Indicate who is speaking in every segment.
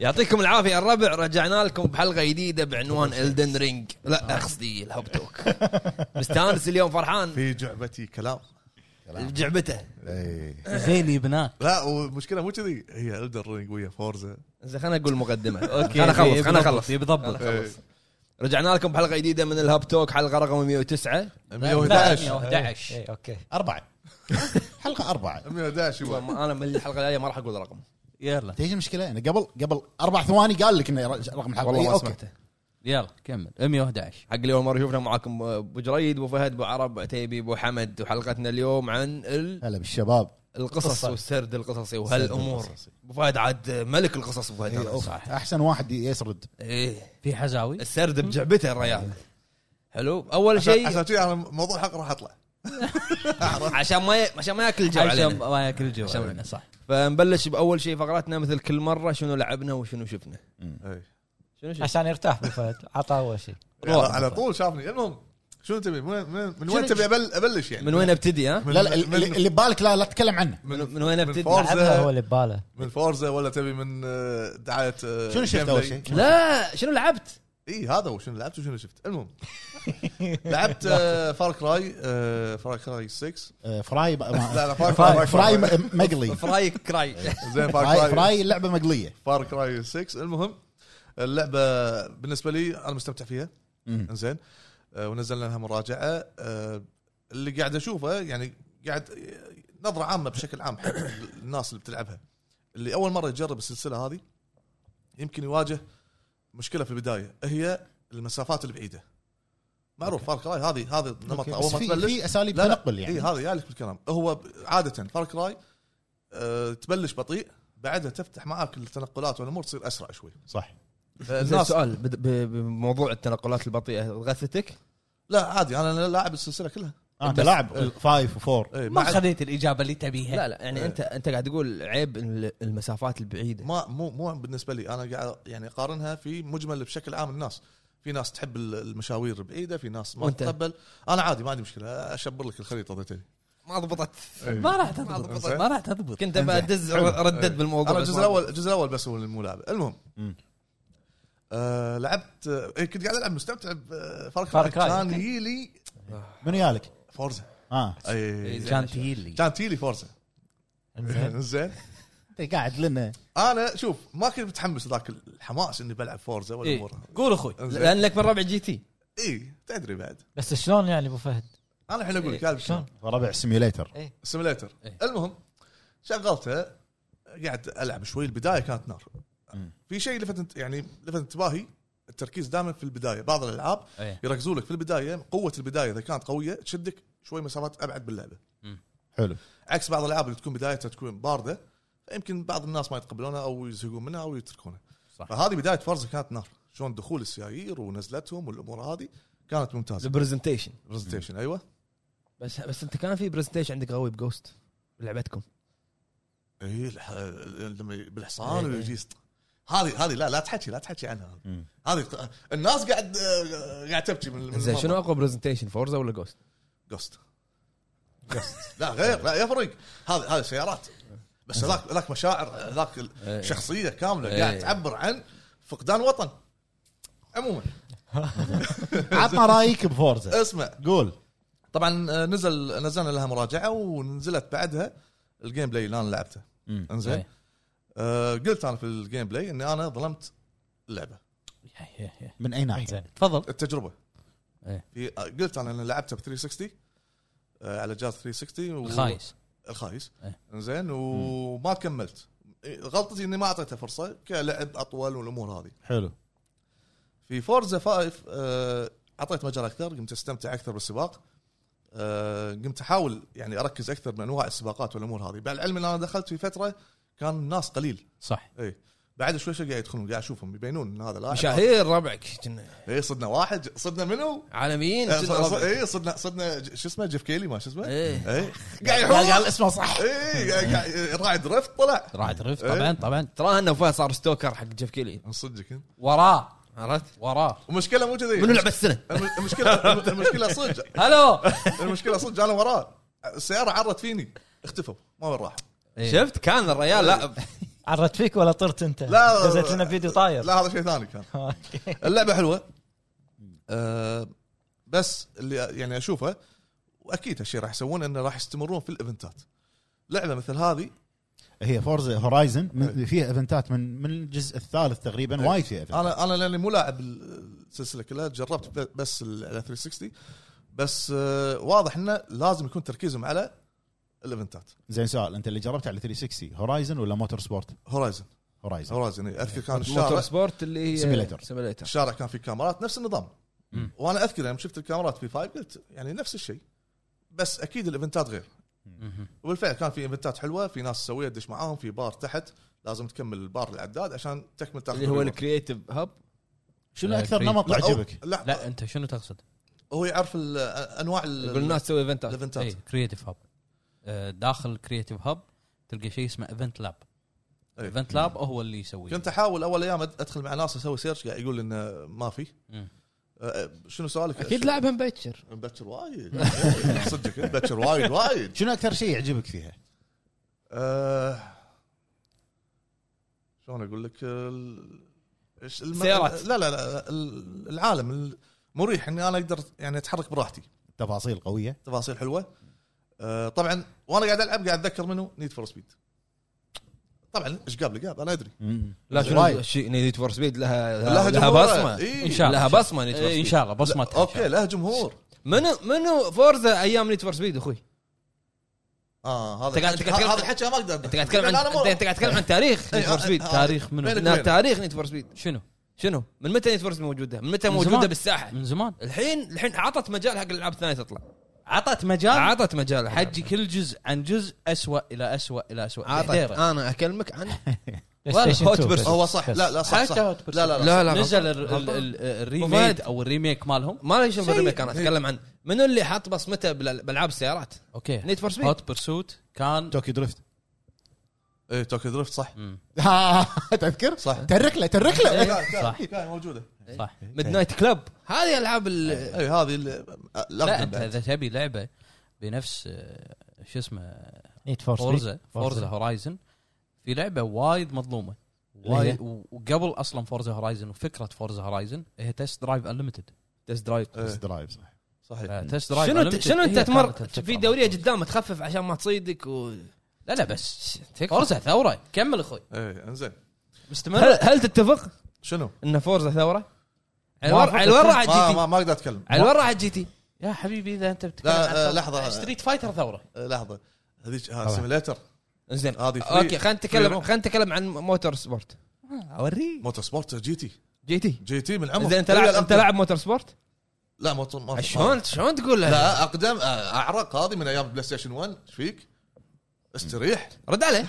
Speaker 1: يعطيكم العافيه يا الربع رجعنا لكم بحلقه جديده بعنوان الدن رينج لا اقصدي الهوب توك مستانس اليوم فرحان
Speaker 2: في جعبتي كلام
Speaker 1: جعبته
Speaker 2: اي
Speaker 3: زين يبناك
Speaker 2: لا والمشكله مو كذي هي الدر رينج ويا فورزا
Speaker 1: زين خلينا نقول مقدمه اوكي خلينا اخلص خلينا اخلص
Speaker 3: يبي يضبط
Speaker 1: رجعنا لكم بحلقه جديده من الهاب توك حلقه رقم 109
Speaker 2: 111
Speaker 3: إيه،
Speaker 4: 111
Speaker 3: اوكي
Speaker 4: أربعة حلقة أربعة
Speaker 2: 111 يبا.
Speaker 1: والله انا من الحلقه الجايه ما راح اقول رقم
Speaker 3: يلا
Speaker 4: تدري ايش المشكلة؟ أنا قبل قبل أربع ثواني قال لك إنه رقم الحلقة
Speaker 1: والله
Speaker 4: إيه،
Speaker 1: ما
Speaker 4: أوكي.
Speaker 1: سمعته
Speaker 3: يلا كمل 111
Speaker 1: حق اللي اول مره يشوفنا معاكم ابو جريد ابو فهد ابو عرب عتيبي ابو حمد وحلقتنا اليوم عن ال-
Speaker 4: هلا بالشباب
Speaker 1: القصص
Speaker 4: قصة.
Speaker 1: والسرد القصصي إيه، وهالامور
Speaker 4: السرد القصصي.
Speaker 1: ابو فهد عاد ملك القصص ابو فهد هذا.
Speaker 3: صح
Speaker 4: أحسن واحد يسرد
Speaker 1: ايه
Speaker 3: في حزاوي
Speaker 1: السرد بجعبته الريال حلو اول
Speaker 2: عشان
Speaker 1: شيء
Speaker 2: عشان كذي انا موضوع الحلقه راح اطلع
Speaker 1: عشان ما ي... عشان ما ياكل جو
Speaker 3: عشان
Speaker 1: علينا
Speaker 3: ما ياكل جو
Speaker 1: عشان-
Speaker 3: علينا، صح
Speaker 1: فنبلش باول شيء فقراتنا مثل كل مره شنو لعبنا وشنو شفنا
Speaker 2: إي.
Speaker 1: شنو شفنا
Speaker 3: عشان يرتاح بالفهد عطاه اول شيء
Speaker 2: على يعني على طول شافني المهم شنو تبي من وين- من من وين
Speaker 4: شنو-
Speaker 2: تبي أبل- ابلش يعني
Speaker 1: من وين ابتدي ها
Speaker 2: من-
Speaker 4: لا لا
Speaker 2: من-
Speaker 4: اللي اللي ببالك لا لا تتكلم عنه
Speaker 1: من, من وين
Speaker 2: من
Speaker 1: ابتدي
Speaker 2: فورزا.
Speaker 5: لعبها هو اللي بباله
Speaker 2: من فورزا ولا تبي من آه، دعايه آه،
Speaker 4: شنو شفت
Speaker 2: Game
Speaker 4: أول
Speaker 2: Day؟
Speaker 4: شيء؟
Speaker 1: لا شنو لعبت
Speaker 2: اي هذا هو شنو لعبت وشنو شفت المهم لعبت آه، فار كراي فار كراي 6
Speaker 4: آه، فراي بقى-
Speaker 2: لا لا
Speaker 4: فراي
Speaker 2: فار
Speaker 4: فراي
Speaker 2: كراي
Speaker 4: م- مقلي
Speaker 1: فراي كراي
Speaker 2: زين
Speaker 4: فراي
Speaker 2: فار كراي
Speaker 4: فراي لعبة مقلية
Speaker 2: فار كراي 6 المهم اللعبه بالنسبه لي انا مستمتع فيها
Speaker 4: مم.
Speaker 2: زين ونزلنا لها مراجعه آه، اللي قاعد اشوفه يعني قاعد نظره عامه بشكل عام حق الناس اللي بتلعبها اللي اول مره يجرب السلسله هذه يمكن يواجه مشكله في البدايه هي المسافات البعيده معروف فار كراي هذه هذا النمط
Speaker 4: أوكي.
Speaker 2: اول
Speaker 4: بس
Speaker 2: ما
Speaker 4: في
Speaker 2: تبلش
Speaker 4: في أساليب
Speaker 2: لا لا.
Speaker 4: تنقل
Speaker 2: اي
Speaker 4: يعني
Speaker 2: إيه، هذا يالك بالكلام هو ب- عاده فار كراي أه تبلش بطيء بعدها تفتح معاك التنقلات والامور تصير اسرع شوي
Speaker 4: صح
Speaker 1: زين
Speaker 2: الناس
Speaker 1: سؤال بد- ب- بموضوع التنقلات البطيئه غثتك
Speaker 2: لا عادي انا لاعب السلسله كلها
Speaker 4: آه، انت
Speaker 1: بس-
Speaker 4: لاعب فايف وفور
Speaker 2: إيه،
Speaker 3: ما
Speaker 2: عاد-
Speaker 3: خذيت الاجابه اللي تبيها
Speaker 1: لا لا يعني انت انت قاعد تقول عيب ال- المسافات البعيده
Speaker 2: ما مو مو بالنسبه لي انا قاعد يعني اقارنها في مجمل بشكل عام الناس في ناس تحب ال- المشاوير البعيده في ناس ما
Speaker 1: وأنت؟
Speaker 2: تتقبل انا عادي ما عندي مشكله اشبر لك الخريطه ذا تبي
Speaker 1: ما ضبطت
Speaker 3: ما راح تضبط
Speaker 2: أنزين.
Speaker 3: ما راح تضبط
Speaker 1: كنت بدز ردت بالموضوع
Speaker 2: انا
Speaker 1: بس
Speaker 2: الجزء
Speaker 1: ما-
Speaker 2: الاول الجزء الاول بس هو اللي مو لاعب المهم
Speaker 4: مم.
Speaker 2: آه لعبت آه إيه، كنت قاعد العب مستمتع بفار
Speaker 3: Far Cry.
Speaker 2: كراي كان يجي
Speaker 4: منو يالك؟
Speaker 2: فورزا
Speaker 4: اه
Speaker 2: إيه،
Speaker 3: كان تهيلي
Speaker 2: كان تيلي فورزا
Speaker 5: انزين
Speaker 2: زين
Speaker 4: انت قاعد لنا
Speaker 2: انا شوف ما كنت متحمس ذاك الحماس اني بلعب فورزا ولا
Speaker 3: إيه.
Speaker 2: امور
Speaker 3: قول اخوي
Speaker 2: إنزين.
Speaker 1: لانك من ربع جي تي
Speaker 2: اي تدري بعد
Speaker 5: بس شلون يعني ابو فهد؟
Speaker 2: انا الحين اقول لك قاعد شلون
Speaker 5: شلون؟
Speaker 4: ربع سيميوليتر
Speaker 2: سيميليتر
Speaker 1: إيه.
Speaker 2: المهم شغلته قاعد العب شوي البدايه كانت نار
Speaker 4: مم.
Speaker 2: في شيء لفت انت- يعني لفت انتباهي التركيز دائما في البدايه بعض الالعاب
Speaker 3: إيه.
Speaker 2: يركزوا لك في البدايه قوه البدايه اذا كانت قويه تشدك شوي مسافات ابعد باللعبه
Speaker 4: حلو
Speaker 2: عكس بعض الالعاب اللي تكون بدايتها تكون بارده فيمكن بعض الناس ما يتقبلونها او يزهقون منها او يتركونها
Speaker 3: صح.
Speaker 2: فهذه بدايه فرزه كانت نار شلون دخول السيايير ونزلتهم والامور هذه كانت ممتازه
Speaker 1: البرزنتيشن
Speaker 2: برزنتيشن ايوه
Speaker 1: بس بس انت كان في برزنتيشن عندك قوي بجوست لعبتكم
Speaker 2: اي إيه، الح- لما ي- بالحصان ويجي هذه هذه لا لا تحكي لا تحكي عنها
Speaker 4: مم.
Speaker 2: هذه ق- الناس قاعد آه، قاعد تبكي من من
Speaker 1: زين شنو اقوى برزنتيشن فورزا ولا جوست؟
Speaker 2: جوست لا غير لا يفرق هذا هذا سيارات بس هذاك هذاك مشاعر هذاك ال-
Speaker 1: إيه.
Speaker 2: شخصيه كامله
Speaker 1: إيه.
Speaker 2: قاعد تعبر عن فقدان وطن عموما
Speaker 4: عطنا رايك بفورزا
Speaker 2: اسمع
Speaker 4: قول
Speaker 2: طبعا آه، نزل نزلنا لها مراجعه ونزلت بعدها الجيم بلاي اللي انا لعبته انزين
Speaker 3: إيه.
Speaker 2: آه قلت انا في الجيم بلاي اني انا ظلمت اللعبه
Speaker 4: من اي ناحيه؟
Speaker 3: زين تفضل
Speaker 2: التجربه
Speaker 3: إيه.
Speaker 2: في آه، قلت انا إن لعبتها ب 360 آه، على جهاز 360 و-
Speaker 3: الخايس
Speaker 2: الخايس
Speaker 3: إيه.
Speaker 2: زين وما كملت غلطتي اني ما اعطيته فرصه كلعب اطول والامور هذه
Speaker 4: حلو
Speaker 2: في فورزا 5 آه، اعطيت مجال اكثر قمت استمتع اكثر بالسباق آه، قمت احاول يعني اركز اكثر بانواع السباقات والامور هذه مع العلم ان انا دخلت في فتره كان الناس قليل إيه.
Speaker 3: صح
Speaker 2: بعد شوي شوي قاعد يدخلون قاعد اشوفهم يبينون ان هذا لاعب
Speaker 1: مشاهير ربعك كنا
Speaker 2: اي صدنا واحد صدنا منو؟
Speaker 1: عالميين
Speaker 2: إيه،
Speaker 1: كنا ربعك.
Speaker 2: اي صدنا صدنا ج- شو اسمه جيف كيلي ما شو اسمه؟
Speaker 1: إيه.
Speaker 2: اي قاعد
Speaker 4: قال
Speaker 2: يحوم
Speaker 4: قال اسمه صح
Speaker 2: اي قاعد- قاعد- الراعي درفت طلع
Speaker 3: راح تعرف
Speaker 2: إيه.
Speaker 3: طبعا طبعا
Speaker 1: ترى انه فهد صار ستوكر حق جيف كيلي
Speaker 2: من صدقك انت
Speaker 3: وراه
Speaker 1: عرفت؟
Speaker 3: وراه
Speaker 2: المشكله مو كذي
Speaker 1: منو لعبه السنه؟
Speaker 2: الم- المشكله الم- المشكله صدق
Speaker 3: الو
Speaker 2: المشكله صدق انا وراه السياره عرت فيني اختفوا ما وين راحوا
Speaker 1: شفت كان الريال لا
Speaker 5: عرت فيك ولا طرت انت؟
Speaker 2: لا.
Speaker 5: دزت لنا فيديو طاير
Speaker 2: لا هذا شيء ثاني كان
Speaker 5: أوكي.
Speaker 2: اللعبه حلوه أه بس اللي يعني اشوفه واكيد هالشيء راح يسوونه انه راح يستمرون في الايفنتات لعبه مثل هذه
Speaker 4: هي فورزا هورايزن
Speaker 2: إيه. آه.
Speaker 4: من- فيها ايفنتات من من الجزء الثالث تقريبا وايد فيها ايفنتات
Speaker 2: انا انا لاني مو لاعب السلسله كلها جربت ب- بس ال 360 بس أه واضح انه لازم يكون تركيزهم على الايفنتات
Speaker 4: زين سؤال انت اللي جربته على 360 هورايزن ولا موتور سبورت؟
Speaker 2: هورايزن
Speaker 4: هورايزن
Speaker 2: هورايزن إيه، اذكر كان
Speaker 1: موتور
Speaker 2: الشارع
Speaker 1: سبورت اللي هي
Speaker 4: سيميليتر.
Speaker 1: سيميليتر
Speaker 2: الشارع كان في كاميرات نفس النظام
Speaker 4: مم.
Speaker 2: وانا اذكر لما شفت الكاميرات في فايف قلت يعني نفس الشيء بس اكيد الايفنتات غير وبالفعل كان في ايفنتات حلوه في ناس تسويها تدش معاهم في بار تحت لازم تكمل البار العداد عشان تكمل تاخذ
Speaker 1: اللي هو
Speaker 2: الريورد.
Speaker 1: الكرييتيف هاب
Speaker 4: شنو
Speaker 3: لا،
Speaker 4: اكثر
Speaker 3: فريد.
Speaker 4: نمط
Speaker 2: لا، أو-
Speaker 4: عجبك؟
Speaker 2: لا,
Speaker 3: لا انت شنو تقصد؟
Speaker 2: هو يعرف ال- انواع ال-
Speaker 1: يقول إيه. الناس تسوي ايفنتات
Speaker 2: الايفنتات
Speaker 3: اي كريتيف هاب آه، داخل كريتيف هاب تلقى شيء اسمه ايفنت لاب
Speaker 2: إيه.
Speaker 3: ايفنت لاب هو اللي يسويه
Speaker 2: كنت احاول اول ايام أد- ادخل مع ناس اسوي سيرش قاعد يقول انه ما في
Speaker 3: مم.
Speaker 2: أه، شنو سؤالك؟
Speaker 1: اكيد لعبها مبكر
Speaker 2: مبكر وايد صدق مبكر وايد وايد
Speaker 4: شنو اكثر شيء يعجبك فيها؟
Speaker 2: آه، شلون اقول لك ال- إيش الم-
Speaker 1: سيارات.
Speaker 2: لا لا لا ال- العالم ال- مريح اني انا اقدر يعني اتحرك براحتي
Speaker 4: تفاصيل قويه
Speaker 2: تفاصيل حلوه آه، طبعا وانا قاعد العب قاعد اتذكر منه نيد فور سبيد طبعا ايش قاب لي قاب انا ادري
Speaker 1: لا
Speaker 4: وايد.
Speaker 1: شنو شيء نيد فور سبيد لها
Speaker 2: لها
Speaker 1: لها, لها
Speaker 2: جمهورها.
Speaker 1: بصمه
Speaker 2: إيه.
Speaker 3: ان شاء الله
Speaker 1: لها بصمه نيد فور
Speaker 3: إيه، ان
Speaker 1: سبيد
Speaker 3: شاء الله بصمتها
Speaker 2: اوكي لها جمهور
Speaker 1: منو منو فورزا ايام نيد فور سبيد اخوي
Speaker 2: اه هذا
Speaker 1: أنت قاعد- أنت قاعد-
Speaker 2: هذا الحكي أنا ما اقدر
Speaker 1: انت قاعد تتكلم عن انت أنت قاعد تتكلم عن تاريخ نيد فور سبيد
Speaker 2: آه،
Speaker 3: تاريخ منو؟
Speaker 2: بينك
Speaker 1: نا-
Speaker 2: وبينه.
Speaker 1: نعم، تاريخ نيد فور سبيد
Speaker 3: شنو؟
Speaker 1: شنو؟ من متى نيد فور سبيد موجوده؟ من متى
Speaker 3: من
Speaker 1: موجوده
Speaker 3: زمان.
Speaker 1: بالساحه؟
Speaker 3: من زمان
Speaker 1: الحين الحين عطت مجال حق الالعاب الثانيه تطلع
Speaker 3: عطت مجال
Speaker 1: عطت مجال حق
Speaker 3: حجي كل جزء عن جزء اسوء الى اسوء الى اسوء
Speaker 1: عطت
Speaker 2: آه.
Speaker 3: حيديرة.
Speaker 1: انا اكلمك عن
Speaker 5: بلاي ستيشن
Speaker 1: هوت
Speaker 5: 2
Speaker 1: بيرسون.
Speaker 5: بس.
Speaker 2: هو صح
Speaker 5: بس.
Speaker 2: لا لا صح
Speaker 3: حتى
Speaker 2: صح
Speaker 3: هوت
Speaker 2: لا لا لا
Speaker 1: لا لا
Speaker 3: نزل
Speaker 1: غلط.
Speaker 3: ال- ال- ال- الريميد
Speaker 1: وفهد.
Speaker 3: او الريميك مالهم
Speaker 1: ما لي شغل
Speaker 3: شيء.
Speaker 1: بالريميك انا اتكلم عن منو اللي حاط بصمته بال- بالالعاب السيارات؟
Speaker 3: اوكي
Speaker 1: نيد فور سبيد
Speaker 3: هوت برسوت كان
Speaker 4: توكي درفت
Speaker 2: ايه توكي درفت صح
Speaker 3: مم.
Speaker 4: تذكر؟
Speaker 2: صح.
Speaker 4: ترك له ترك له
Speaker 3: إيه، صح
Speaker 2: كان موجوده
Speaker 3: صح
Speaker 1: ميد نايت كلاب هذه العاب ال-
Speaker 2: اي إيه، هذه
Speaker 3: لا
Speaker 2: لا
Speaker 3: انت اذا تبي لعبه بنفس آه، شو اسمه
Speaker 5: نيد فور سبيد.
Speaker 3: فورزا فورزا هورايزن في لعبه وايد مظلومه
Speaker 5: اللي هي؟
Speaker 3: وايد و- وقبل اصلا فورزا هورايزن وفكره فورزا هورايزن هي تست درايف انليمتد
Speaker 1: تست درايف
Speaker 4: بس درايف صح
Speaker 2: إيه، صحيح
Speaker 3: تست درايف
Speaker 1: شنو
Speaker 3: آه، Unlimited
Speaker 1: انت شنو
Speaker 3: هي
Speaker 1: انت
Speaker 3: كانت
Speaker 1: تمر
Speaker 3: الفكرة
Speaker 1: في دوريه
Speaker 3: مالت Forza.
Speaker 1: قدام تخفف عشان ما تصيدك و...
Speaker 3: لا لا بس فورزا ثوره كمل اخوي
Speaker 2: ايه انزين
Speaker 3: مستمر
Speaker 1: هل هل تتفق
Speaker 2: شنو؟
Speaker 1: ان فورزا ثوره؟ على
Speaker 5: ما
Speaker 1: الورق على الورق على
Speaker 2: ما,
Speaker 1: الجي آه، تي
Speaker 2: ما, ما اقدر اتكلم
Speaker 1: على الورق على الجي تي
Speaker 3: يا حبيبي اذا انت بتتكلم
Speaker 2: لا،
Speaker 3: عن
Speaker 2: آه،
Speaker 3: ثورة.
Speaker 2: لحظة.
Speaker 3: ستريت فايتر ثوره
Speaker 2: أه، لحظه هذيك آه، سيميليتر
Speaker 1: زين
Speaker 2: هذه free-
Speaker 1: اوكي خلينا
Speaker 2: free
Speaker 1: نتكلم
Speaker 2: roam.
Speaker 1: خلينا نتكلم عن موتور سبورت
Speaker 3: اوريك
Speaker 2: موتور سبورت جي تي
Speaker 1: جي تي
Speaker 2: جي تي من عمر
Speaker 1: زين انت لاعب انت لاعب موتور سبورت؟
Speaker 2: لا موتور موتور-
Speaker 1: آه، شلون شلون تقول لا
Speaker 2: لا اقدم أه، اعرق هذه من ايام بلاي ستيشن 1 ايش فيك؟ استريح
Speaker 1: رد عليه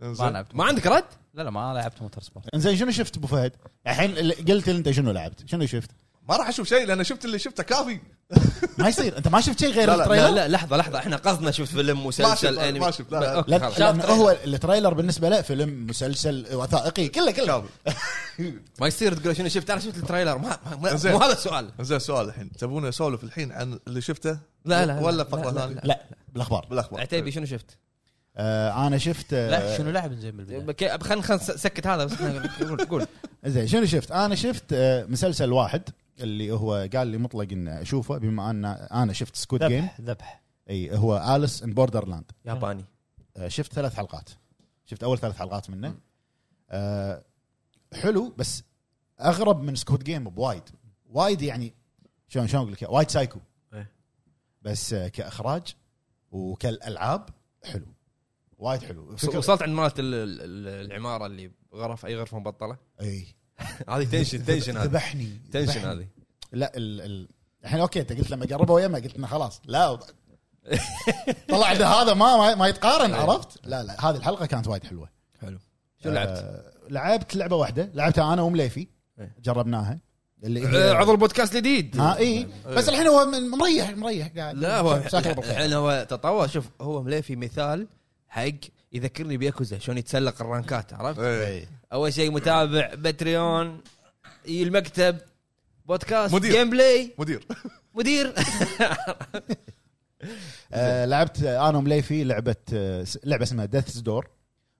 Speaker 3: ما
Speaker 2: انزين
Speaker 3: لعبت
Speaker 1: ما عندك رد؟
Speaker 3: لا لا ما لعبت موتور سبورت
Speaker 4: انزين شنو شفت ابو فهد؟ الحين اللي قلت لي انت شنو لعبت؟ شنو شفت؟
Speaker 2: ما راح اشوف شيء لان شفت اللي شفته كافي
Speaker 4: ما يصير انت ما شفت شيء غير
Speaker 2: لا، لا،
Speaker 4: التريلر؟
Speaker 1: لا لحظه لحظه احنا قصدنا شفت فيلم مسلسل
Speaker 2: ما
Speaker 1: انمي
Speaker 2: شفت، لا، لا.
Speaker 1: أوكي،
Speaker 4: لا
Speaker 1: خلاص.
Speaker 4: لأن هو التريلر بالنسبه له فيلم مسلسل وثائقي كله كله
Speaker 2: كافي
Speaker 1: ما يصير تقول شنو شفت انا شفت التريلر ما ما- ما-
Speaker 2: زين.
Speaker 1: مو هذا السؤال
Speaker 2: انزين سؤال الحين تبون اسولف الحين عن اللي شفته؟
Speaker 1: لا، لا، لا.
Speaker 2: ولا
Speaker 1: لا،
Speaker 2: فقره
Speaker 1: لا،
Speaker 2: ثانيه؟
Speaker 1: لا.
Speaker 4: لا بالاخبار
Speaker 2: بالاخبار
Speaker 1: عتيبي شنو شفت؟
Speaker 4: آه انا شفت
Speaker 3: لا
Speaker 4: آه
Speaker 3: شنو لعب زين بالبدايه
Speaker 1: خلينا خلينا سكت هذا بس إحنا- قول قول
Speaker 4: زين شنو شفت؟ انا شفت آه مسلسل واحد اللي هو قال لي مطلق ان اشوفه بما ان انا شفت سكوت جيم
Speaker 5: ذبح ذبح
Speaker 4: اي هو اليس ان بوردرلاند
Speaker 1: ياباني
Speaker 4: آه، شفت ثلاث حلقات شفت اول ثلاث حلقات منه آه حلو بس اغرب من سكوت جيم بوايد وايد يعني شلون شلون اقول لك إياها؟ وايد سايكو
Speaker 1: إيه.
Speaker 4: بس آه كاخراج وكالالعاب حلو وايد حلو فكرة-
Speaker 1: وصلت عند مالت ال- ال- ال- العماره اللي غرف اي غرفه مبطله
Speaker 4: اي
Speaker 1: هذه تنشن تنشن هذه
Speaker 4: ذبحني
Speaker 1: تنشن
Speaker 4: ذبحني.
Speaker 1: هذه
Speaker 4: لا ال ال الحين اوكي انت قلت لما قربوا ويما قلت انه خلاص لا طلع ده هذا ما ما- ما يتقارن عرفت لا لا هذه الحلقه كانت وايد حلوه
Speaker 1: حلو إيه. شو لعبت؟
Speaker 4: آه، لعبت لعبه واحده لعبتها انا ومليفي
Speaker 1: إيه.
Speaker 4: جربناها اللي
Speaker 1: آه،
Speaker 4: هي
Speaker 1: عضو البودكاست الجديد
Speaker 4: ها اي بس الحين هو من- مريح مريح قاعد
Speaker 1: لا هو يعني-
Speaker 4: ساكن بالخير.
Speaker 1: الحين هو تطور شوف هو مليفي مثال حق يذكرني بياكوزا شلون يتسلق الرانكات عرفت؟
Speaker 2: إيه.
Speaker 1: اول شيء متابع باتريون إي المكتب بودكاست
Speaker 2: مدير.
Speaker 1: جيم بلاي
Speaker 2: مدير
Speaker 1: مدير
Speaker 4: آه، لعبت انا ومليفي لعبه آه، س- لعبه اسمها ديث دور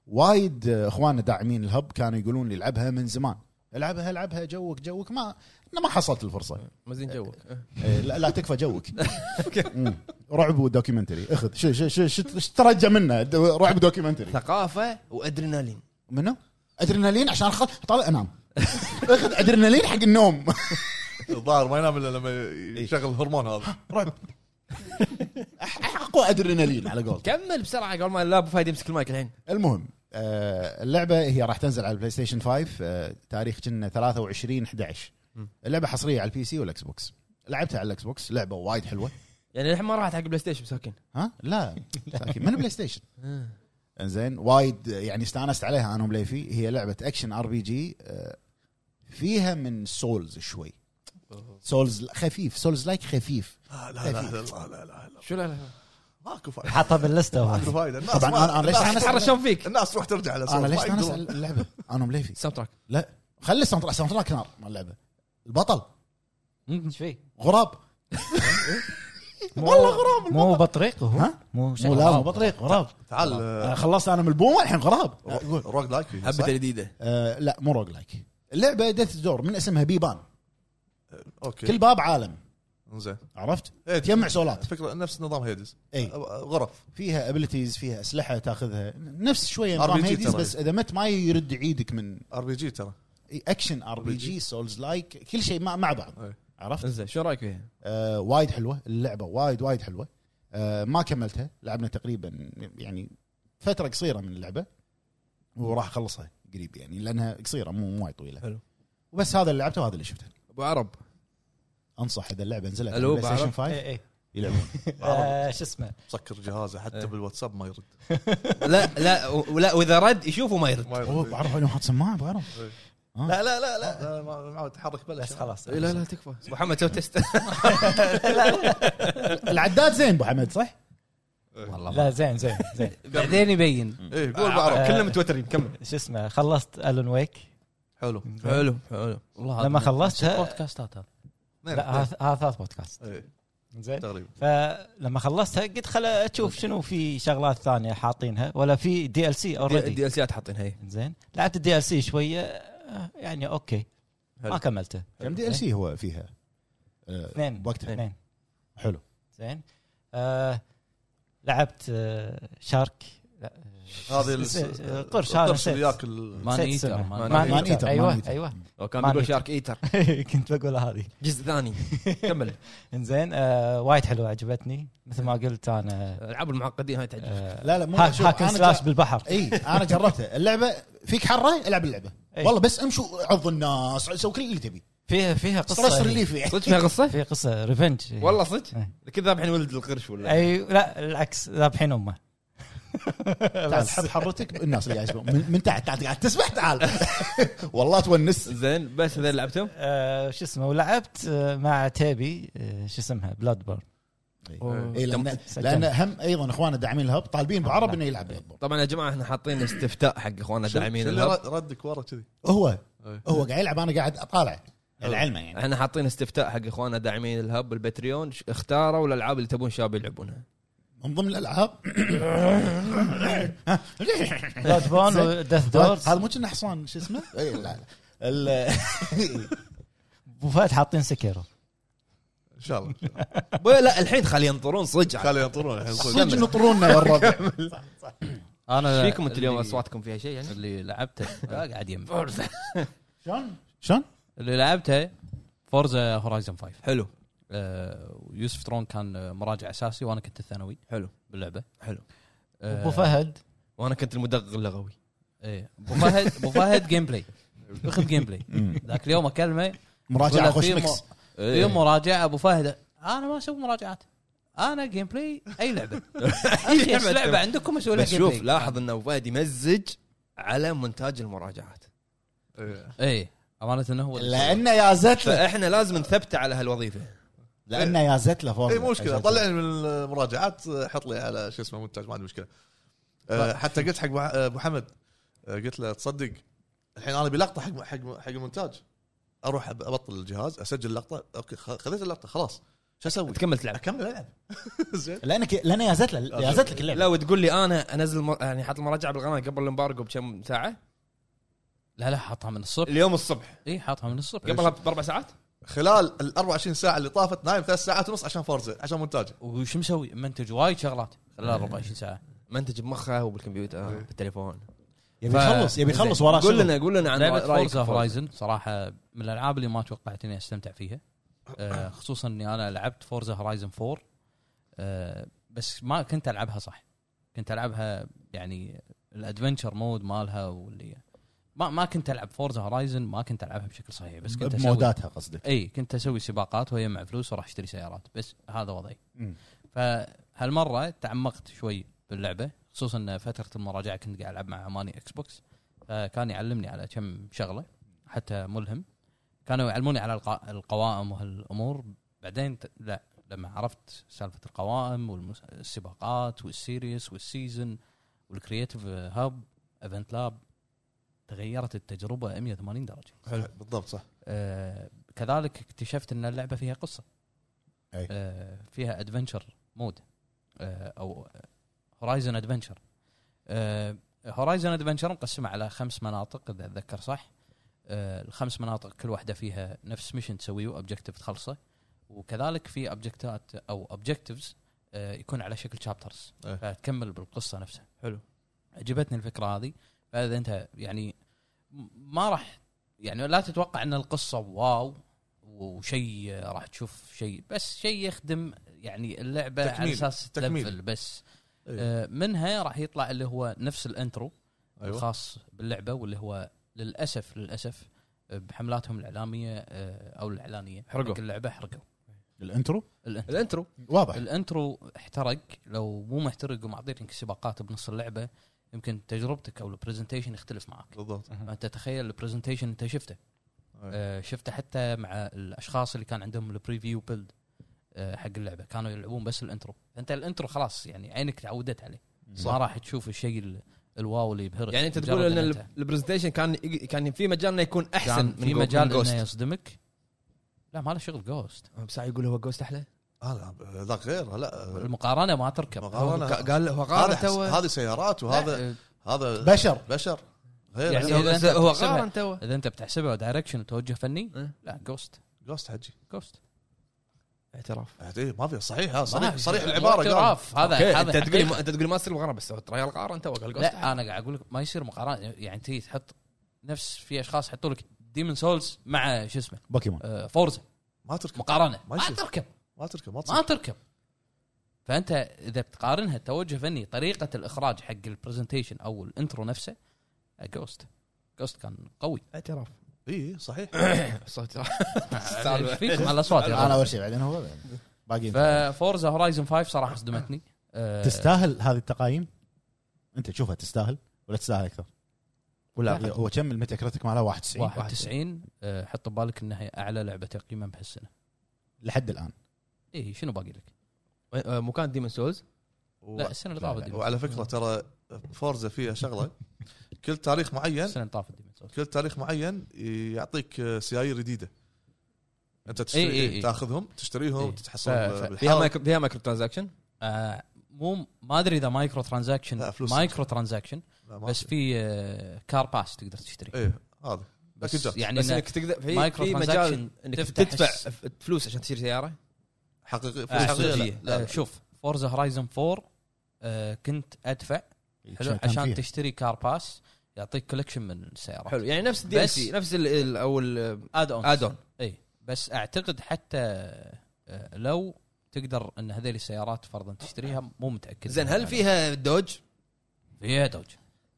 Speaker 4: وايد آه، اخواننا داعمين الهب كانوا يقولون لي العبها من زمان العبها العبها جوك جوك ما انا ما حصلت الفرصه
Speaker 1: ما زين جوك
Speaker 4: إيه، لا, لا تكفى جوك مم. رعب ودوكيومنتري اخذ شو شو شو شو شو ترجى منه د- رعب دوكيومنتري
Speaker 1: ثقافه وادرينالين
Speaker 4: منو؟ ادرينالين عشان خل طالع انام اخذ ادرينالين حق النوم
Speaker 2: الظاهر ما ينام الا لما يشغل الهرمون هذا
Speaker 4: رعب أح- اقوى ادرينالين على قولتك
Speaker 1: كمل بسرعه قبل ما لا ابو فهد يمسك المايك الحين
Speaker 4: المهم آه، اللعبه هي راح تنزل على البلاي ستيشن 5 آه، تاريخ كنا 23 11 اللعبه حصريه على البي سي والاكس بوكس لعبتها على الاكس بوكس لعبه وايد حلوه
Speaker 1: يعني الحين ما راحت حق بلاي ستيشن مساكين
Speaker 4: ها لا ساكن من بلاي ستيشن
Speaker 5: آه.
Speaker 4: انزين وايد يعني استانست عليها انا ومليفي هي لعبه اكشن ار بي جي آه، فيها من سولز شوي سولز خفيف سولز لايك خفيف
Speaker 2: لا لا لا لا لا لا, لا, لا.
Speaker 1: شو لا لا
Speaker 2: ماكو فايده
Speaker 5: حاطها باللستة
Speaker 2: ماكو
Speaker 5: واحد.
Speaker 2: فايده الناس
Speaker 4: طبعا
Speaker 2: ما-
Speaker 4: انا انا ليش
Speaker 2: الناس-
Speaker 4: استانست
Speaker 1: ترى شلون فيك
Speaker 2: الناس تروح ترجع على
Speaker 4: انا ليش
Speaker 2: ما
Speaker 4: استانست
Speaker 2: يقدرون.
Speaker 4: على اللعبه انا ومليفي
Speaker 1: ساوند تراك
Speaker 4: لا خلي الساوند تراك الساوند تراك نار مال اللعبه البطل
Speaker 5: ايش فيه؟
Speaker 4: غراب والله غراب
Speaker 5: مو بطريق هو
Speaker 4: ها؟
Speaker 5: مو
Speaker 4: مو
Speaker 5: شكله
Speaker 4: لا.
Speaker 5: مو بطريق غراب آه،
Speaker 2: تعال
Speaker 4: آه، خلصت انا من البومه الحين غراب
Speaker 2: روك لايك فيه، صح؟
Speaker 1: هبه جديده
Speaker 4: آه لا مو روج لايك اللعبه ديث دور من اسمها بيبان كل
Speaker 2: اوكي
Speaker 4: باب عالم
Speaker 2: زين
Speaker 4: عرفت
Speaker 2: إيه،
Speaker 4: تجمع سولات
Speaker 2: فكره نفس نظام هيدز
Speaker 4: اي
Speaker 2: غرف
Speaker 4: فيها ابيلتيز فيها اسلحه تاخذها نفس شويه
Speaker 2: RPG
Speaker 4: نظام هيديز
Speaker 2: ترى.
Speaker 4: بس اذا مت ما يرد عيدك من
Speaker 2: ار بي جي ترى
Speaker 4: إي، اكشن ار بي جي سولز لايك كل شيء مع, مع بعض
Speaker 2: أي.
Speaker 4: عرفت
Speaker 1: زين شو رايك فيها؟
Speaker 4: آه وايد حلوه اللعبه وايد وايد حلوه آه ما كملتها لعبنا تقريبا يعني فتره قصيره من اللعبه وراح اخلصها قريب يعني لانها قصيره مو مو وايد طويله
Speaker 1: حلو.
Speaker 4: وبس هذا اللي لعبته وهذا اللي شفته
Speaker 1: ابو عرب
Speaker 4: انصح اذا اللعبه نزلت على
Speaker 1: ألو،
Speaker 4: بلاي ستيشن
Speaker 1: بعرف.
Speaker 4: 5
Speaker 3: إيه،
Speaker 5: اي اي
Speaker 4: يلعبون
Speaker 5: آه، شو اسمه
Speaker 2: مسكر جهازه حتى بالواتساب ما يرد
Speaker 1: لا لا ولا واذا رد يشوفه ما يرد
Speaker 2: ما يرد.
Speaker 4: اوه بعرف انا حاط سماعه بعرف
Speaker 2: لا لا لا لا ما- ما تحرك بلا
Speaker 5: بس خلاص
Speaker 1: إيه، لا لا تكفى أبو محمد سوي تست
Speaker 4: العداد زين ابو حمد صح؟
Speaker 3: والله
Speaker 5: لا زين زين زين
Speaker 3: بعدين يبين
Speaker 2: ايه إيه، قول بعرف
Speaker 5: آه.
Speaker 1: كلنا متوترين كمل
Speaker 5: شو اسمه خلصت الون ويك
Speaker 2: حلو
Speaker 1: حلو حلو
Speaker 3: والله
Speaker 5: لما
Speaker 3: هذا-
Speaker 5: خلصتها-
Speaker 3: بودكاستات هذا
Speaker 5: لا
Speaker 4: إيه.
Speaker 5: آه. هذا هذا ثلاث بودكاست
Speaker 2: إيه،
Speaker 5: زين
Speaker 2: تقريبا
Speaker 5: فلما خلصتها قلت خل اشوف
Speaker 4: إيه.
Speaker 5: شنو في شغلات ثانيه حاطينها ولا في دي ال سي اوريدي
Speaker 1: دي ال سيات حاطين هي
Speaker 5: زين لعبت الدي ال سي شويه آه، يعني اوكي
Speaker 1: حلو.
Speaker 5: ما كملته
Speaker 4: كم دي ال سي هو فيها؟ آه،
Speaker 5: اثنين
Speaker 4: وقتها.
Speaker 5: اثنين
Speaker 4: حلو
Speaker 5: زين آه لعبت آه شارك لا،
Speaker 2: هذه
Speaker 5: س- س-
Speaker 2: ال-
Speaker 5: قرش هذا
Speaker 2: القرش اللي
Speaker 5: نسيت.
Speaker 2: ياكل
Speaker 3: مان
Speaker 5: نسيت
Speaker 3: ايتر
Speaker 5: اسمه.
Speaker 3: مان
Speaker 5: مان
Speaker 4: إيتر.
Speaker 5: إيتر.
Speaker 4: مان
Speaker 5: ايوه
Speaker 4: إيتر.
Speaker 5: ايوه
Speaker 1: وكان
Speaker 5: ما
Speaker 1: بيقول
Speaker 5: نيت.
Speaker 1: شارك ايتر
Speaker 5: كنت بقولها هذه
Speaker 1: جزء ثاني كمل
Speaker 5: انزين آه وايد حلوه عجبتني مثل ما قلت انا
Speaker 1: العاب المعقدين هاي تعجبك
Speaker 5: آه
Speaker 4: لا لا مو شوف،
Speaker 5: هاك
Speaker 4: أنا
Speaker 5: سلاش
Speaker 4: جا- إيه.
Speaker 5: بالبحر
Speaker 4: اي انا جربتها اللعبه فيك حره العب اللعبه
Speaker 5: إي.
Speaker 4: والله بس امشي عض الناس سوي كل اللي تبي
Speaker 5: فيها فيها
Speaker 4: ستريس
Speaker 5: قصه
Speaker 4: ريليف يعني
Speaker 1: صدق فيها قصه؟
Speaker 5: فيها قصه ريفنج
Speaker 1: والله صدق
Speaker 5: إيه.
Speaker 1: كذا الحين ولد القرش ولا
Speaker 5: اي لا العكس ذابحين امه
Speaker 4: تعال حط حرتك الناس اللي قاعد يسمعون. من, من تحت تعال قاعد تسبح تعال والله تونس
Speaker 1: زين بس هذا اللي لعبتهم
Speaker 5: آه، شو اسمه ولعبت آه، مع تيبي آه، شو اسمها بلاد بورن إيه.
Speaker 4: اي لان لان هم ايضا اخواننا داعمين الهب طالبين بعرب انه يلعب Bloodborne.
Speaker 1: طبعا يا جماعه احنا حاطين استفتاء حق اخواننا الداعمين
Speaker 2: شو اللي
Speaker 1: الهب.
Speaker 2: رد- ردك ورا كذي
Speaker 4: هو
Speaker 2: إيه.
Speaker 4: هو قاعد يلعب انا قاعد اطالع العلمه يعني
Speaker 1: احنا حاطين استفتاء حق اخواننا داعمين الهب البتريون ش- اختاروا الالعاب اللي تبون شباب يلعبونها
Speaker 4: من ضمن الالعاب
Speaker 5: بلاد بورن وديث دورز
Speaker 4: طيب، هذا مو كنا حصان شو اسمه؟ اي إيه، لا لا ال-
Speaker 5: ابو فهد حاطين سكيرو
Speaker 2: ان شاء الله
Speaker 1: بلا- لا الحين خلي ينطرون صدق على-
Speaker 2: خلي ينطرون الحين صدق.
Speaker 4: صدق نطرونا يا الربع
Speaker 3: انا
Speaker 1: ايش فيكم انتم اليوم
Speaker 3: اللي-
Speaker 1: اصواتكم فيها شيء يعني؟
Speaker 3: اللي لعبته لا قاعد يم
Speaker 4: شلون؟ شلون؟
Speaker 3: اللي لعبته فورزا هورايزن 5
Speaker 1: حلو
Speaker 3: آه، ويوسف ترون كان آه، مراجع اساسي وانا كنت الثانوي
Speaker 1: حلو
Speaker 3: باللعبه
Speaker 1: حلو
Speaker 3: آه،
Speaker 5: ابو فهد
Speaker 1: وانا كنت المدغ اللغوي
Speaker 3: ايه ابو فهد ابو فهد جيم بلاي اخذ جيم بلاي ذاك اليوم اكلمه
Speaker 4: مراجعه
Speaker 3: ولا
Speaker 4: خوش
Speaker 3: في
Speaker 4: ميكس
Speaker 3: في مراجعه ابو فهد انا ما اسوي مراجعات انا جيم بلاي اي لعبه اي شيء، بس لعبه عندكم اسوي لها
Speaker 1: بس
Speaker 3: جيم
Speaker 1: شوف
Speaker 3: بلاي
Speaker 1: لاحظ ان أبو فهد يمزج على مونتاج المراجعات
Speaker 2: إيه.
Speaker 3: اي امانه انه هو اللي سوى.
Speaker 4: لانه يا زتله
Speaker 1: فاحنا لازم نثبته على هالوظيفه
Speaker 4: لانه يا زتله فوز
Speaker 2: اي إيه، مو مشكله طلعني من المراجعات حط لي على شو اسمه مونتاج ما عندي مشكله أه، حتى قلت حق مع- ابو حمد أه، قلت له تصدق الحين انا بلقطه حق حق حق المونتاج اروح أب- ابطل الجهاز اسجل لقطه اوكي خ- خذيت اللقطه خلاص شو اسوي؟
Speaker 1: تكمل تلعب
Speaker 2: اكمل العب زين
Speaker 5: لانك لان يازت لك يازت لك اللعبه
Speaker 1: لو تقول لي انا انزل مر... يعني حط المراجعه بالقناه قبل الامبارجو بكم ساعه
Speaker 3: لا لا حاطها من الصبح
Speaker 1: اليوم الصبح
Speaker 3: اي حاطها من الصبح
Speaker 1: قبلها باربع ساعات
Speaker 2: خلال ال 24 ساعه اللي طافت نايم ثلاث ساعات ونص عشان فورزا عشان مونتاجه
Speaker 3: وش مسوي منتج وايد شغلات خلال 24 ساعه
Speaker 1: منتج بمخه
Speaker 3: إيه.
Speaker 1: وبالكمبيوتر بالتليفون
Speaker 5: يبي
Speaker 3: ف-
Speaker 5: يخلص يبي يخلص وراه
Speaker 1: قول
Speaker 5: شغل.
Speaker 1: لنا قول لنا عن
Speaker 3: لعبه
Speaker 1: رايك
Speaker 3: فورزا هورايزن صراحه من الالعاب اللي ما توقعت اني استمتع فيها آه، خصوصا اني انا لعبت فورزا هورايزن 4 آه، بس ما كنت العبها صح كنت العبها يعني الادفنشر مود مالها واللي ما ما كنت العب فورزا هورايزن ما كنت العبها بشكل صحيح بس كنت اسوي
Speaker 4: بموداتها قصدك
Speaker 3: اي كنت اسوي سباقات ويجمع فلوس وراح اشتري سيارات بس هذا وضعي
Speaker 4: مم.
Speaker 3: فهالمره تعمقت شوي باللعبه خصوصا إن فتره المراجعه كنت قاعد العب مع عماني اكس بوكس فكان يعلمني على كم شغله حتى ملهم كانوا يعلموني على الق- القوائم وهالامور بعدين ت- لا لما عرفت سالفه القوائم والسباقات والسيريس والسيزن والكرييتيف هاب ايفنت لاب تغيرت التجربه 180 درجه
Speaker 2: بالضبط صح
Speaker 3: آه، كذلك اكتشفت ان اللعبه فيها قصه
Speaker 4: أي.
Speaker 3: آه، فيها ادفنشر مود آه، او هورايزن ادفنشر آه، هورايزن ادفنشر مقسمه على خمس مناطق اذا اتذكر صح آه، الخمس مناطق كل واحده فيها نفس ميشن تسويه واوبجكتيف تخلصه وكذلك في اوبجكتات او اوبجكتيفز آه، يكون على شكل شابترز
Speaker 2: أي.
Speaker 3: فتكمل بالقصه نفسها
Speaker 1: حلو.
Speaker 3: عجبتني الفكره هذه فاذا انت يعني م- ما راح يعني لا تتوقع ان القصه واو وشيء راح تشوف شيء بس شيء يخدم يعني اللعبه تكميل. على
Speaker 2: تكميل،
Speaker 3: اساس
Speaker 2: تكميل.
Speaker 3: تلفل بس
Speaker 2: إيه.
Speaker 3: آه، منها راح يطلع اللي هو نفس الانترو أيوة.
Speaker 2: ايوه
Speaker 3: الخاص باللعبه واللي هو للاسف للاسف آه، بحملاتهم الاعلاميه آه، او الاعلانيه
Speaker 1: حرقوا.
Speaker 3: حق اللعبه حرقوا
Speaker 4: الانترو
Speaker 3: الانترو
Speaker 1: الانترو
Speaker 4: واضح
Speaker 3: الانترو احترق لو مو محترق ومعطينك سباقات بنص اللعبه يمكن تجربتك او البرزنتيشن يختلف معك
Speaker 2: بالضبط
Speaker 3: فانت تخيل البرزنتيشن انت شفته آه، شفته حتى مع الاشخاص اللي كان عندهم البريفيو بيلد آه، حق اللعبه كانوا يلعبون بس الانترو انت الانترو خلاص يعني عينك تعودت عليه ما راح تشوف الشيء ال- الواو اللي يبهرك
Speaker 1: يعني انت
Speaker 3: مجرد
Speaker 1: تقول ان
Speaker 3: إن
Speaker 1: ال- البرزنتيشن كان كان في مجال انه يكون احسن
Speaker 3: كان
Speaker 1: من
Speaker 3: في مجال انه يصدمك لا ما له شغل
Speaker 2: أه.
Speaker 3: جوست
Speaker 1: بساعة يقول هو جوست احلى
Speaker 2: آه، لا، ذاك غير لا
Speaker 3: المقارنه ما تركب
Speaker 2: مقارنة.
Speaker 1: ك- قال هو
Speaker 2: هذا
Speaker 1: قارن
Speaker 2: حس-
Speaker 1: تو
Speaker 2: هذه سيارات وهذا
Speaker 3: لا،
Speaker 2: هذا
Speaker 4: بشر
Speaker 2: بشر غير
Speaker 3: يعني
Speaker 1: يعني
Speaker 2: يعني
Speaker 3: إذا أنت
Speaker 1: هو
Speaker 3: بتحسبها-
Speaker 1: قارن تو
Speaker 3: اذا انت بتحسبها دايركشن وتوجه فني
Speaker 1: إيه.
Speaker 3: لا جوست
Speaker 2: جوست حجي
Speaker 3: جوست
Speaker 1: اعتراف
Speaker 2: إيه، ما في صحيح هذا صريح
Speaker 3: ما-
Speaker 2: صريح
Speaker 3: مو
Speaker 2: العباره قال
Speaker 3: اعتراف هذا
Speaker 1: انت
Speaker 3: هذا
Speaker 1: تقول
Speaker 3: حقيقة.
Speaker 1: ما- انت تقول ما تصير مقارنه بس هو ترى القارن تو قال جوست
Speaker 3: لا انا قاعد اقول لك ما يصير مقارنه يعني تي تحط نفس في اشخاص يحطوا لك ديمون سولز مع شو اسمه
Speaker 4: بوكيمون
Speaker 3: آه، فورزا
Speaker 2: ما تركب
Speaker 3: مقارنه
Speaker 2: ما
Speaker 3: ما,
Speaker 2: يصير.
Speaker 3: تركب
Speaker 2: ما تركب ما
Speaker 3: ما
Speaker 2: تصير
Speaker 3: تركب فانت اذا بتقارنها توجه فني طريقه الاخراج حق البرزنتيشن او الانترو نفسه جوست جوست كان قوي
Speaker 1: اعتراف
Speaker 2: اي إيه، صحيح
Speaker 1: صوت
Speaker 3: إيش فيكم على الاصوات يا
Speaker 4: انا
Speaker 3: رجل؟
Speaker 4: اول شيء بعدين هو بعدين. باقي
Speaker 3: ففورزا هورايزن 5 صراحه صدمتني آه،
Speaker 4: تستاهل هذه التقايم انت تشوفها تستاهل ولا تستاهل اكثر
Speaker 1: ولا
Speaker 4: هو كم الميتا كريتك مالها 91
Speaker 3: 91 آه، حط ببالك انها اعلى لعبه تقييما بهالسنه
Speaker 4: لحد الان
Speaker 3: اي إيه، شنو باقي لك؟
Speaker 1: مو كان ديمون سولز
Speaker 3: لا السنه اللي طافت ديمون
Speaker 2: وعلى فكره ترى فورزا فيها شغله كل تاريخ معين
Speaker 3: السنه اللي طافت ديمون سولز
Speaker 2: كل تاريخ معين يعطيك سيايير جديده انت تشتري
Speaker 3: إي إي إي.
Speaker 2: تاخذهم تشتريهم
Speaker 3: إي.
Speaker 2: تتحصل
Speaker 3: ف- ف-
Speaker 1: فيها
Speaker 2: بالحال
Speaker 1: مايكرو فيها مايكرو ترانزاكشن
Speaker 3: آه، مو ما ادري اذا مايكرو
Speaker 2: لا،
Speaker 3: ترانزاكشن
Speaker 2: فلوس.
Speaker 3: مايكرو ترانزاكشن
Speaker 2: لا، ما
Speaker 3: بس
Speaker 2: في.
Speaker 3: في آه، كار باس تقدر تشتري
Speaker 2: ايه هذا
Speaker 3: بس
Speaker 2: باكجات.
Speaker 3: يعني
Speaker 1: بس
Speaker 3: إنه
Speaker 1: انك تقدر في,
Speaker 3: مايكرو
Speaker 1: في مجال
Speaker 3: ترانزاكشن
Speaker 1: انك
Speaker 3: تفتح
Speaker 1: تدفع
Speaker 3: الس-
Speaker 1: ف- فلوس عشان تشتري سياره
Speaker 2: حقيقي فلوس
Speaker 3: آه،
Speaker 2: حقيقية.
Speaker 1: صجية.
Speaker 2: لا،
Speaker 3: آه، شوف فورزا هورايزن 4 آه، كنت ادفع حلو
Speaker 4: كان
Speaker 3: عشان
Speaker 4: فيها.
Speaker 3: تشتري كار باس يعطيك كولكشن من السيارات
Speaker 1: حلو يعني نفس الدي
Speaker 3: بس-
Speaker 1: سي نفس ال- ال- او ال-
Speaker 3: اد اون
Speaker 1: ادون
Speaker 3: اي إيه، بس اعتقد حتى آه، لو تقدر ان هذيل السيارات فرضا تشتريها مو متاكد
Speaker 1: زين
Speaker 3: منها
Speaker 1: هل
Speaker 3: يعني.
Speaker 1: فيها دوج؟
Speaker 3: فيها دوج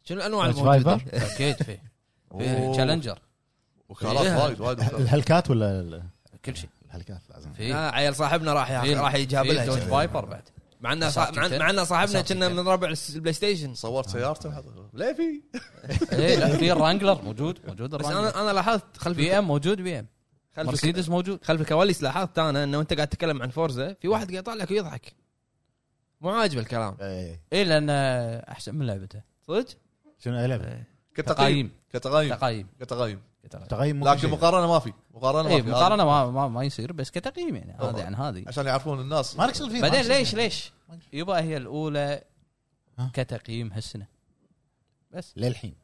Speaker 1: شنو آه، الانواع
Speaker 4: دوج
Speaker 1: الموجوده؟
Speaker 4: فايفر؟
Speaker 3: اكيد في
Speaker 2: أوه.
Speaker 3: تشالنجر
Speaker 2: وكارات
Speaker 1: إيه.
Speaker 2: وايد وايد وكارات.
Speaker 4: الهلكات ولا ال-
Speaker 3: كل شيء
Speaker 4: الهلكات لازم
Speaker 3: في
Speaker 1: آه عيل صاحبنا راح
Speaker 3: في-
Speaker 1: راح
Speaker 3: في دوج
Speaker 1: يجابلها
Speaker 3: فايبر بعد
Speaker 1: مع ان صا-
Speaker 3: أساطير.
Speaker 1: مع مع ان صاحبنا
Speaker 3: أساطير.
Speaker 1: كنا من ربع الس- البلاي ستيشن
Speaker 2: صورت سيارته ليفي
Speaker 3: ايه لا في الرانجلر موجود موجود
Speaker 1: بس
Speaker 3: الرانجلر
Speaker 1: انا انا لاحظت خلف
Speaker 3: بي ام موجود بي ام
Speaker 1: خلف الك-
Speaker 3: مرسيدس موجود
Speaker 1: خلف الكواليس لاحظت انا انه انت قاعد تتكلم عن فورزا في واحد قاعد يطالعك ويضحك مو عاجبه الكلام
Speaker 4: إيه.
Speaker 3: اي لان آه، احسن من لعبته
Speaker 1: صدق؟
Speaker 3: إيه.
Speaker 4: شنو إيه، اي لعبه؟
Speaker 2: كتقييم
Speaker 3: تقايم
Speaker 2: كتقييم
Speaker 3: تقايم
Speaker 2: كتقييم
Speaker 3: كتقايم.
Speaker 4: تقييم مو كل
Speaker 2: لكن
Speaker 4: شيء.
Speaker 2: مقارنه ما في مقارنه ما
Speaker 3: اي
Speaker 2: في
Speaker 3: مقارنه إيه، ما, ما, ما يصير بس كتقييم يعني
Speaker 2: طبعاً.
Speaker 3: هذه عن هذه
Speaker 2: عشان يعرفون الناس
Speaker 4: ما نقصد فيه ما
Speaker 3: بعدين
Speaker 4: نقصد
Speaker 3: ليش
Speaker 4: فيه.
Speaker 3: ليش؟ يبا هي الاولى
Speaker 4: ها؟
Speaker 3: كتقييم هالسنه بس
Speaker 4: للحين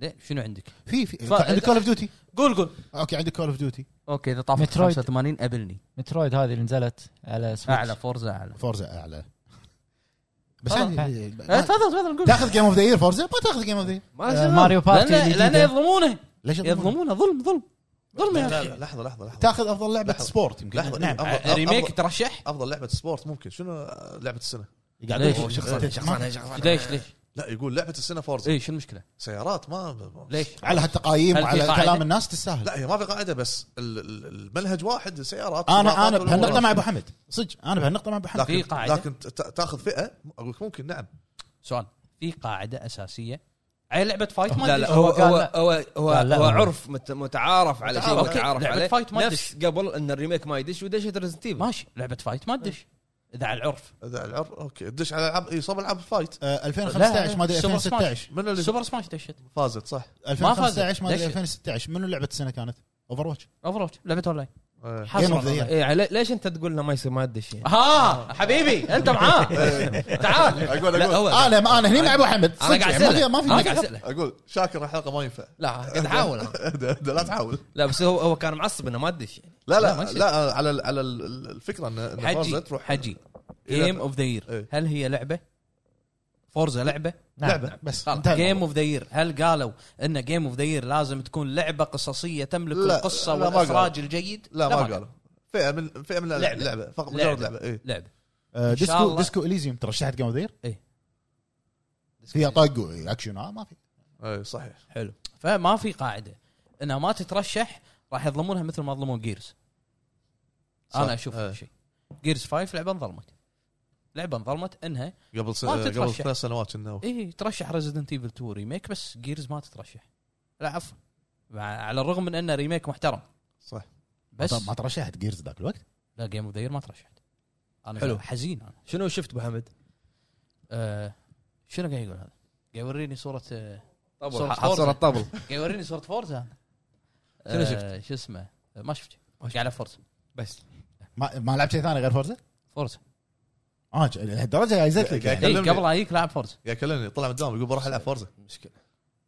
Speaker 3: ليه شنو عندك؟
Speaker 4: في في
Speaker 3: ف-
Speaker 4: عندك كول اوف ديوتي
Speaker 3: قول قول
Speaker 4: اوكي عندك كول اوف ديوتي
Speaker 3: اوكي اذا طافت
Speaker 5: مترويد.
Speaker 3: 85 قبلني
Speaker 5: مترويد هذه اللي نزلت على سويتش
Speaker 3: اعلى فورزا اعلى
Speaker 4: فورزا اعلى بس
Speaker 5: خلاص.
Speaker 4: عندي-
Speaker 3: أه،
Speaker 4: ما-
Speaker 3: تفضل تفضل قول
Speaker 4: تاخذ جيم اوف ذا يير فورزا ما تاخذ جيم اوف ذا
Speaker 5: آه، ماريو بارتي
Speaker 3: لانه لانه
Speaker 5: الجديدة.
Speaker 3: يظلمونه
Speaker 4: ليش يظلمون؟
Speaker 3: يظلمونه ظلم ظلم ظلم يا
Speaker 2: لا،
Speaker 3: اخي
Speaker 2: لا، لحظه لحظه لحظه
Speaker 4: تاخذ افضل لعبه
Speaker 2: لحظة.
Speaker 4: سبورت يمكن
Speaker 2: لحظه
Speaker 4: نعم
Speaker 2: أفضل- أفضل-
Speaker 3: ريميك ترشح
Speaker 2: افضل لعبه سبورت ممكن شنو آه، لعبه السنه؟
Speaker 4: قاعد
Speaker 3: ليش؟
Speaker 4: أقول شخصية- ما-
Speaker 3: ليش ليش؟
Speaker 2: لا يقول لعبه السنه فورزا
Speaker 3: اي شنو المشكله؟
Speaker 2: سيارات ما ما-
Speaker 3: ليش؟
Speaker 4: على هالتقايم
Speaker 3: هل في
Speaker 4: وعلى
Speaker 3: قاعدة؟
Speaker 4: كلام الناس تستاهل
Speaker 2: لا هي ما في قاعده بس ال- ال- المنهج واحد سيارات
Speaker 4: انا انا
Speaker 2: سباقات
Speaker 4: بهالنقطه
Speaker 2: والأمور.
Speaker 4: مع ابو حمد صدق انا بهالنقطه مع ابو حمد
Speaker 2: لكن
Speaker 3: في قاعدة؟
Speaker 2: لكن ت- تاخذ فئه اقول لك ممكن نعم
Speaker 3: سؤال في قاعده اساسيه اي لعبه فايت ما
Speaker 1: لا
Speaker 3: أدري
Speaker 1: لا
Speaker 3: شو.
Speaker 1: هو
Speaker 5: قال
Speaker 1: هو
Speaker 5: لا.
Speaker 1: هو هو,
Speaker 5: قال لا
Speaker 1: هو
Speaker 5: هو.
Speaker 1: عرف مت- متعارف على شيء
Speaker 3: متعارف.
Speaker 1: متعارف
Speaker 3: لعبة
Speaker 1: عليه
Speaker 3: فايت ما
Speaker 1: نفس قبل ان الريميك ما يدش ودشت ريزنت ايفل
Speaker 3: ماشي لعبه فايت ما تدش اذا على العرف
Speaker 2: اذا العر اوكي دش على العاب اي صوب العاب فايت
Speaker 4: آه، 2015 ما ادري
Speaker 3: سوبر سماش.
Speaker 4: 2016
Speaker 2: من اللي
Speaker 3: سوبر سماش دشت
Speaker 2: فازت صح؟
Speaker 3: ما فازت.
Speaker 4: 2015 ما ادري
Speaker 3: ليش؟
Speaker 4: 2016 منو لعبه السنه كانت؟ اوفر واتش
Speaker 3: اوفر لعبه اونلاين
Speaker 2: إيه.
Speaker 4: Game of the
Speaker 3: حصل
Speaker 4: year.
Speaker 1: إيه علي- ليش انت تقول لنا ما يصير ما ادش يعني؟
Speaker 3: ها حبيبي انت معاه تعال
Speaker 2: اقول
Speaker 3: لا
Speaker 2: اقول
Speaker 3: هو
Speaker 4: انا انا هنا مع ابو حمد
Speaker 3: انا
Speaker 4: صدق
Speaker 3: قاعد
Speaker 4: يعني ما في
Speaker 3: اساله
Speaker 4: ما
Speaker 3: انا قاعد
Speaker 4: في
Speaker 3: اساله
Speaker 2: اقول شاكر الحلقه ما ينفع
Speaker 1: لا قاعد احاول أنا.
Speaker 2: ده- ده لا تحاول
Speaker 1: لا بس هو هو كان معصب انه ما ادش يعني
Speaker 2: لا
Speaker 3: لا، ما
Speaker 2: لا
Speaker 3: يصير.
Speaker 2: لا على ال- على ال- ال- الفكره ان إن فورزا
Speaker 3: حجي
Speaker 2: تروح
Speaker 3: حجي جيم اوف ذا يير
Speaker 2: إيه.
Speaker 3: هل هي لعبه؟ فورزا لعبه نعم.
Speaker 2: لعبه
Speaker 4: نعم، بس
Speaker 3: جيم اوف ذا يير هل قالوا ان جيم اوف ذا يير لازم تكون لعبه قصصيه تملك
Speaker 2: لا،
Speaker 3: القصه
Speaker 2: لا، ما
Speaker 3: والاخراج الجيد
Speaker 2: لا ما قالوا فئه من فئه من
Speaker 3: لعبة.
Speaker 2: اللعبه فقط
Speaker 3: لعبة.
Speaker 2: مجرد إيه. لعبه اي
Speaker 3: لعبه
Speaker 4: آه،
Speaker 3: إن شاء
Speaker 4: ديسكو
Speaker 3: الله.
Speaker 4: ديسكو اليزيوم ترشحت جيم اوف ذا يير
Speaker 3: إيه.
Speaker 4: فيها طق واكشن آه، ما في
Speaker 2: اي إيه، صحيح
Speaker 3: حلو فما في قاعده انها ما تترشح راح يظلمونها مثل ما ظلموا جيرز
Speaker 2: صح.
Speaker 3: انا اشوف
Speaker 2: إيه.
Speaker 3: هذا الشيء جيرز 5 لعبه انظلمت لعبه انظلمت انها
Speaker 2: قبل س...
Speaker 3: ما
Speaker 2: قبل
Speaker 3: تترشح.
Speaker 2: ثلاث سنوات انه
Speaker 1: إيه.
Speaker 3: اي ترشح ريزدنت ايفل 2 ريميك بس جيرز ما تترشح لا عفوا مع- على الرغم من انه ريميك محترم
Speaker 2: صح
Speaker 3: بس
Speaker 4: ما ترشحت جيرز ذاك الوقت
Speaker 3: لا جيم اوف ذا ما ترشحت انا
Speaker 1: حلو.
Speaker 3: حلو حزين انا
Speaker 1: شنو شفت ابو حمد؟
Speaker 3: آه شنو قاعد يقول هذا؟ قاعد يوريني صوره آه، صورة
Speaker 1: طبل
Speaker 3: فورزا.
Speaker 1: صورة الطبل
Speaker 3: قاعد يوريني صوره فورزا هذا.
Speaker 1: شنو
Speaker 3: آه،
Speaker 1: شفت؟
Speaker 3: شو اسمه؟ آه، ما شفت قاعد على فورزا
Speaker 1: بس
Speaker 4: ما ما لعبت شيء ثاني غير فورزا؟
Speaker 3: فورزا
Speaker 4: اه ج- لهالدرجه جايزت لك
Speaker 2: قاعد
Speaker 4: يعني.
Speaker 3: إيه،
Speaker 2: كلمني.
Speaker 3: قبل اجيك لاعب فورزا
Speaker 2: يا كلمني طلع من الدوام يقول بروح العب فورزا
Speaker 1: مشكله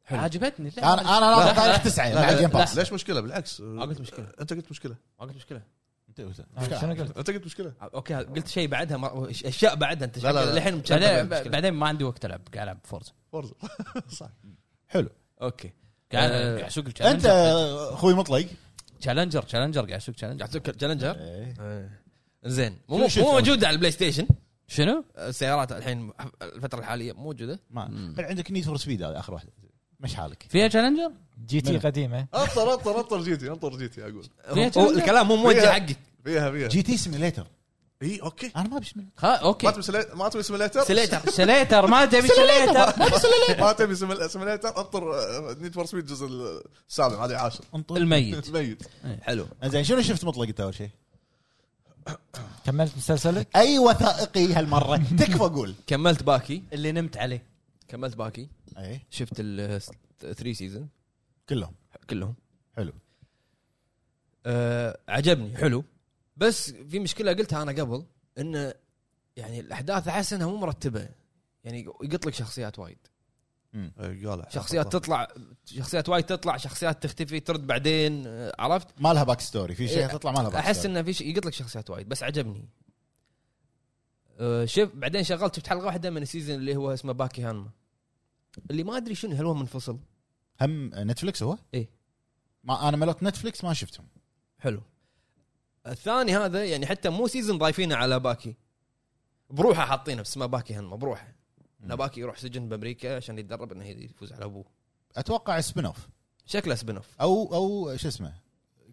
Speaker 1: حلو.
Speaker 3: عجبتني
Speaker 4: انا
Speaker 3: اللعبة.
Speaker 4: انا
Speaker 3: لا،
Speaker 4: ناطر
Speaker 3: لا،
Speaker 4: تاريخ
Speaker 3: لا.
Speaker 4: تسعه
Speaker 2: لا،
Speaker 4: مع
Speaker 2: لا،
Speaker 4: الجيم باس
Speaker 2: ليش مشكله بالعكس
Speaker 1: ما قلت مشكله
Speaker 2: انت قلت مشكله
Speaker 1: ما قلت مشكله
Speaker 3: آه،
Speaker 5: شنو قلت؟
Speaker 2: انت قلت مشكله
Speaker 1: اوكي قلت شيء بعدها ما... اشياء بعدها انت
Speaker 2: لا، لا، لا.
Speaker 1: الحين مشغل
Speaker 3: بعدين
Speaker 1: المشكلة.
Speaker 3: بعدين ما عندي وقت العب قاعد العب فورزا
Speaker 2: فورزا صح
Speaker 4: حلو
Speaker 1: اوكي
Speaker 3: قاعد
Speaker 1: آه.
Speaker 3: قاعد اسوق
Speaker 4: انت
Speaker 3: التشالنجر.
Speaker 4: اخوي مطلق
Speaker 3: تشالنجر تشالنجر قاعد اسوق تشالنجر
Speaker 1: قاعد تذكر جالنجر؟
Speaker 4: إيه.
Speaker 1: زين مو
Speaker 4: شنو شفت
Speaker 1: مو
Speaker 4: أول؟
Speaker 1: موجوده على البلاي ستيشن
Speaker 3: شنو؟
Speaker 1: السيارات الحين الفتره الحاليه موجوده
Speaker 4: ما عندك نيد فور سبيد هذا اخر واحده مش حالك
Speaker 3: فيها تشالنجر؟
Speaker 5: جي تي
Speaker 4: منو؟
Speaker 5: قديمه
Speaker 2: انطر انطر انطر جيتي انطر جيتي اقول
Speaker 1: هو- هو
Speaker 3: تشالنجر؟
Speaker 1: الكلام مو موجه
Speaker 2: فيها.
Speaker 1: حقك
Speaker 2: فيها فيها
Speaker 4: جي تي سيميليتر
Speaker 2: اي اوكي
Speaker 4: انا ما بشمل
Speaker 3: ها
Speaker 2: ما
Speaker 3: اوكي
Speaker 2: تبي سلي- ما تبي سيميليتر
Speaker 1: سليتر
Speaker 3: سليتر ما تبي سليتر
Speaker 2: ما تبي سيميل- سيميليتر انطر آه، نيد فور سبيد الجزء السابع عليه عاشر
Speaker 4: انطر
Speaker 3: الميت
Speaker 2: ميت
Speaker 1: حلو
Speaker 4: زين شنو شفت مطلق انت اول شيء؟
Speaker 5: كملت مسلسلك
Speaker 4: اي وثائقي هالمره تكفى قول
Speaker 1: كملت باكي
Speaker 3: اللي نمت عليه
Speaker 1: كملت باكي
Speaker 4: اي
Speaker 1: شفت ال 3 سيزون
Speaker 4: إيه، كلهم
Speaker 1: كلهم
Speaker 4: حلو
Speaker 1: آه عجبني حلو بس في مشكله قلتها انا قبل انه يعني الاحداث احس انها مو مرتبه يعني يقط لك شخصيات وايد
Speaker 2: إيه، قال
Speaker 1: آه، شخصيات تطلع شخصيات وايد تطلع شخصيات تختفي ترد بعدين آه، عرفت
Speaker 4: ما لها باك ستوري في
Speaker 1: إيه،
Speaker 4: شيء تطلع ما لها باك
Speaker 1: احس
Speaker 4: ستوري
Speaker 1: انه في شيء يقط لك شخصيات وايد بس عجبني أه شف بعدين شغلت شفت حلقه واحده من السيزون اللي هو اسمه باكي هانما اللي ما ادري شنو هل هو منفصل
Speaker 4: هم نتفلكس هو؟
Speaker 1: إيه.
Speaker 4: ما انا ملوت نتفلكس ما شفتهم
Speaker 1: حلو الثاني هذا يعني حتى مو سيزون ضايفينه على باكي بروحه حاطينه بس اسمه باكي هانما بروحه انه باكي يروح سجن بامريكا عشان يتدرب انه يفوز على ابوه
Speaker 4: اتوقع سبين اوف
Speaker 1: شكله سبين اوف
Speaker 4: او او شو اسمه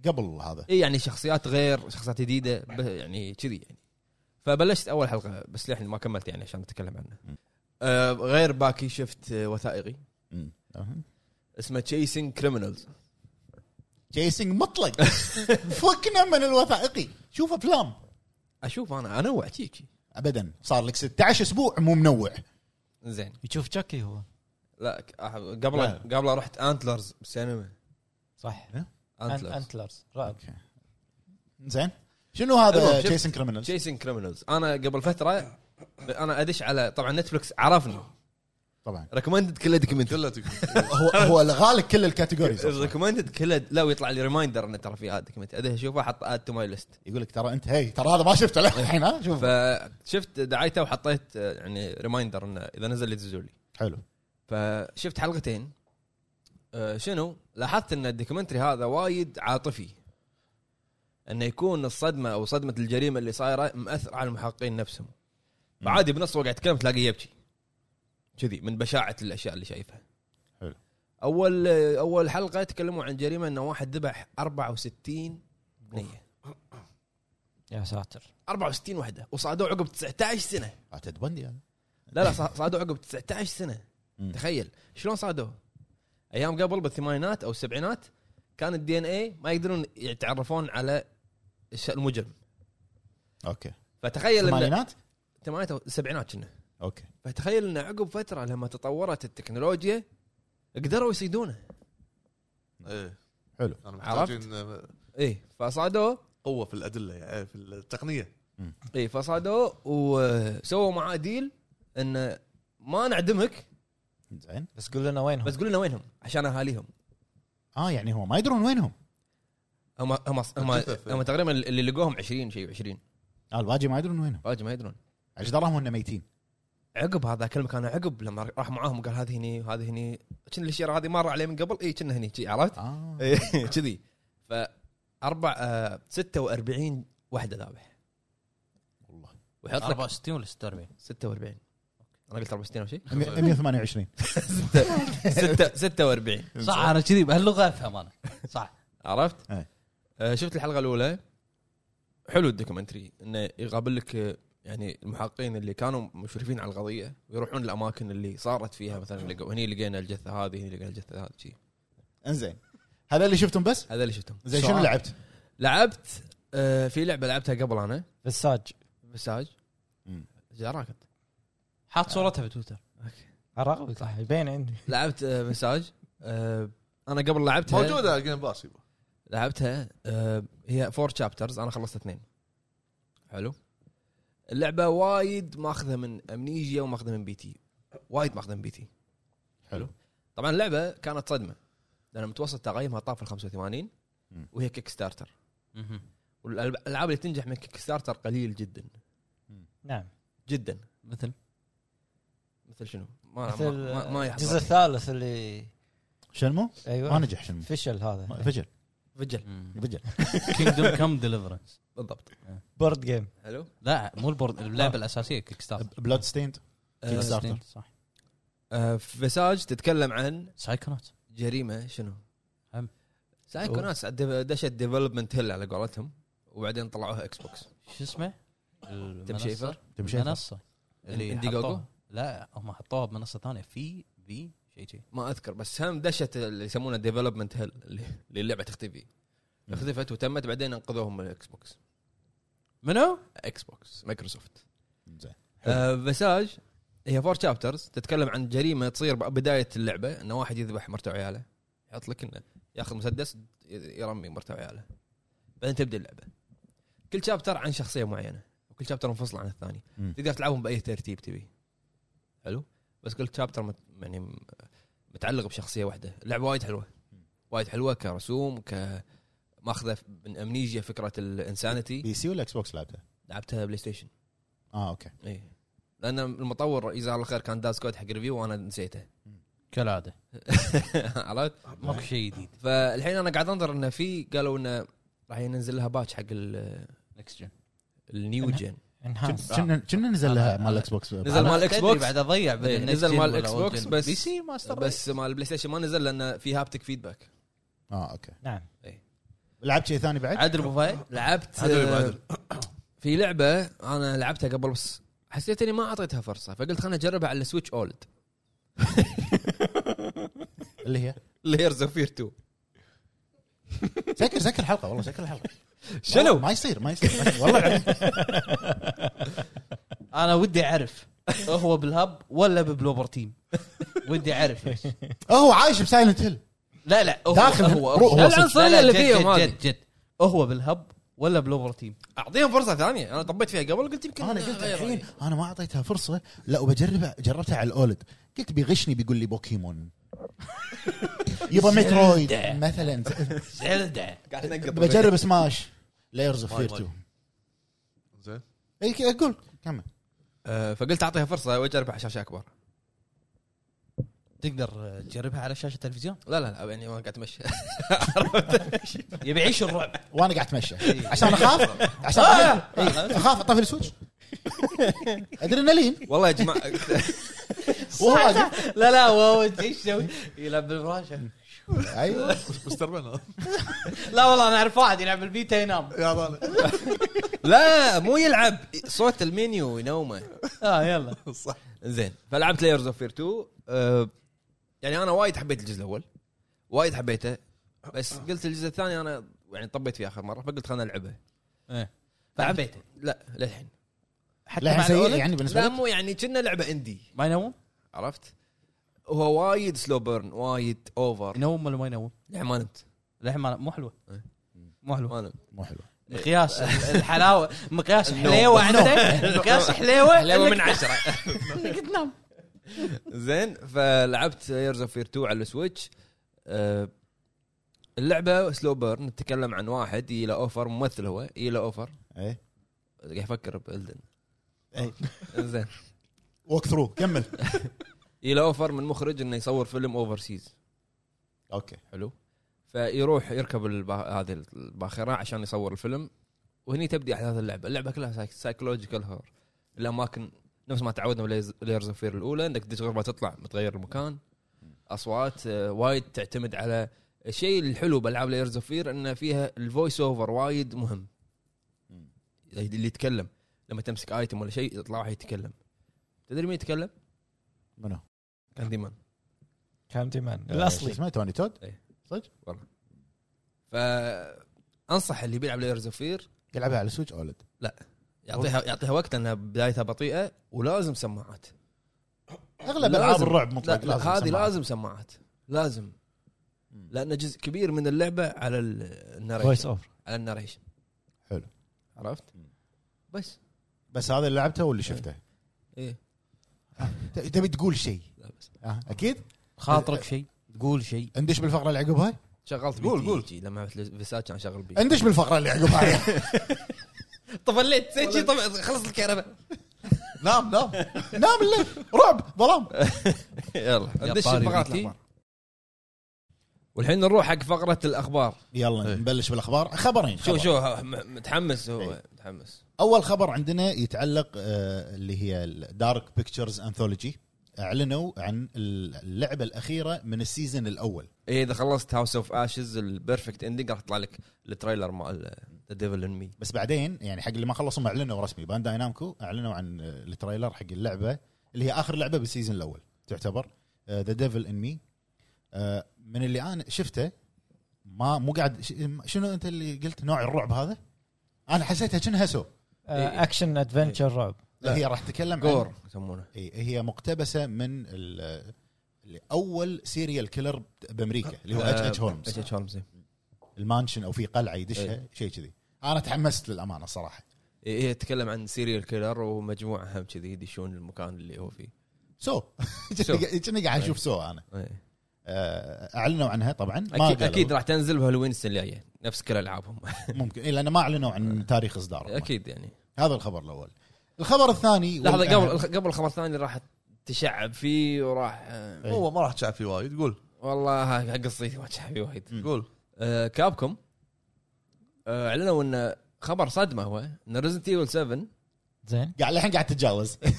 Speaker 4: قبل هذا
Speaker 1: اي يعني شخصيات غير شخصيات جديده ب- يعني كذي يعني فبلشت اول حلقه بس للحين ما كملت يعني عشان نتكلم عنها
Speaker 4: مم.
Speaker 1: آه غير باكي شفت آه، وثائقي
Speaker 4: مم. أهم.
Speaker 1: اسمه تشيسنج كريمنالز
Speaker 4: جيسنج مطلق فكنا من الوثائقي شوف افلام
Speaker 1: اشوف انا انوع شيك
Speaker 4: ابدا صار لك 16 اسبوع مو منوع
Speaker 1: زين
Speaker 5: يشوف تشكي هو
Speaker 1: لا ك- أح- قبل قبل رحت انتلرز بالسينما
Speaker 5: صح
Speaker 1: انتلرز
Speaker 5: انتلرز رعب
Speaker 4: اوكي زين شنو هذا
Speaker 1: المهم، شفت-
Speaker 4: تشيسن كريمنالز
Speaker 1: تشيسنج كريمنالز انا قبل فتره انا ادش على طبعا نتفلكس عرفني
Speaker 4: طبعا
Speaker 1: ريكومندد كله دوكيومنتري
Speaker 2: كله تك-
Speaker 4: هو هو لغالك كل الكاتيجوريز أصلاً.
Speaker 1: ريكومندد كله لا ويطلع لي ريمايندر انه ترى في هذا دوكيومنتري ادش اشوفه احط اد تو ماي ليست
Speaker 4: يقول لك ترى انت هي ترى هذا ما شفته للحين ها شوف
Speaker 1: فشفت دعايته وحطيت آه، يعني ريمايندر انه اذا نزل يدزوا لي
Speaker 4: حلو
Speaker 1: فشفت حلقتين آه، شنو لاحظت ان الدوكيومنتري هذا وايد عاطفي انه يكون الصدمه او صدمه الجريمه اللي صايره مأثر على المحققين نفسهم فعادي بنص وقع يتكلم تلاقيه يبكي كذي من بشاعه الاشياء اللي شايفها
Speaker 4: حلو.
Speaker 1: اول آه، اول حلقه تكلموا عن جريمه انه واحد ذبح 64 بنيه
Speaker 5: يا ساتر
Speaker 1: 64 وحده وصادوه عقب 19 سنه
Speaker 4: تد بندي هذا
Speaker 1: لا لا صا- صادوه عقب 19 سنه
Speaker 4: مم.
Speaker 1: تخيل شلون صادوه؟ ايام قبل بالثمانينات او السبعينات كان الدي ان اي ما يقدرون يتعرفون على الش- المجرم
Speaker 4: اوكي
Speaker 1: فتخيل ان
Speaker 4: ثمانينات
Speaker 1: الثمانينات او السبعينات كنا
Speaker 4: اوكي
Speaker 1: فتخيل ان عقب فتره لما تطورت التكنولوجيا قدروا يصيدونه
Speaker 2: إيه.
Speaker 4: حلو.
Speaker 2: أنا
Speaker 1: عرفت؟
Speaker 2: محتاجين آه،
Speaker 1: ايه فصادوه
Speaker 2: قوه في الادله يعني في التقنيه
Speaker 1: ايه فصادوه وسووا معاه ديل انه ما نعدمك
Speaker 4: زين
Speaker 5: بس قول لنا وينهم
Speaker 1: بس قول لنا وينهم عشان اهاليهم
Speaker 4: اه يعني هو ما يدرون وينهم
Speaker 1: هم هم هم,
Speaker 2: الجثث، إيه.
Speaker 1: هم تقريبا اللي لقوهم 20 شيء 20
Speaker 4: اه الباجي ما يدرون وينهم
Speaker 1: باقي ما يدرون
Speaker 4: اجدارهم هم ميتين
Speaker 1: عقب هذا كلمه كان عقب لما راح معاهم وقال هذه هني وهذه هني كنا الشيره هذه مر عليه من قبل اي كنا هني شي، عرفت؟
Speaker 4: اه
Speaker 1: إيه، كذي ف اربع آه 46 وحده ذابح
Speaker 4: والله
Speaker 1: ويحط لك
Speaker 3: 64 ولا 46
Speaker 1: 46 انا قلت 64 او شيء
Speaker 4: 128
Speaker 1: 6 46
Speaker 3: صح انا كذي بهاللغه افهم انا صح
Speaker 1: عرفت؟
Speaker 4: إيه.
Speaker 1: آه شفت الحلقه الاولى حلو الدوكيومنتري انه يقابل لك آه، يعني المحققين اللي كانوا مشرفين على القضيه ويروحون الاماكن اللي صارت
Speaker 4: آه.
Speaker 1: فيها مثلا لقوا هني لقينا الجثه هذه هني لقينا الجثه هذه شي.
Speaker 4: انزين هذا اللي شفتهم بس
Speaker 1: هذا اللي شفتهم
Speaker 4: زين
Speaker 5: سؤال.
Speaker 4: شنو لعبت؟
Speaker 1: لعبت آه، في لعبه لعبتها قبل انا
Speaker 5: بالساج
Speaker 1: مساج
Speaker 4: مم.
Speaker 1: جراك أنت.
Speaker 3: حاط صورتها بتويتر
Speaker 5: اراقبك صح يبين عندي
Speaker 1: لعبت آه، مساج آه، انا قبل لعبتها
Speaker 2: موجوده جيم باس يبا.
Speaker 1: لعبتها آه، هي فور شابترز انا خلصت اثنين حلو اللعبه وايد ماخذه من امنيجيا وماخذه من بي تي وايد ماخذه من بي تي
Speaker 4: حلو
Speaker 1: طبعا اللعبه كانت صدمه لان متوسط تقييمها طاف ال 85
Speaker 4: مم.
Speaker 1: وهي كيك ستارتر والالعاب اللي تنجح من كيك ستارتر قليل جدا
Speaker 5: نعم
Speaker 1: جدا
Speaker 3: مثل
Speaker 1: مثل شنو؟ ما ما-
Speaker 5: مثل
Speaker 1: ما, ما يحصل
Speaker 5: الجزء الثالث اللي
Speaker 4: شنمو؟
Speaker 5: ايوه
Speaker 3: أيوة.
Speaker 4: ما نجح شنمو
Speaker 5: فشل هذا
Speaker 4: فجل
Speaker 1: فجل
Speaker 4: فجل
Speaker 3: كينجدوم كم ديليفرنس
Speaker 1: بالضبط
Speaker 5: بورد جيم
Speaker 1: حلو
Speaker 3: لا مو البورد اللعبه الاساسيه كيك ستارت
Speaker 4: بلاد ستيند كيك ستارتر.
Speaker 3: صح
Speaker 1: آه، فيساج تتكلم عن
Speaker 3: سايكونات
Speaker 1: جريمه شنو؟
Speaker 3: هم.
Speaker 1: سايكوناس دف- دشت ديفلوبمنت هيل على قولتهم وبعدين طلعوها اكس بوكس
Speaker 3: شو اسمه؟
Speaker 1: تم شيفر
Speaker 4: تمشي
Speaker 3: منصه اللي
Speaker 1: إنديجوغو؟
Speaker 3: حطوها- لا هم حطوها بمنصه ثانيه في في شيء شيء
Speaker 1: ما اذكر بس هم دشت اللي يسمونه ديفلوبمنت هيل اللي اللي اللعبه تختفي
Speaker 4: مم.
Speaker 1: اختفت وتمت بعدين انقذوهم من الاكس بوكس
Speaker 3: منو؟
Speaker 1: اكس بوكس مايكروسوفت
Speaker 4: زين
Speaker 1: آه، فيساج هي فور شابترز تتكلم عن جريمه تصير بدايه اللعبه انه واحد يذبح مرته وعياله يحط لك انه ياخذ مسدس يرمي مرته وعياله بعدين تبدا اللعبه كل شابتر عن شخصيه معينه وكل شابتر منفصل عن الثاني
Speaker 4: مم.
Speaker 1: تقدر تلعبهم باي ترتيب تبي حلو بس كل شابتر مت... يعني م- متعلق بشخصيه واحده اللعبه وايد حلوه وايد حلوه كرسوم ك ماخذه من امنيجيا فكره الانسانيتي
Speaker 4: بي سي ولا اكس بوكس لعبته؟
Speaker 1: لعبتها بلاي ستيشن
Speaker 4: اه اوكي
Speaker 1: اي لان إيه. المطور جزاه الله خير كان داز كود حق ريفيو وانا نسيته
Speaker 3: كالعاده
Speaker 1: عرفت؟
Speaker 3: ماكو شيء جديد
Speaker 1: فالحين انا قاعد انظر انه في قالوا انه راح ينزل لها باتش حق ال-
Speaker 3: نكست جن
Speaker 1: النيو جن
Speaker 5: انهانس
Speaker 4: كنا كنا نزل لها مال
Speaker 3: أنا-
Speaker 4: الاكس بوكس
Speaker 1: آه. نزل مال اكس بوكس
Speaker 3: بعد اضيع
Speaker 1: إيه،
Speaker 3: بين
Speaker 1: نزل مال إكس بوكس بس-
Speaker 3: بي سي ماستر
Speaker 1: بس مال البلاي ستيشن ما نزل لانه في هابتك فيدباك
Speaker 4: اه اوكي
Speaker 5: نعم
Speaker 3: إيه.
Speaker 4: لعبت شيء ثاني بعد؟
Speaker 3: عدل ابو فهد
Speaker 1: لعبت
Speaker 2: عدل أبو عدل.
Speaker 1: آه، في لعبه انا لعبتها قبل بس حسيت اني ما اعطيتها فرصه فقلت خليني اجربها على السويتش اولد
Speaker 4: اللي هي
Speaker 1: ليرز اوف فير 2
Speaker 4: سكر سكر الحلقه والله سكر الحلقه والله
Speaker 1: شنو؟
Speaker 4: ما يصير ما يصير ما يصير. والله العظيم.
Speaker 3: انا ودي اعرف هو بالهب ولا ببلوبر تيم ودي اعرف ليش
Speaker 4: أه، هو عايش بسايلنت هيل
Speaker 3: لا لا هو
Speaker 4: داخل
Speaker 3: هو,
Speaker 4: روح
Speaker 3: هو
Speaker 4: وسط.
Speaker 1: العنصرية اللي فيهم
Speaker 3: جد,
Speaker 1: هذه.
Speaker 3: جد, جد هو بالهب ولا بالاوفر تيم
Speaker 1: اعطيهم فرصه ثانيه انا طبيت فيها قبل قلت يمكن
Speaker 4: انا قلت
Speaker 1: أغير
Speaker 4: الحين
Speaker 1: رأيي.
Speaker 4: انا ما اعطيتها فرصه لا وبجربها جربتها على الاولد قلت بيغشني بيقول لي بوكيمون يبا مترويد مثلا
Speaker 3: زلدة
Speaker 1: قاعد تنقط
Speaker 4: بجرب سماش لايرز اوف
Speaker 2: وايد
Speaker 4: فير
Speaker 2: وايد.
Speaker 4: 2
Speaker 2: زين
Speaker 4: اي ك- اقول كمل
Speaker 1: آه، فقلت اعطيها فرصه واجربها على شاشه اكبر
Speaker 3: تقدر تجربها على شاشه تلفزيون
Speaker 1: لا لا لا يعني وانا قاعد اتمشى
Speaker 3: يبي يعيش الرعب
Speaker 4: وانا قاعد اتمشى عشان اخاف عشان
Speaker 1: آه!
Speaker 4: إي، اخاف اطفي السويتش ادرينالين
Speaker 1: والله يا جماعه
Speaker 4: وهو واقف.
Speaker 3: لا لا هو ايش يسوي؟ يلعب بالفراشه
Speaker 4: ايوه
Speaker 2: مستر بن
Speaker 3: لا والله انا اعرف واحد يلعب بالبيتا ينام
Speaker 2: يا ظالم
Speaker 1: لا مو يلعب صوت المنيو ينومه
Speaker 5: آه،
Speaker 3: اه يلا
Speaker 2: صح
Speaker 1: زين فلعبت لايرز اوف فير 2 أه يعني انا وايد حبيت الجزء الاول وايد حبيته بس قلت الجزء الثاني انا يعني طبيت فيه اخر مره فقلت خلنا نلعبه
Speaker 3: فعبيته
Speaker 1: لا للحين
Speaker 3: حتى
Speaker 4: لا
Speaker 3: مع
Speaker 4: إيه. يعني سيء
Speaker 3: الولد؟
Speaker 4: يعني بالنسبه
Speaker 1: لا
Speaker 4: لك
Speaker 1: مو يعني كنا لعبه اندي
Speaker 3: ما ينوم؟
Speaker 1: عرفت هو وايد سلو بيرن وايد اوفر
Speaker 3: ينوم ولا ما ينوم؟
Speaker 1: يعني ما نمت
Speaker 3: للحين ما- مو حلوه
Speaker 1: إيه.
Speaker 3: مو حلوه
Speaker 1: ما نمت
Speaker 4: مو حلو
Speaker 3: مقياس الحلاوه مقياس حليوه عندك مقياس حليوه
Speaker 1: حلاوه من
Speaker 3: إنك-
Speaker 1: عشره
Speaker 3: إنك تنام
Speaker 1: زين فلعبت لايرز اوف فير 2 على السويتش أه اللعبه سلو بيرن نتكلم عن واحد يجي له اوفر ممثل هو يجي له اوفر
Speaker 4: اي
Speaker 1: قاعد يفكر بالدن
Speaker 4: اي
Speaker 1: زين
Speaker 4: ووك ثرو كمل
Speaker 1: يله اوفر من مخرج انه يصور فيلم اوفرسيز
Speaker 4: اوكي
Speaker 1: حلو فيروح يركب البا... هذه الباخره عشان يصور الفيلم وهني تبدي احداث اللعبه اللعبه كلها سايك... سايكولوجيكال هور الاماكن نفس ما تعودنا بلايرز اوف فير الاولى انك تدش غرفه تطلع متغير المكان اصوات آه، وايد تعتمد على الشيء الحلو بالعاب لايرز اوف فير ان فيها الفويس اوفر وايد مهم
Speaker 4: مم.
Speaker 1: اللي يتكلم لما تمسك ايتم ولا شيء يطلع واحد يتكلم تدري مين يتكلم؟
Speaker 4: منو؟
Speaker 1: كانديمان
Speaker 5: كان ديمان
Speaker 4: شو
Speaker 5: الاصلي
Speaker 4: اسمه توني تود
Speaker 1: فانصح اللي بيلعب لايرز اوف فير
Speaker 4: يلعبها على سويتش اولد
Speaker 1: يعطيها يعطيها وقت لانها بدايتها بطيئه ولازم سماعات
Speaker 4: اغلب
Speaker 1: لازم.
Speaker 4: العاب الرعب
Speaker 1: لا
Speaker 4: مطلق
Speaker 1: لا
Speaker 4: طيب، لازم
Speaker 1: هذه
Speaker 4: سماعة.
Speaker 1: لازم سماعات لازم
Speaker 4: مم.
Speaker 1: لان جزء كبير من اللعبه على ال-
Speaker 5: فويس
Speaker 1: الناريشن
Speaker 5: اوفر
Speaker 1: على الناريشن
Speaker 4: حلو.
Speaker 1: عرفت؟
Speaker 4: مم.
Speaker 1: بس
Speaker 4: بس هذا اللي لعبته واللي شفته
Speaker 1: ايه
Speaker 4: ت- تبي تقول شيء
Speaker 1: لا بس
Speaker 4: آه، اكيد
Speaker 3: خاطرك شيء تقول شيء
Speaker 4: اندش بالفقره اللي عقبها
Speaker 1: شغلت
Speaker 2: قول-
Speaker 1: بي تي
Speaker 2: قول.
Speaker 1: جي لما عملت فيسات كان شغل بي
Speaker 4: اندش بالفقره اللي عقبها
Speaker 1: طفلت سويت شي طف- خلص الكهرباء
Speaker 2: نام
Speaker 4: نعم،
Speaker 2: نام
Speaker 4: نام الليل رعب ظلام
Speaker 1: يلا
Speaker 3: يا
Speaker 1: ندش
Speaker 3: طاري
Speaker 1: فقرات
Speaker 3: بي تي.
Speaker 1: الاخبار والحين نروح حق فقره الاخبار
Speaker 4: يلا نبلش بالاخبار خبرين
Speaker 1: إيه. شو
Speaker 4: خبر.
Speaker 1: شو ه- م- متحمس هو
Speaker 4: إيه.
Speaker 1: متحمس
Speaker 4: اول خبر عندنا يتعلق آه، اللي هي الدارك بيكتشرز انثولوجي اعلنوا عن اللعبه الاخيره من السيزون الاول
Speaker 1: ايه اذا خلصت هاوس اوف اشز البيرفكت اندنج راح يطلع لك التريلر مال ذا ديفل ان مي
Speaker 4: بس بعدين يعني حق اللي ما خلصوا ما اعلنوا رسمي بانداي نامكو اعلنوا عن آه، التريلر حق اللعبه اللي هي اخر لعبه بالسيزون الاول تعتبر آه، ذا ديفل ان مي آه، من اللي انا شفته ما مو قاعد ش- شنو انت اللي قلت نوع الرعب هذا؟ انا حسيتها كأنها سو
Speaker 1: إيه.
Speaker 5: اكشن ادفنشر رعب
Speaker 1: لا.
Speaker 4: هي راح تتكلم عن-
Speaker 1: جور يسمونه
Speaker 4: إي، هي مقتبسه من ال- اللي اول سيريال كيلر بامريكا اللي هو اتش اتش
Speaker 1: اتش
Speaker 4: هولمز
Speaker 1: اتش هولمز إيه.
Speaker 4: المانشن او في قلعه يدشها شيء كذي انا تحمست للامانه صراحه
Speaker 1: ايه إيه، تتكلم عن سيريال كيلر ومجموعه هم كذي يدشون المكان اللي هو فيه
Speaker 4: سو
Speaker 1: سو.
Speaker 4: كنا قاعد اشوف سو انا
Speaker 1: إيه.
Speaker 4: آه، اعلنوا عنها طبعا ما
Speaker 1: اكيد
Speaker 4: قالوا.
Speaker 1: اكيد راح تنزل بهالوين السنه الجايه نفس كل العابهم
Speaker 4: ممكن إي، لان إيه، ما اعلنوا
Speaker 1: إيه.
Speaker 4: عن تاريخ اصدارها
Speaker 1: اكيد يعني
Speaker 4: هذا الخبر الاول الخبر الثاني
Speaker 1: لحظه
Speaker 4: والأهم.
Speaker 1: قبل قبل الخبر الثاني راح تشعب فيه وراح آه،
Speaker 4: إيه.
Speaker 2: هو ما راح تشعب فيه وايد قول
Speaker 1: والله ها- قصيتي ما تشعب فيه وايد
Speaker 2: قول
Speaker 1: آه، كابكم آه، اعلنوا ان خبر صدمه هو ان ريزنت ايفل 7
Speaker 5: زين
Speaker 4: قاعد الحين قاعد تتجاوز
Speaker 1: إيه.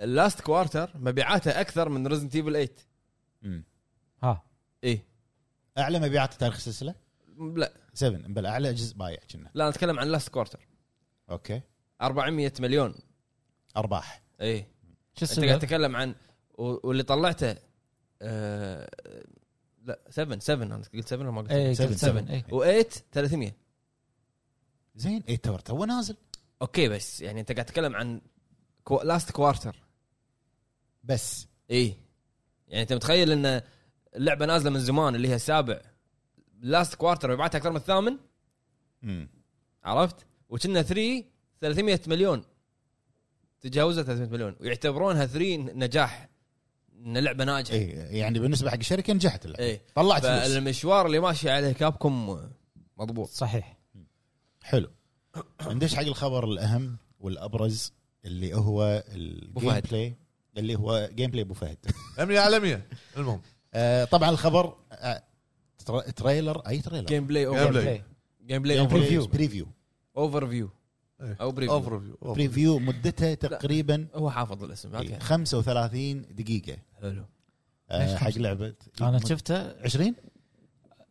Speaker 1: اللاست كوارتر مبيعاته اكثر من ريزنت ايفل 8
Speaker 4: مم.
Speaker 5: ها
Speaker 1: ايه
Speaker 4: اعلى مبيعات تاريخ السلسله
Speaker 1: لا
Speaker 4: 7 بل اعلى جزء بايع كنا
Speaker 1: لا نتكلم عن لاست كوارتر
Speaker 4: اوكي
Speaker 1: 400 مليون
Speaker 4: ارباح
Speaker 1: ايه
Speaker 5: شو
Speaker 1: انت قاعد
Speaker 5: السبب؟
Speaker 1: تتكلم عن و- واللي طلعته آه لا 7 7 انا قلت 7 ولا ما قلت
Speaker 5: اي
Speaker 4: 7
Speaker 5: 7 اي
Speaker 1: و8 300
Speaker 4: زين اي تور تو نازل
Speaker 1: اوكي بس يعني انت قاعد تتكلم عن كو... لاست كوارتر
Speaker 4: بس
Speaker 1: اي يعني انت متخيل ان اللعبه نازله من زمان اللي هي السابع لاست كوارتر بعتها اكثر من الثامن
Speaker 4: مم.
Speaker 1: عرفت؟ وكنا 3 300 مليون تجاوزت 300 مليون ويعتبرونها 3 نجاح ان لعبه ناجحه
Speaker 4: اي يعني بالنسبه حق الشركه نجحت اللعبه
Speaker 1: إيه.
Speaker 4: طلعت فلوس
Speaker 1: فالمشوار اللي ماشي عليه كابكم مضبوط
Speaker 5: صحيح
Speaker 4: حلو ندش حق الخبر الاهم والابرز اللي هو الجيم
Speaker 1: فهد.
Speaker 4: بلاي اللي هو جيم بلاي ابو فهد
Speaker 2: امنيه عالميه يعني المهم
Speaker 4: آه، طبعا الخبر آه، تر- تريلر اي تريلر
Speaker 1: جيم بلاي
Speaker 2: Gameplay.
Speaker 1: اوفر
Speaker 5: إيه.
Speaker 1: جيم بلاي
Speaker 4: جيم
Speaker 1: اوفر
Speaker 4: بريفيو بريفيو
Speaker 1: اوفر فيو
Speaker 2: إيه.
Speaker 1: او بريفيو
Speaker 2: اوفر فيو
Speaker 4: بريفيو مدته تقريبا
Speaker 1: هو حافظ الاسم
Speaker 4: إيه.
Speaker 1: اوكي
Speaker 4: 35 دقيقه
Speaker 1: حلو
Speaker 4: آه،
Speaker 5: ليش
Speaker 4: حق
Speaker 5: خمسة؟
Speaker 4: لعبه
Speaker 5: انا شفته
Speaker 4: 20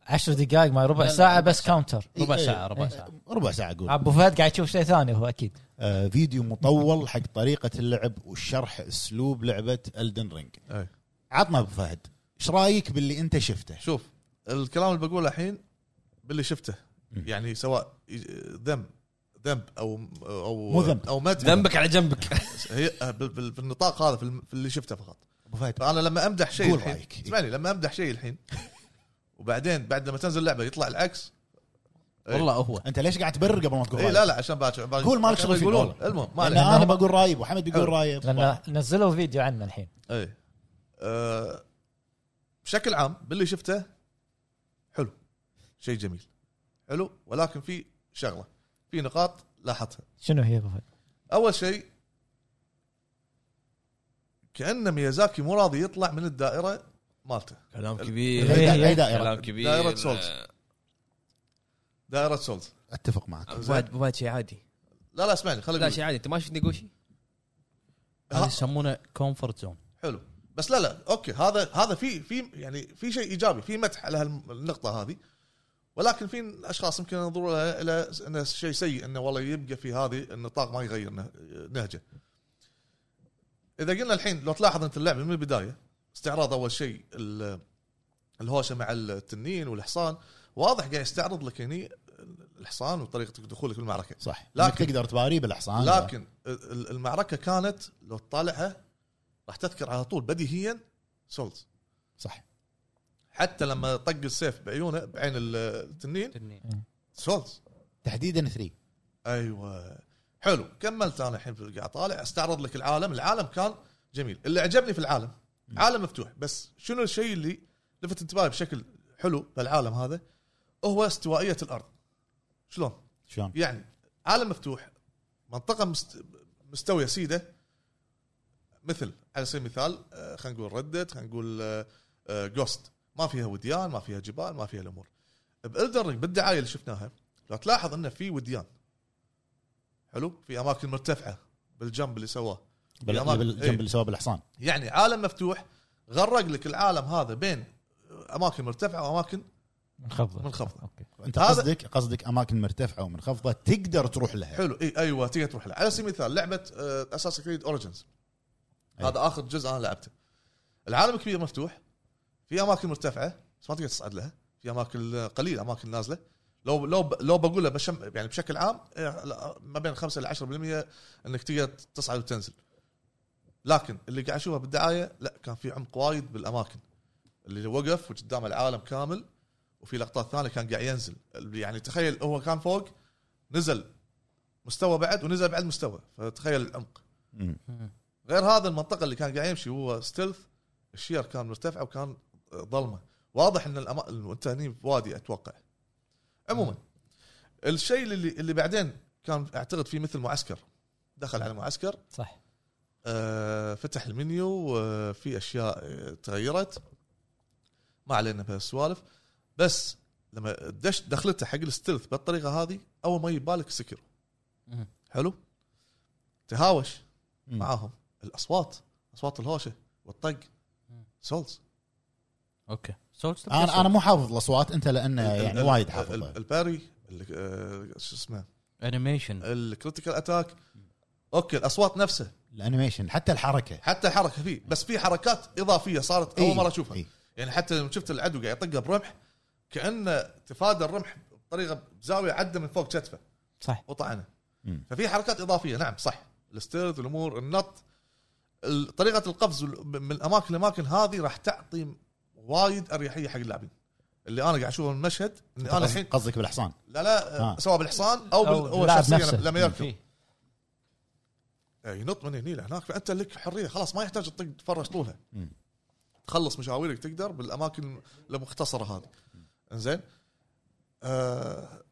Speaker 5: 10 دقائق ما ربع
Speaker 3: لا، لا،
Speaker 5: ساعه
Speaker 3: ربع
Speaker 5: بس
Speaker 3: ساعة.
Speaker 5: كاونتر
Speaker 3: ربع
Speaker 4: إيه.
Speaker 3: ساعه ربع ساعه
Speaker 4: ربع ساعه اقول
Speaker 5: ابو فهد قاعد يشوف شيء ثاني هو اكيد
Speaker 4: آه، فيديو مطول حق طريقه اللعب والشرح اسلوب لعبه الدن رينج
Speaker 2: أي.
Speaker 4: عطنا ابو فهد ايش رايك باللي انت شفته
Speaker 2: شوف الكلام اللي بقوله الحين باللي شفته
Speaker 4: مم.
Speaker 2: يعني سواء ذنب ذنب او او
Speaker 4: مو ذنب.
Speaker 2: او مدح
Speaker 1: ذنبك على جنبك
Speaker 2: هي آه، بال- بال- بالنطاق هذا في الم- في اللي شفته فقط
Speaker 4: ابو فهد
Speaker 2: فانا لما امدح شيء
Speaker 4: قول
Speaker 2: الحين
Speaker 4: رأيك.
Speaker 2: اسمعني لما امدح شيء الحين وبعدين بعد لما تنزل اللعبه يطلع العكس
Speaker 3: والله هو
Speaker 4: انت ليش قاعد تبرر قبل ما تقول
Speaker 2: اي
Speaker 4: رأيك؟
Speaker 2: لا لا عشان باكر
Speaker 4: قول مالك شغل فيه،
Speaker 2: يقولون
Speaker 4: والله.
Speaker 2: المهم ما
Speaker 4: لأن
Speaker 2: عليه
Speaker 4: انا بقول راي وحمد بيقول
Speaker 2: حلو.
Speaker 4: رايه
Speaker 5: لان نزلوا فيديو عنه الحين
Speaker 2: اي إيه. آه، بشكل عام باللي شفته حلو شيء جميل حلو ولكن في شغله في نقاط لاحظتها
Speaker 5: شنو هي ابو فهد؟
Speaker 2: اول شيء كان ميازاكي مو راضي يطلع من الدائره مالته
Speaker 1: كلام
Speaker 5: إيه،
Speaker 1: كبير
Speaker 5: إيه.
Speaker 4: اي دائره
Speaker 1: كلام كبير
Speaker 2: دائرة سولز. دائره سولز
Speaker 4: اتفق معك
Speaker 1: أبو فهد أبو فهد شيء عادي
Speaker 2: لا لا اسمعني خليني
Speaker 1: لا
Speaker 2: أقول.
Speaker 1: شيء عادي انت ما شفت نيجوشي
Speaker 3: هذا يسمونه كومفورت زون
Speaker 2: حلو بس لا لا اوكي هذا هذا في في يعني في شيء ايجابي في مدح على هالنقطه هذه ولكن في اشخاص يمكن ينظروا لها الى انه شيء سيء انه والله يبقى في هذه النطاق ما يغير نه- نهجه. اذا قلنا الحين لو تلاحظ انت اللعبه من البدايه استعراض اول شيء ال- الهوشه مع التنين والحصان واضح قاعد يستعرض لك هني الحصان وطريقه دخولك المعركه.
Speaker 4: صح
Speaker 2: لكن-
Speaker 4: لكن تقدر تباريه بالحصان
Speaker 2: لكن ال- ال- المعركه كانت لو تطالعها راح تذكر على طول بديهيا سولز.
Speaker 4: صح
Speaker 2: حتى لما طق السيف بعيونه بعين التنين
Speaker 3: إيه.
Speaker 2: سولز
Speaker 4: تحديدا 3
Speaker 2: ايوه حلو كملت انا الحين في قاعد اطالع استعرض لك العالم العالم كان جميل اللي عجبني في العالم عالم مفتوح بس شنو الشيء اللي لفت انتباهي بشكل حلو بالعالم هذا هو استوائيه الارض شلون
Speaker 4: شلون؟
Speaker 2: يعني عالم مفتوح منطقه مست... مستويه سيده مثل على سبيل المثال آه، خلينا نقول ردت خلينا نقول جوست ما فيها وديان ما فيها جبال ما فيها الامور بالدر بالدعايه اللي شفناها لو تلاحظ انه في وديان حلو في اماكن مرتفعه بالجنب اللي سواه
Speaker 4: بال-
Speaker 2: بالأمان.
Speaker 4: بالجنب
Speaker 2: إيه.
Speaker 4: اللي سواه بالحصان
Speaker 2: يعني عالم مفتوح غرق لك العالم هذا بين اماكن مرتفعه واماكن
Speaker 5: منخفضه
Speaker 2: منخفضة.
Speaker 5: اوكي
Speaker 4: انت
Speaker 2: هذا-
Speaker 4: قصدك قصدك اماكن مرتفعه ومنخفضه تقدر تروح لها
Speaker 2: حلو اي ايوه تقدر تروح لها على سبيل المثال آه، لعبه اساس كريد اوريجنز
Speaker 4: أيوة.
Speaker 2: هذا اخر جزء انا لعبته العالم كبير مفتوح في اماكن مرتفعه بس ما تقدر تصعد لها في اماكن آه، قليل اماكن نازله لو لو لو بقولها بشم يعني بشكل عام آه، لا، ما بين 5 ل 10% انك تقدر تصعد وتنزل لكن اللي قاعد اشوفه بالدعايه لا كان في عمق وايد بالاماكن اللي وقف وقدامه العالم كامل وفي لقطات ثانيه كان قاعد ينزل يعني تخيل هو كان فوق نزل مستوى بعد ونزل بعد مستوى فتخيل العمق
Speaker 4: مم.
Speaker 2: غير هذا المنطقه اللي كان قاعد يمشي هو ستيلث الشير كان مرتفعه وكان آه، ظلمه واضح ان الأما... انت هني بوادي اتوقع عموما الشيء اللي اللي بعدين كان اعتقد فيه مثل معسكر دخل على معسكر
Speaker 5: صح
Speaker 2: آه، فتح المنيو وفي اشياء آه، تغيرت ما علينا بهالسوالف بس لما دش دخلته حق الستلث بالطريقه هذه اول ما يبالك سكر
Speaker 3: مم.
Speaker 2: حلو تهاوش
Speaker 4: مم.
Speaker 2: معاهم الاصوات اصوات الهوشه والطق
Speaker 3: مم.
Speaker 2: سولز
Speaker 3: اوكي سولز
Speaker 4: انا انا مو حافظ الاصوات انت لان يعني وايد حافظها
Speaker 2: ال- الباري ال- آه، شو اسمه إيه.
Speaker 3: انيميشن
Speaker 2: الكريتيكال اتاك اوكي الاصوات نفسها
Speaker 4: الانيميشن حتى الحركه
Speaker 2: حتى الحركه فيه بس في حركات اضافيه صارت
Speaker 4: إيه.
Speaker 2: اول مره اشوفها
Speaker 4: إيه.
Speaker 2: يعني حتى لما شفت العدو قاعد يطقه برمح كانه تفادى الرمح بطريقه بزاويه عدى من فوق كتفه
Speaker 5: صح
Speaker 2: وطعنه
Speaker 4: مم.
Speaker 2: ففي حركات اضافيه نعم صح الاستيرز الامور النط ال- طريقه القفز وال- من الاماكن لاماكن هذه راح تعطي وايد اريحيه حق اللاعبين اللي انا قاعد اشوفه من المشهد اني انا الحين
Speaker 4: قصدك بالحصان
Speaker 2: لا لا آه.
Speaker 4: آه.
Speaker 2: سواء بالحصان او, بال... أو
Speaker 5: اللاعب
Speaker 2: شخصيا
Speaker 5: نفسه.
Speaker 2: لما يركض
Speaker 5: فيه.
Speaker 2: آه، ينط من هني لهناك فانت لك حريه خلاص ما يحتاج تطق تفرش طولها
Speaker 4: مم.
Speaker 2: تخلص مشاويرك تقدر بالاماكن المختصره هذه زين آه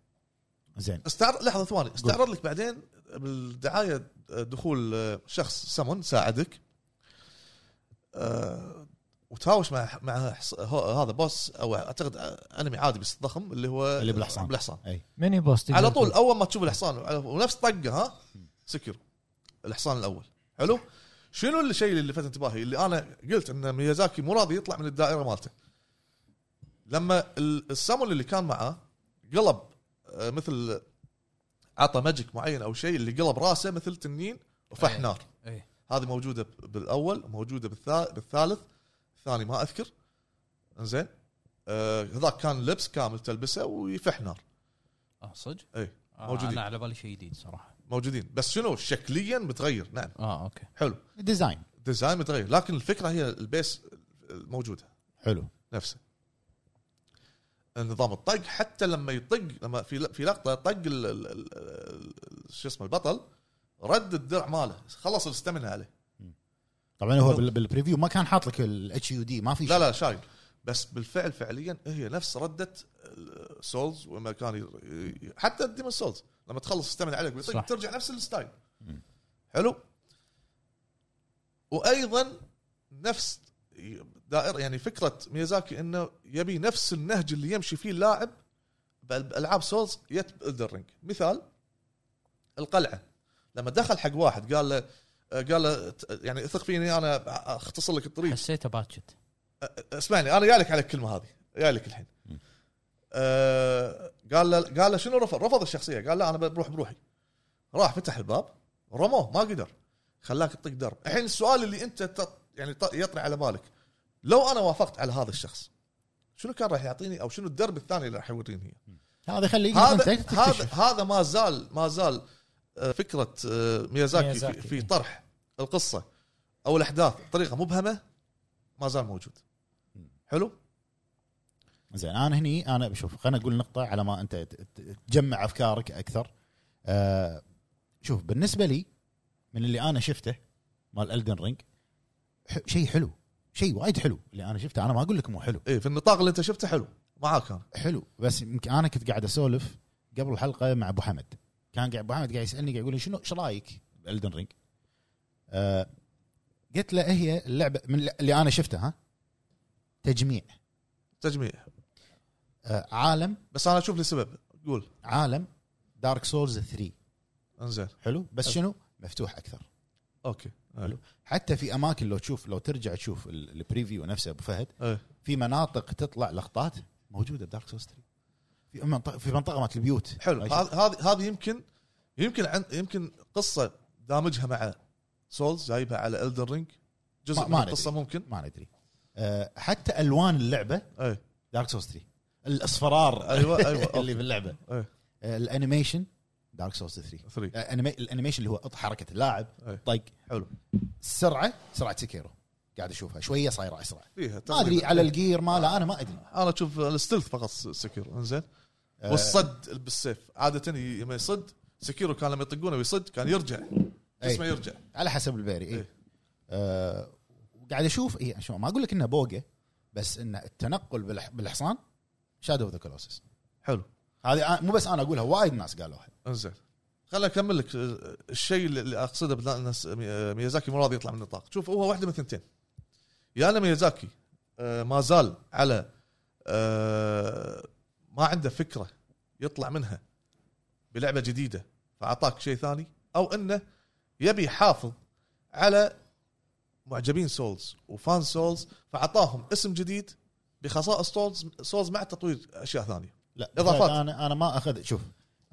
Speaker 4: زين
Speaker 2: استعرض لحظه ثواني استعرض لك بعدين بالدعايه دخول آه، شخص سمون ساعدك آه، وتهاوش مع مع حص- هو- هذا بوس او اعتقد آه، انمي عادي بس ضخم اللي هو
Speaker 4: اللي بالحصان.
Speaker 2: بالحصان
Speaker 4: اي
Speaker 5: ميني بوست
Speaker 2: على طول اول ما تشوف الحصان على- ونفس طقه ها سكر الحصان الاول حلو شنو الشيء اللي لفت انتباهي اللي انا قلت ان ميازاكي مو راضي يطلع من الدائره مالته لما ال- السامون اللي كان معاه قلب آه، مثل عطى ماجيك معين او شيء اللي قلب راسه مثل تنين وفح
Speaker 3: أي.
Speaker 2: نار
Speaker 3: اي
Speaker 2: هذه موجوده ب- بالاول موجوده بالثا- بالثالث الثاني ما اذكر زين آه، هذاك كان لبس كامل تلبسه ويفح نار
Speaker 3: اه صدق؟
Speaker 2: اي
Speaker 3: آه
Speaker 2: إيه. موجودين.
Speaker 3: انا على بالي شيء جديد صراحه
Speaker 2: موجودين بس شنو شكليا متغير نعم
Speaker 3: اه اوكي
Speaker 2: حلو
Speaker 4: ديزاين
Speaker 2: ديزاين متغير لكن الفكره هي البيس موجوده
Speaker 4: حلو
Speaker 2: نفسه نظام الطق حتى لما يطق لما في في لقطه طق ال- ال- ال- ال- شو اسمه البطل رد الدرع ماله خلص الاستمنه عليه
Speaker 4: طبعا هو بال- بالبريفيو ما كان حاط لك الاتش يو دي ما في
Speaker 2: لا
Speaker 4: شيء.
Speaker 2: لا شايل بس بالفعل فعليا هي نفس رده سولز وما كان ي- حتى ديمون سولز لما تخلص تستمر عليك بيطق
Speaker 3: صح.
Speaker 2: ترجع نفس الستايل
Speaker 4: مم.
Speaker 2: حلو وايضا نفس دائره يعني فكره ميازاكي انه يبي نفس النهج اللي يمشي فيه اللاعب بالعاب سولز يت الدرينج مثال القلعه لما دخل حق واحد قال له قال له ت- يعني اثق فيني انا اختصر لك الطريق
Speaker 3: حسيته باتشت
Speaker 2: اسمعني انا جايلك على الكلمه هذه جايلك الحين
Speaker 4: مم.
Speaker 2: آه قال له قال له شنو رفض رفض الشخصيه قال لا انا بروح بروحي راح فتح الباب رموه ما قدر خلاك تطق درب الحين السؤال اللي انت تط... يعني ط- يطري على بالك لو انا وافقت على هذا الشخص شنو كان راح يعطيني او شنو الدرب الثاني اللي راح يوريني إياه؟
Speaker 4: هذا يخليك
Speaker 2: هذا
Speaker 4: إيه، أنت
Speaker 2: هذا
Speaker 4: تكتشف.
Speaker 2: هذا ما زال ما زال آه، فكره آه، ميازاكي في,
Speaker 5: ميازاكي.
Speaker 2: في طرح القصه او الاحداث بطريقه مبهمه ما زال موجود حلو
Speaker 4: زين انا هني انا بشوف خلينا نقول نقطه على ما انت ت- ت- تجمع افكارك اكثر آه شوف بالنسبه لي من اللي انا شفته مال الدن رينج ح- شيء حلو شيء وايد حلو اللي انا شفته انا ما اقول لك مو حلو
Speaker 2: ايه في النطاق اللي انت شفته حلو معاك انا
Speaker 4: حلو بس يمكن انا كنت قاعد اسولف قبل الحلقه مع ابو حمد كان قاعد ابو حمد قاعد يسالني قاعد يقول لي شنو ايش رايك بالدن رينج؟ آه قلت له هي اللعبه من اللي انا شفتها ها تجميع
Speaker 2: تجميع
Speaker 4: آه عالم
Speaker 2: بس انا اشوف لي سبب قول
Speaker 4: عالم دارك سولز 3
Speaker 2: انزين
Speaker 4: حلو بس شنو مفتوح اكثر
Speaker 2: اوكي حلو
Speaker 4: حتى في اماكن لو تشوف لو ترجع تشوف ال- البريفيو نفسه ابو فهد
Speaker 2: ايه
Speaker 4: في مناطق تطلع لقطات موجوده بدارك سولز 3 في منطقه في منطقه مالت البيوت
Speaker 2: حلو
Speaker 4: ما
Speaker 2: هذه هذه- هذه يمكن يمكن عن يمكن قصه دامجها مع سولز جايبها على الدن رينج جزء
Speaker 4: ما-
Speaker 2: ما
Speaker 4: ما
Speaker 2: من
Speaker 4: ندري.
Speaker 2: القصه ممكن
Speaker 4: ما ندري أه حتى الوان اللعبه
Speaker 2: ايه
Speaker 4: دارك سولز 3 الاصفرار
Speaker 2: أيوة، أيوة،
Speaker 4: اللي
Speaker 2: أوكي.
Speaker 4: باللعبه
Speaker 2: أيه.
Speaker 4: أه الانيميشن دارك سولز 3
Speaker 2: ثري
Speaker 4: أه، أنيمي- الانيميشن اللي هو أط- حركه اللاعب
Speaker 2: أيه.
Speaker 4: طق
Speaker 2: حلو.
Speaker 4: السرعه سرعه سكيرو قاعد اشوفها شويه صايره اسرع
Speaker 2: فيها
Speaker 4: ما ادري على الجير ماله انا ما ادري
Speaker 2: انا اشوف الستلث فقط سكيرو انزين
Speaker 4: أه،
Speaker 2: والصد بالسيف عاده ي- لما يصد سكيرو كان لما يطقونه ويصد كان يرجع جسمه
Speaker 4: أيه.
Speaker 2: يرجع
Speaker 4: على حسب البيري اي
Speaker 2: إيه.
Speaker 4: آه وقاعد اشوف اي شو ما اقول لك انه بوقه بس ان التنقل بالح- بالحصان شادو ذا كلوسس
Speaker 2: حلو
Speaker 4: هذه أنا- مو بس انا اقولها وايد ناس قالوها
Speaker 2: انزين خليني اكمل لك آه، الشيء اللي- اللي اقصده بلا- ان س- مي- آه، ميازاكي مو راضي يطلع من النطاق شوف هو واحده من ثنتين يا انا ميازاكي آه، ما زال على آه، ما عنده فكره يطلع منها بلعبه جديده فاعطاك شيء ثاني او انه يبي يحافظ على معجبين سولز وفان سولز فاعطاهم اسم جديد بخصائص سولز سولز مع تطوير اشياء ثانيه
Speaker 4: لا
Speaker 2: إضافات.
Speaker 4: انا انا ما اخذ شوف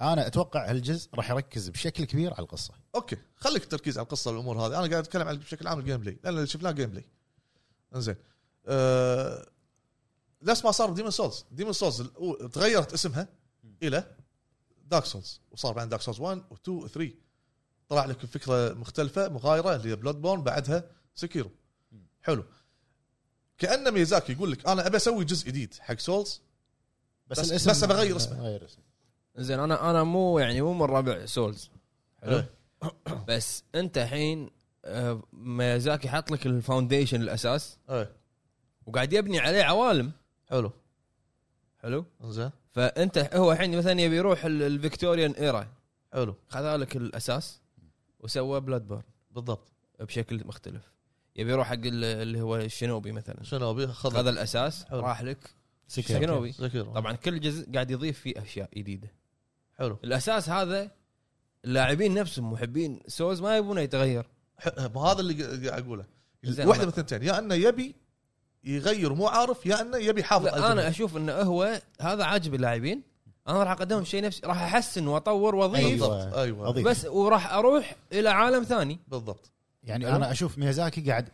Speaker 4: انا اتوقع هالجزء راح يركز بشكل كبير على القصه
Speaker 2: اوكي خليك التركيز على القصه والامور هذه انا قاعد اتكلم عن بشكل عام الجيم بلاي لان اللي شفناه جيم بلاي انزين أه... نفس ما صار بديمون سولز ديمون سولز الأو- تغيرت اسمها الى دارك سولز وصار بعدين دارك سولز 1 و2 و3 طلع لك فكره مختلفه مغايره اللي هي بلود بورن بعدها سكيرو حلو كانه ميزاكي يقول لك انا ابي اسوي جزء جديد حق سولز
Speaker 4: بس
Speaker 2: بس-
Speaker 4: الاسم
Speaker 2: بس بغير اسمه.
Speaker 4: غير اسمه
Speaker 1: زين انا انا مو يعني مو من ربع سولز حلو
Speaker 2: إيه.
Speaker 1: بس انت الحين آه، ميازاكي حط لك الفاونديشن الاساس
Speaker 2: ايه
Speaker 1: وقاعد يبني عليه عوالم
Speaker 2: حلو
Speaker 1: حلو
Speaker 2: زين
Speaker 1: فانت هو الحين مثلا يبي يروح ال- الفيكتوريان ايرا
Speaker 2: حلو
Speaker 1: خذ لك الاساس وسوى بلاد بورن
Speaker 2: بالضبط
Speaker 1: بشكل مختلف يبي يروح حق ال- اللي هو الشينوبي مثلا
Speaker 2: شنو ابي
Speaker 1: هذا
Speaker 2: خذ
Speaker 1: الاساس
Speaker 2: حلو.
Speaker 1: راح لك
Speaker 5: سكيرو.
Speaker 1: شينوبي
Speaker 2: سكيرو
Speaker 1: طبعا كل جزء قاعد يضيف فيه اشياء جديده
Speaker 2: حلو
Speaker 1: الاساس هذا اللاعبين نفسهم محبين سوز ما يبونه يتغير
Speaker 2: ح- ما هذا اللي قاعد اقوله
Speaker 1: زين،
Speaker 2: واحده
Speaker 1: أنا-
Speaker 2: من الثنتين يا انه يبي يغير مو عارف يا انه يبي يحافظ على
Speaker 1: لا انا
Speaker 2: الجمهور.
Speaker 1: اشوف انه هو هذا عاجب اللاعبين انا راح اقدم شيء نفسي راح احسن واطور واضيف
Speaker 2: بالضبط ايوه
Speaker 4: أضيف.
Speaker 1: بس وراح اروح الى عالم ثاني
Speaker 2: بالضبط
Speaker 4: يعني
Speaker 1: حلو.
Speaker 4: انا اشوف ميازاكي قاعد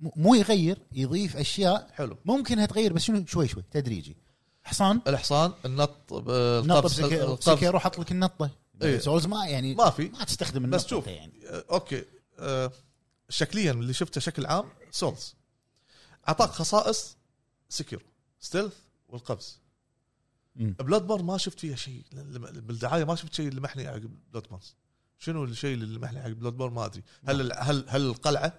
Speaker 4: م- مو يغير يضيف اشياء
Speaker 2: حلو
Speaker 4: ممكن تغير بس شنو شوي شوي تدريجي حصان
Speaker 2: الحصان النط ب-
Speaker 4: نط
Speaker 2: القفز
Speaker 4: بسكي- بسكي
Speaker 2: القفز
Speaker 4: روح حط لك النطه
Speaker 2: إيه.
Speaker 4: سولز ما يعني
Speaker 2: ما في
Speaker 4: ما تستخدم النطه
Speaker 2: بس شوف
Speaker 4: يعني
Speaker 2: آه، اوكي آه، شكليا اللي شفته شكل عام سولز اعطاك خصائص سكر ستيلث والقفز
Speaker 4: مم.
Speaker 2: بلاد بورن ما شفت فيها شيء لما- بالدعايه ما شفت شيء اللي محني حق بلاد بورن شنو الشيء اللي محني حق بلاد بورن ما ادري
Speaker 4: نعم.
Speaker 2: هل هل هل القلعه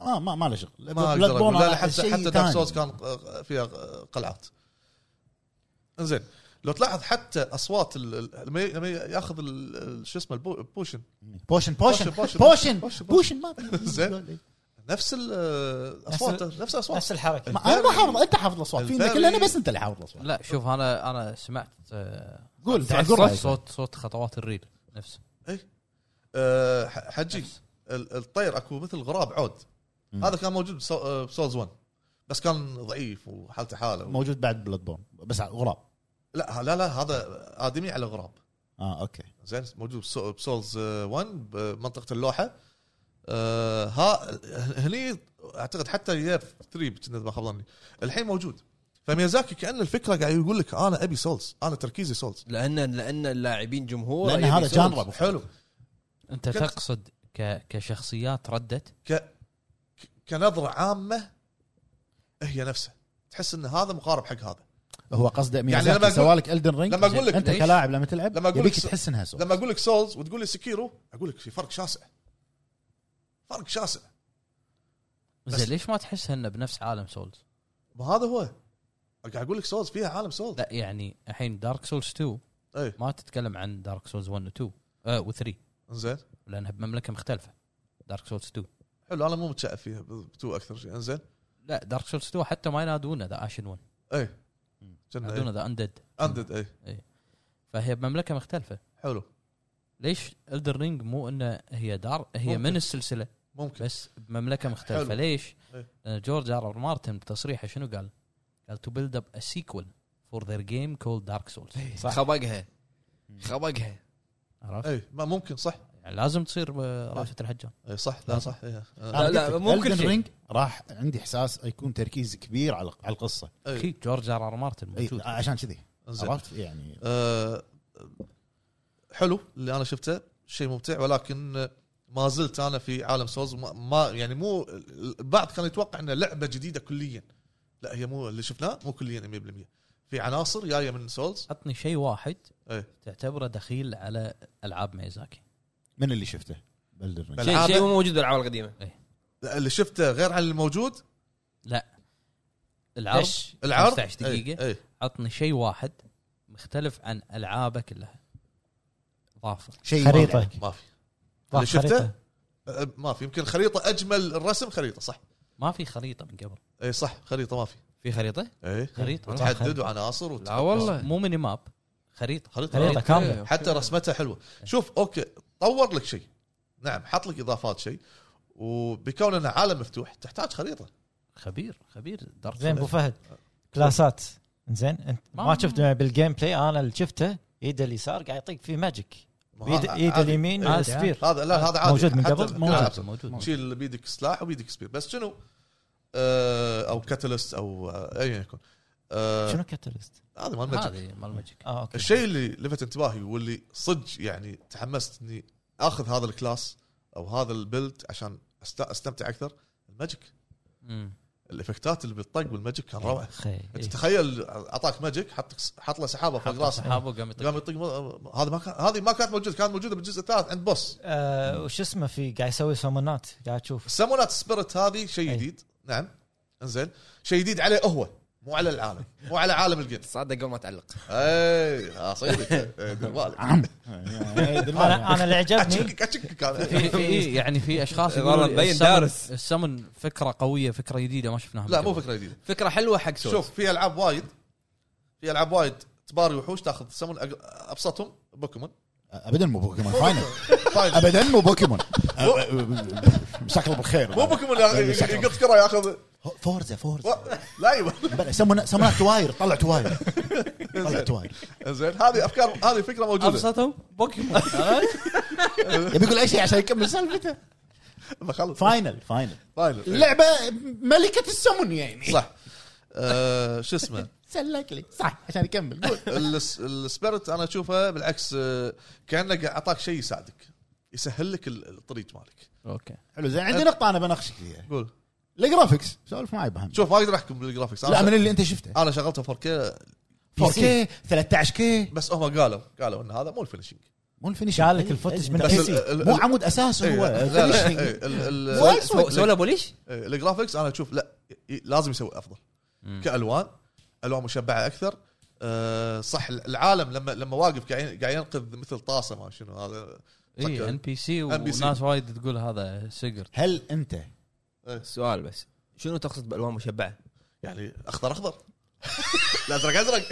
Speaker 4: اه ما ما له شغل
Speaker 2: ما
Speaker 4: Bloodborne
Speaker 2: اقدر اقول لا لا حتى
Speaker 4: شيء
Speaker 2: حتى دارك
Speaker 4: ثاني.
Speaker 2: سولز كان آه، فيها آه، قلعات انزين لو تلاحظ حتى اصوات ال- ال- لما ي- لما ياخذ ال- ال- شو اسمه البو- البوشن
Speaker 4: بوشن بوشن
Speaker 2: بوشن-
Speaker 4: بوشن
Speaker 2: بوشن-
Speaker 4: بوشن ما
Speaker 2: زين. نفس الاصوات نفس الاصوات
Speaker 5: نفس الحركه
Speaker 4: ما انا ما حافظ انت حافظ الاصوات فينا
Speaker 2: الفيري-
Speaker 4: كلنا بس انت اللي حافظ الاصوات
Speaker 3: لا شوف انا انا سمعت آه،
Speaker 4: قول
Speaker 3: سمعت
Speaker 4: قول
Speaker 3: صوت
Speaker 4: رأيك.
Speaker 3: صوت, صوت خطوات الريل نفسه
Speaker 2: آه، ح- حجي
Speaker 3: نفس.
Speaker 2: ال- الطير اكو مثل غراب عود
Speaker 4: مم.
Speaker 2: هذا كان موجود بسو- آه، بسولز 1 بس كان ضعيف وحالته حاله
Speaker 4: موجود بعد بلاد بورن بس غراب
Speaker 2: لا لا لا هذا ادمي على غراب
Speaker 4: اه اوكي
Speaker 2: زين موجود بسو- بسولز آه، 1 بمنطقه اللوحه آه، ها هني اعتقد حتى ياب 3 كنا ما خاب ظني الحين موجود فميازاكي كان الفكره قاعد يقول لك انا ابي سولز انا تركيزي سولز
Speaker 1: لان لان اللاعبين جمهور
Speaker 4: لان
Speaker 1: يبي
Speaker 4: هذا
Speaker 1: سولز.
Speaker 4: جانرا
Speaker 2: حلو
Speaker 3: انت
Speaker 2: كنت-
Speaker 3: تقصد ك كشخصيات ردت
Speaker 2: كنظره عامه هي نفسها تحس ان هذا مقارب حق هذا
Speaker 4: هو قصده
Speaker 2: يعني لما
Speaker 4: ميازاكي
Speaker 2: أقول-
Speaker 4: سوالك الدن رينج
Speaker 2: لما أقول لك
Speaker 4: انت
Speaker 1: ليش؟
Speaker 4: كلاعب لما تلعب
Speaker 2: لما أقول
Speaker 4: يبيك
Speaker 2: لك-
Speaker 4: تحس انها سولز
Speaker 2: لما اقول لك سولز وتقول لي سكيرو اقول لك في فرق شاسع فرق شاسع بس-
Speaker 3: زين ليش ما تحس انه بنفس عالم سولز؟
Speaker 2: ما هذا هو قاعد اقول لك سولز فيها عالم سولز
Speaker 3: لا يعني الحين دارك سولز 2
Speaker 2: اي
Speaker 3: ما تتكلم عن دارك سولز 1 و 2 آه و 3
Speaker 2: زين
Speaker 3: لانها بمملكه مختلفه دارك سولز 2
Speaker 2: حلو انا مو متشائم فيها بتو اكثر شيء انزين
Speaker 3: لا دارك سولز 2 حتى ما ينادونه ذا اشن
Speaker 2: إيه. اي
Speaker 3: 1 ينادونه
Speaker 2: كنا إيه،
Speaker 3: ذا اندد
Speaker 2: اندد اي
Speaker 3: فهي بمملكه مختلفه
Speaker 2: حلو
Speaker 3: ليش الدر رينج مو انه هي دار هي
Speaker 2: ممكن.
Speaker 3: من السلسله
Speaker 2: ممكن
Speaker 3: بس بمملكه مختلفه
Speaker 2: حلو.
Speaker 3: ليش؟
Speaker 2: إيه.
Speaker 3: لان جورج ار ار مارتن بتصريحه شنو قال؟ قال تو بيلد اب ا سيكول فور ذير جيم كولد دارك سولز
Speaker 1: خبقها خبقها
Speaker 3: عرفت؟
Speaker 2: اي إيه، ما ممكن صح
Speaker 3: يعني لازم تصير
Speaker 2: إيه.
Speaker 3: آه، رافعه الحجان
Speaker 2: اي صح لا صح إيه. آه.
Speaker 1: لا، لا، مو كل شيء.
Speaker 4: رينج راح عندي احساس يكون تركيز كبير على على القصه
Speaker 2: إيه.
Speaker 3: اخي جورج ار ار مارتن
Speaker 4: أي،
Speaker 3: موجود
Speaker 4: عشان كذي
Speaker 2: إنزين.
Speaker 4: عرفت يعني
Speaker 2: آه، حلو اللي انا شفته شيء ممتع ولكن ما زلت انا في عالم سولز ما- ما يعني مو البعض كان يتوقع انه لعبه جديده كليا لا هي مو اللي شفناه مو كليا 100% في عناصر جايه من سولز
Speaker 3: عطني شيء واحد
Speaker 2: إيه.
Speaker 3: تعتبره دخيل على العاب ميزاكي
Speaker 4: من اللي شفته بلدر رينج
Speaker 2: بل-
Speaker 1: شيء
Speaker 2: ألعاب-
Speaker 1: شيء مو موجود بالالعاب القديمه
Speaker 2: لا، اللي شفته غير عن الموجود
Speaker 3: العرض
Speaker 1: ليش؟
Speaker 2: العرض إيه.
Speaker 3: 15 دقيقه
Speaker 2: اي, أي.
Speaker 3: عطني شيء واحد مختلف عن العابه كلها اضافه
Speaker 4: شيء
Speaker 5: خريطة.
Speaker 4: يمر عليك.
Speaker 2: إيه، ما في
Speaker 5: طاح
Speaker 2: اللي شفته
Speaker 5: خريطة.
Speaker 2: آه، ما في يمكن خريطه اجمل الرسم خريطه صح
Speaker 3: ما في خريطه من قبل
Speaker 2: اي إيه، صح خريطه ما في
Speaker 1: في خريطه؟
Speaker 5: إيه.
Speaker 2: اي
Speaker 3: خريطه
Speaker 2: وتحدد وعناصر وت...
Speaker 1: لا والله
Speaker 3: إيه.
Speaker 1: إيه.
Speaker 3: مو ميني ماب خريطه
Speaker 2: خريطه
Speaker 5: خريطه كامله
Speaker 2: حتى رسمتها حلوه شوف اوكي طور لك شيء نعم حط لك اضافات شيء وبكون انه عالم مفتوح تحتاج خريطه
Speaker 3: خبير خبير دارك
Speaker 5: زين ابو
Speaker 3: سولز.
Speaker 5: فهد كلاسات زين انت ما
Speaker 3: ما-
Speaker 5: شفت بالجيم بلاي انا اللي شفته ايده اليسار قاعد يعطيك فيه ماجيك
Speaker 2: ما
Speaker 5: بيد-
Speaker 2: ه-
Speaker 5: ايده
Speaker 2: عادي.
Speaker 5: اليمين
Speaker 3: عادي.
Speaker 5: سبير
Speaker 2: هذا لا هذا عادي
Speaker 5: موجود من
Speaker 2: حتى
Speaker 5: قبل؟
Speaker 2: في
Speaker 5: موجود.
Speaker 2: الألعاب.
Speaker 3: موجود موجود
Speaker 2: تشيل بيدك سلاح وبيدك سبير بس شنو آه او كاتاليست او آه، ايا يكن آه،
Speaker 5: شنو كاتاليست؟
Speaker 2: هذا مال ماجيك
Speaker 3: هذه مال ماجيك
Speaker 5: اه اوكي
Speaker 2: الشيء اللي لفت انتباهي واللي صدق يعني تحمست اني اخذ هذا الكلاس او هذا البيلد عشان أست- استمتع اكثر الماجيك
Speaker 3: مم.
Speaker 2: الافكتات اللي بالطق والماجيك كان روعه
Speaker 5: خي
Speaker 2: انت تخيل اعطاك ماجيك حط حط له سحابه فوق
Speaker 3: حط
Speaker 2: راسه
Speaker 3: سحابه وقام يطق
Speaker 2: قام يطق هذا ما كان هذه ما كانت موجوده كانت موجوده بالجزء الثالث عند بوس
Speaker 5: آه، وش اسمه في قاعد يسوي سمونات قاعد تشوف
Speaker 2: السمونات سبيريت هذه شيء
Speaker 5: أي.
Speaker 2: جديد نعم انزين شيء جديد عليه هو مو على العالم مو على عالم إيه، آه، الجنس
Speaker 1: صادق قبل ما تعلق
Speaker 2: اي ها صدق إي، دير بالك.
Speaker 4: عم
Speaker 5: انا انا اللي عجبني
Speaker 2: اشكك اشكك انا
Speaker 3: في في يعني في اشخاص
Speaker 1: والله
Speaker 3: يقولوا لي
Speaker 1: مبين
Speaker 3: السمن-
Speaker 1: دارس.
Speaker 3: السمن فكره قويه فكره جديده ما شفناها
Speaker 2: لا
Speaker 3: من
Speaker 2: مو
Speaker 3: قبل.
Speaker 2: فكره جديده
Speaker 1: فكره حلوه حق سولز
Speaker 2: شوف في العاب وايد في العاب وايد تباري وحوش تاخذ سمون أق- ابسطهم بوكيمون
Speaker 4: ابدا مو بوكيمون فاينل
Speaker 2: فاين.
Speaker 4: ابدا مو بوكيمون مساك الله بالخير
Speaker 2: مو بوكيمون يا- يقط كره ياخذ
Speaker 4: فورزا فورزا
Speaker 2: لا أيوة. يبا
Speaker 4: بلى، سمونا سمونا تواير طلع تواير طلع تواير
Speaker 2: زين هذه افكار هذه فكره موجوده
Speaker 3: ابسطهم بوكيمون أه؟
Speaker 4: يبي يقول اي شيء عشان يكمل سالفته
Speaker 2: بخلص
Speaker 4: فاينل فاينل
Speaker 2: فاينل
Speaker 4: اللعبه ملكه السمن يعني
Speaker 2: صح آه، شو اسمه
Speaker 4: سلك لي صح عشان يكمل قول
Speaker 2: الس- السبيرت انا اشوفه بالعكس آه، كانه قاعد اعطاك شيء يساعدك يسهل لك ال- الطريق مالك
Speaker 3: اوكي
Speaker 4: حلو زين عندي نقطه انا بناقشك فيها
Speaker 2: قول
Speaker 4: الجرافكس سولف معي بهم
Speaker 2: شوف ما اقدر احكم بالجرافكس
Speaker 4: لا من
Speaker 2: انا
Speaker 4: اللي انت شفته
Speaker 2: انا شغلته 4K
Speaker 4: 4 كي 13 كي
Speaker 2: بس هم قالوا قالوا ان هذا مو الفينشنج
Speaker 4: مو الفينش
Speaker 5: قال لك الفوتج من
Speaker 2: بس
Speaker 5: البي سي
Speaker 2: ال- ال-
Speaker 4: مو عمود اساس
Speaker 2: إيه،
Speaker 4: هو
Speaker 2: لا، لا،
Speaker 4: finishing.
Speaker 2: إيه، ال- ال-
Speaker 4: وايد
Speaker 1: سو- سولا بوليش
Speaker 2: إيه، الجرافكس انا اشوف لا ي- لازم يسوي افضل
Speaker 3: مم.
Speaker 2: كالوان الوان مشبعه اكثر أه صح العالم لما لما واقف قاعد قاعد ينقذ مثل طاسه ما شنو هذا
Speaker 4: إيه،
Speaker 3: اي ان
Speaker 2: فكر.
Speaker 3: بي سي
Speaker 2: NPC.
Speaker 3: وناس وايد تقول هذا سيجر
Speaker 4: هل انت
Speaker 1: سؤال بس شنو تقصد بالوان مشبعه؟
Speaker 2: يعني اخضر اخضر لا ازرق ازرق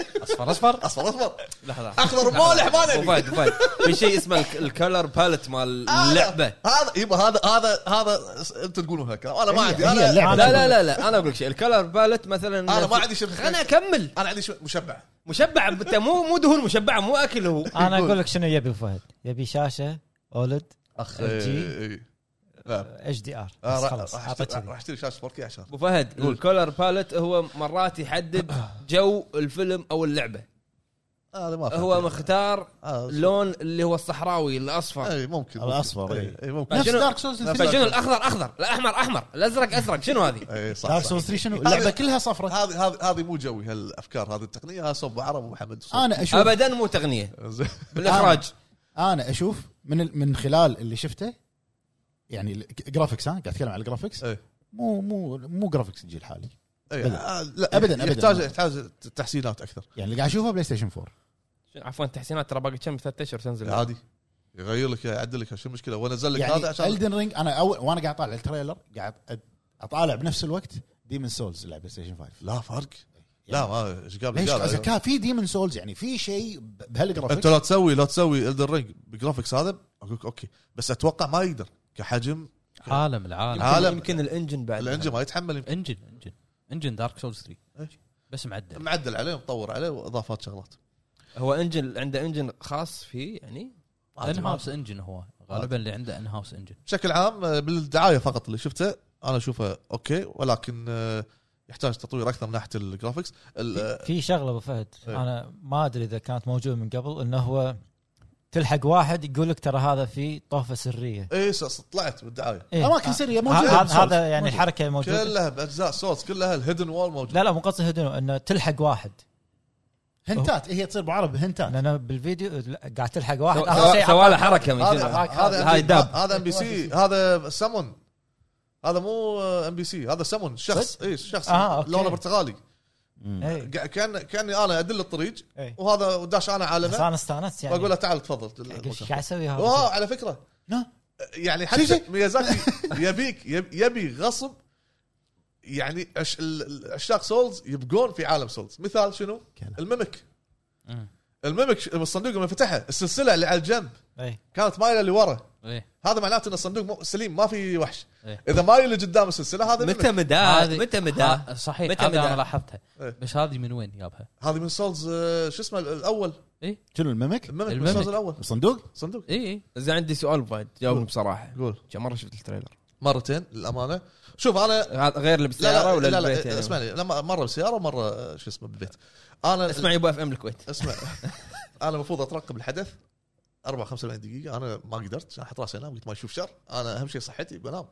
Speaker 3: اصفر اصفر
Speaker 2: اصفر اصفر
Speaker 1: لحظه
Speaker 2: اخضر مالح ما
Speaker 1: أبو
Speaker 2: ندري
Speaker 1: فهد أبو فهد، في شيء اسمه الك- الكلر باليت مال
Speaker 2: آه.
Speaker 1: اللعبه
Speaker 2: هذا يبا هذا هذا هذا س- انتم تقولون هالكلام انا ما
Speaker 4: هي-
Speaker 2: عندي
Speaker 4: هي
Speaker 2: انا
Speaker 4: اللعبة.
Speaker 1: آه، لا لا لا لا انا اقول لك شيء الكلر باليت مثلا
Speaker 2: انا ما عندي شبه
Speaker 1: خليني
Speaker 2: انا
Speaker 1: اكمل
Speaker 2: انا عندي شبه مشبع
Speaker 1: مشبع انت مو مو دهون مشبعه مو اكل هو
Speaker 5: انا اقول لك شنو يبي فهد يبي شاشه اولد
Speaker 2: اخ
Speaker 5: جي.
Speaker 2: لا
Speaker 5: اتش دي ار
Speaker 2: آه، إيه، راح-
Speaker 5: خلاص
Speaker 2: راح
Speaker 5: اعطيت
Speaker 2: أشتري-
Speaker 5: كذي.
Speaker 2: راح اشتري شاشه 4K عشان
Speaker 1: ابو فهد
Speaker 2: قول.
Speaker 1: الكولر باليت هو مرات يحدد جو الفيلم او اللعبه
Speaker 2: هذا ما فهمت.
Speaker 1: هو مختار
Speaker 2: آه،
Speaker 1: لون اللي هو الصحراوي الاصفر
Speaker 2: اي إيه، ممكن
Speaker 4: الأصفر،
Speaker 2: اي
Speaker 4: إي.
Speaker 2: إي، ممكن
Speaker 4: إيه. نفس
Speaker 1: شنو-
Speaker 4: دارك سولز
Speaker 2: نفس
Speaker 4: 3
Speaker 1: فشنو الاخضر اخضر الاحمر احمر الازرق ازرق شنو هذه؟
Speaker 2: اي إيه، صح
Speaker 4: دارك
Speaker 2: صح.
Speaker 4: سولز 3 شنو اللعبه
Speaker 2: هذه-
Speaker 4: كلها صفرة
Speaker 2: هذه هذه هذه مو جوي هالافكار هذه التقنيه هذا صوب عرب ومحمد صوب.
Speaker 4: انا اشوف
Speaker 1: ابدا مو تغنيه
Speaker 2: زين.
Speaker 1: بالاخراج
Speaker 4: انا اشوف من ال- من خلال اللي شفته يعني الجرافكس ها قاعد اتكلم عن الجرافكس
Speaker 2: إيه.
Speaker 4: مو مو مو جرافكس الجيل الحالي
Speaker 2: إي،
Speaker 4: أبداً.
Speaker 2: آه، لا
Speaker 4: أبداً،
Speaker 2: يحتاج-
Speaker 4: أبداً.
Speaker 2: يحتاج يحتاج تحسينات اكثر
Speaker 4: يعني اللي قاعد اشوفه بلاي ستيشن 4
Speaker 1: عفوا تحسينات ترى باقي كم ثلاث اشهر تنزل
Speaker 2: عادي يغير لك يعدل لك شو المشكله وانزل لك هذا
Speaker 4: يعني
Speaker 2: عشان
Speaker 4: الدن رينج انا اول وانا قاعد اطالع التريلر قاعد أ- اطالع بنفس الوقت ديمن سولز اللي على بلاي ستيشن 5
Speaker 2: لا فرق لا ما ايش قبل
Speaker 4: يعني ليش
Speaker 2: قال.
Speaker 4: كان في ديمن سولز يعني في شيء ب-
Speaker 2: انت
Speaker 4: بهالجرافكس
Speaker 2: لا تسوي لا تسوي الدن رينج بجرافكس هذا اقول لك اوكي بس اتوقع ما يقدر كحجم
Speaker 3: عالم العالم
Speaker 2: آه. عالم.
Speaker 1: يمكن, يمكن الانجن بعد
Speaker 2: الانجن ما يتحمل يمكن.
Speaker 3: انجن انجن انجن دارك سولز 3
Speaker 2: إيش؟
Speaker 3: بس
Speaker 4: إيه.
Speaker 3: معدل
Speaker 2: معدل عليه ومطور عليه واضافات شغلات
Speaker 1: هو انجن عنده انجن خاص فيه يعني
Speaker 3: ان هاوس انجن هو غالبا اللي عنده ان هاوس انجن
Speaker 2: بشكل عام آه، بالدعايه فقط اللي شفته انا اشوفه اوكي ولكن آه، يحتاج تطوير اكثر من ناحيه الجرافكس ال- آه،
Speaker 5: في شغله ابو فهد
Speaker 2: إيه.
Speaker 5: انا ما ادري اذا كانت موجوده من قبل انه هو تلحق واحد يقول لك ترى هذا في طوفه سريه
Speaker 2: ايه س- س- طلعت بالدعايه
Speaker 5: إيه.
Speaker 4: اماكن سريه موجوده
Speaker 5: ه- هذا
Speaker 4: بالسولز.
Speaker 5: هذا يعني
Speaker 4: موجود.
Speaker 5: الحركه موجوده
Speaker 2: كلها باجزاء سولز كلها الهيدن وول موجود
Speaker 5: لا لا مو قصدي هدنه انه تلحق واحد
Speaker 4: هنتات هي تصير بعرب
Speaker 2: آه.
Speaker 4: هنتات
Speaker 5: لان بالفيديو لا، قاعد تلحق واحد
Speaker 1: سو-
Speaker 5: اخر شيء
Speaker 1: سو- سوى له حركه من
Speaker 2: هذا
Speaker 1: شنو.
Speaker 2: هذا
Speaker 1: يعني هاي
Speaker 2: MB
Speaker 1: داب.
Speaker 2: هذا ام بي سي هذا سمون هذا مو آه، ام بي سي هذا سمون شخص اي شخص
Speaker 5: آه، أوكي.
Speaker 2: لونه برتقالي
Speaker 5: إيه.
Speaker 2: قا- كان كاني انا ادل الطريق
Speaker 5: إيه.
Speaker 2: وهذا داش انا
Speaker 5: بس
Speaker 2: عالمه
Speaker 5: انا استانست يعني
Speaker 2: واقول له تعال تفضل
Speaker 5: ايش قاعد يسوي هذا
Speaker 2: واه على فكره
Speaker 4: نعم.
Speaker 2: يعني
Speaker 4: شي
Speaker 2: حتى
Speaker 4: شي.
Speaker 2: ميازاكي يبيك يب- يبي غصب يعني عش- ال- ال- عشاق سولز يبقون في عالم سولز مثال شنو؟
Speaker 4: كلا.
Speaker 2: الميمك
Speaker 3: مم.
Speaker 2: الميمك ش- الصندوق لما فتحه السلسله اللي على الجنب
Speaker 5: إيه.
Speaker 2: كانت مايله لورا
Speaker 3: ايه
Speaker 2: هذا معناته ان الصندوق مو- سليم ما في وحش
Speaker 3: إيه.
Speaker 2: اذا مايل قدام السلسله هذا
Speaker 1: متى
Speaker 2: متى
Speaker 1: مداه آه، متى مداه
Speaker 3: ها- صحيح
Speaker 1: متى
Speaker 3: متى
Speaker 1: مدى؟
Speaker 3: انا لاحظتها
Speaker 2: إيه.
Speaker 3: بس هذه من وين جابها؟
Speaker 2: هذه من سولز آه، شو اسمه ال- الاول
Speaker 4: شنو الممك
Speaker 2: الميمك, من
Speaker 3: الميمك.
Speaker 2: سولز الاول
Speaker 4: صندوق
Speaker 2: صندوق
Speaker 3: اي اي
Speaker 1: اذا إيه، عندي سؤال بعد جاوبني بصراحه
Speaker 2: قول
Speaker 1: كم مره شفت التريلر
Speaker 2: مرتين للامانه شوف انا
Speaker 1: هذا غير اللي
Speaker 2: لا
Speaker 1: بالسياره
Speaker 2: لا
Speaker 1: ولا
Speaker 2: لا, لا,
Speaker 1: البيت يعني؟
Speaker 2: اسمعني لما مره بسياره ومره آه، شو اسمه بالبيت انا
Speaker 1: اسمع يبو اف ام الكويت
Speaker 2: اسمع انا المفروض اترقب الحدث 44 دقيقة انا ما قدرت عشان احط راسي انام قلت ما يشوف شر انا اهم شيء صحتي بنام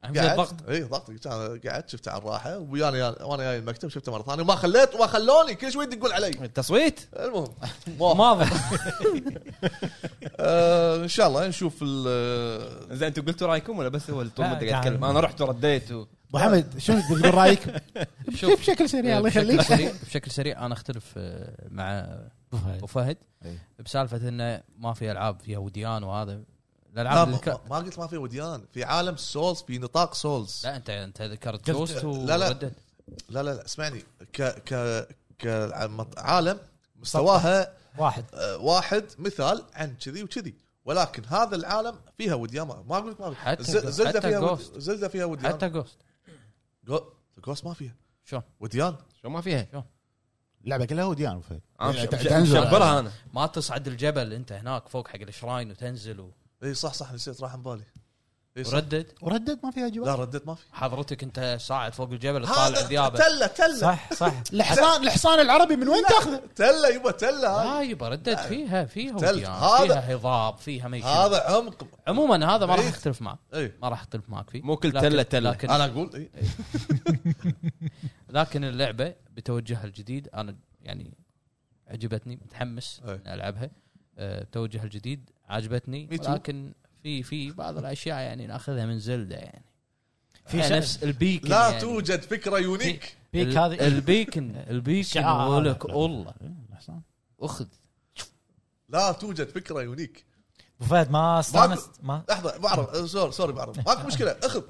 Speaker 3: الحين فيها
Speaker 2: قاعد
Speaker 3: ضغط
Speaker 2: ضغط اي ضغط كان قعدت شفته على الراحه ويانا وانا جاي المكتب شفته مره ثانيه وما خليت وما خلوني كل شوي يدقون علي
Speaker 1: التصويت
Speaker 2: المهم
Speaker 5: ماضي
Speaker 2: آه ان شاء الله نشوف ال-
Speaker 1: زين انتم قلتوا رايكم ولا بس هو طول
Speaker 5: لا،
Speaker 1: المده قاعد
Speaker 5: قاعد.
Speaker 1: يتكلم انا رحت ورديت و...
Speaker 4: ابو حمد شنو تقول رايك؟
Speaker 3: شوف
Speaker 4: بشكل سريع الله
Speaker 3: بشكل
Speaker 4: يخليك
Speaker 3: سريع بشكل سريع انا اختلف آه، مع ابو فهد
Speaker 4: إي.
Speaker 3: بسالفه انه ما في العاب فيها وديان وهذا
Speaker 2: لا
Speaker 3: الالعاب
Speaker 2: ما,
Speaker 3: اللي ذكر-
Speaker 2: ما قلت ما في وديان في عالم سولز في نطاق سولز
Speaker 3: لا انت انت ذكرت
Speaker 5: قلت-
Speaker 3: جوست
Speaker 2: لا، لا.
Speaker 3: وردت
Speaker 2: لا لا لا اسمعني ك ك كعالم مستواها
Speaker 5: واحد
Speaker 2: آه، واحد مثال عن كذي وكذي ولكن هذا العالم فيها وديان ما- ما اقول لك ما في
Speaker 3: حتى جو-
Speaker 2: ز- زلده
Speaker 3: حتى
Speaker 2: فيها ود-
Speaker 3: Ghost.
Speaker 2: زلده فيها وديان
Speaker 3: حتى جوست
Speaker 2: جو- جوست ما فيها
Speaker 3: شلون
Speaker 2: وديان
Speaker 1: شو ما فيها
Speaker 4: اللعبه كلها وديان أبو فهد
Speaker 1: أنا آه، مش-
Speaker 4: يعني
Speaker 1: مش-
Speaker 4: تنزل.
Speaker 1: مشبرها انا
Speaker 3: ما تصعد الجبل انت هناك فوق حق الشراين وتنزل و-
Speaker 2: اي صح صح نسيت راح عن بالي اي صح
Speaker 3: وردد
Speaker 4: وردد ما فيها
Speaker 2: لا
Speaker 4: جواب
Speaker 2: ردت ما في
Speaker 3: حضرتك انت صاعد فوق الجبل تطالع
Speaker 2: هذا
Speaker 3: ذيابه
Speaker 2: تله تله
Speaker 5: صح صح
Speaker 4: الحصان الحصان العربي من وين تاخذه؟
Speaker 2: تله يبا تله هاي.
Speaker 3: لا يبا ردد فيها فيها
Speaker 2: تل-
Speaker 3: وديان
Speaker 2: هذا-
Speaker 3: فيها هضاب فيها ما يشبه.
Speaker 2: هذا عمق
Speaker 3: عموما هذا ما راح
Speaker 2: إيه.
Speaker 3: اختلف معك
Speaker 2: اي
Speaker 3: ما راح اختلف معك فيه
Speaker 1: مو كل
Speaker 3: لكن-
Speaker 1: تلة تلة.
Speaker 3: لكن
Speaker 2: انا اقول اي
Speaker 3: لكن اللعبه بتوجهها الجديد انا يعني عجبتني متحمس
Speaker 2: أي.
Speaker 3: إني العبها أه، بتوجهها الجديد عجبتني
Speaker 2: Me too.
Speaker 3: لكن في في بعض الاشياء يعني ناخذها من زلده يعني
Speaker 5: في
Speaker 3: يعني
Speaker 5: شيء-
Speaker 3: نفس البيكن
Speaker 2: لا
Speaker 3: يعني.
Speaker 2: توجد فكره يونيك
Speaker 5: بيك
Speaker 3: ال-
Speaker 5: هذه-
Speaker 3: البيكن البيكن
Speaker 5: شعار.
Speaker 3: ولك والله
Speaker 4: إيه، الحصان
Speaker 3: اخذ
Speaker 2: لا توجد فكره يونيك
Speaker 5: ابو فهد ما استانست ما
Speaker 2: لحظه بعرف أه، سوري سوري بعرف ماكو مشكله اخذ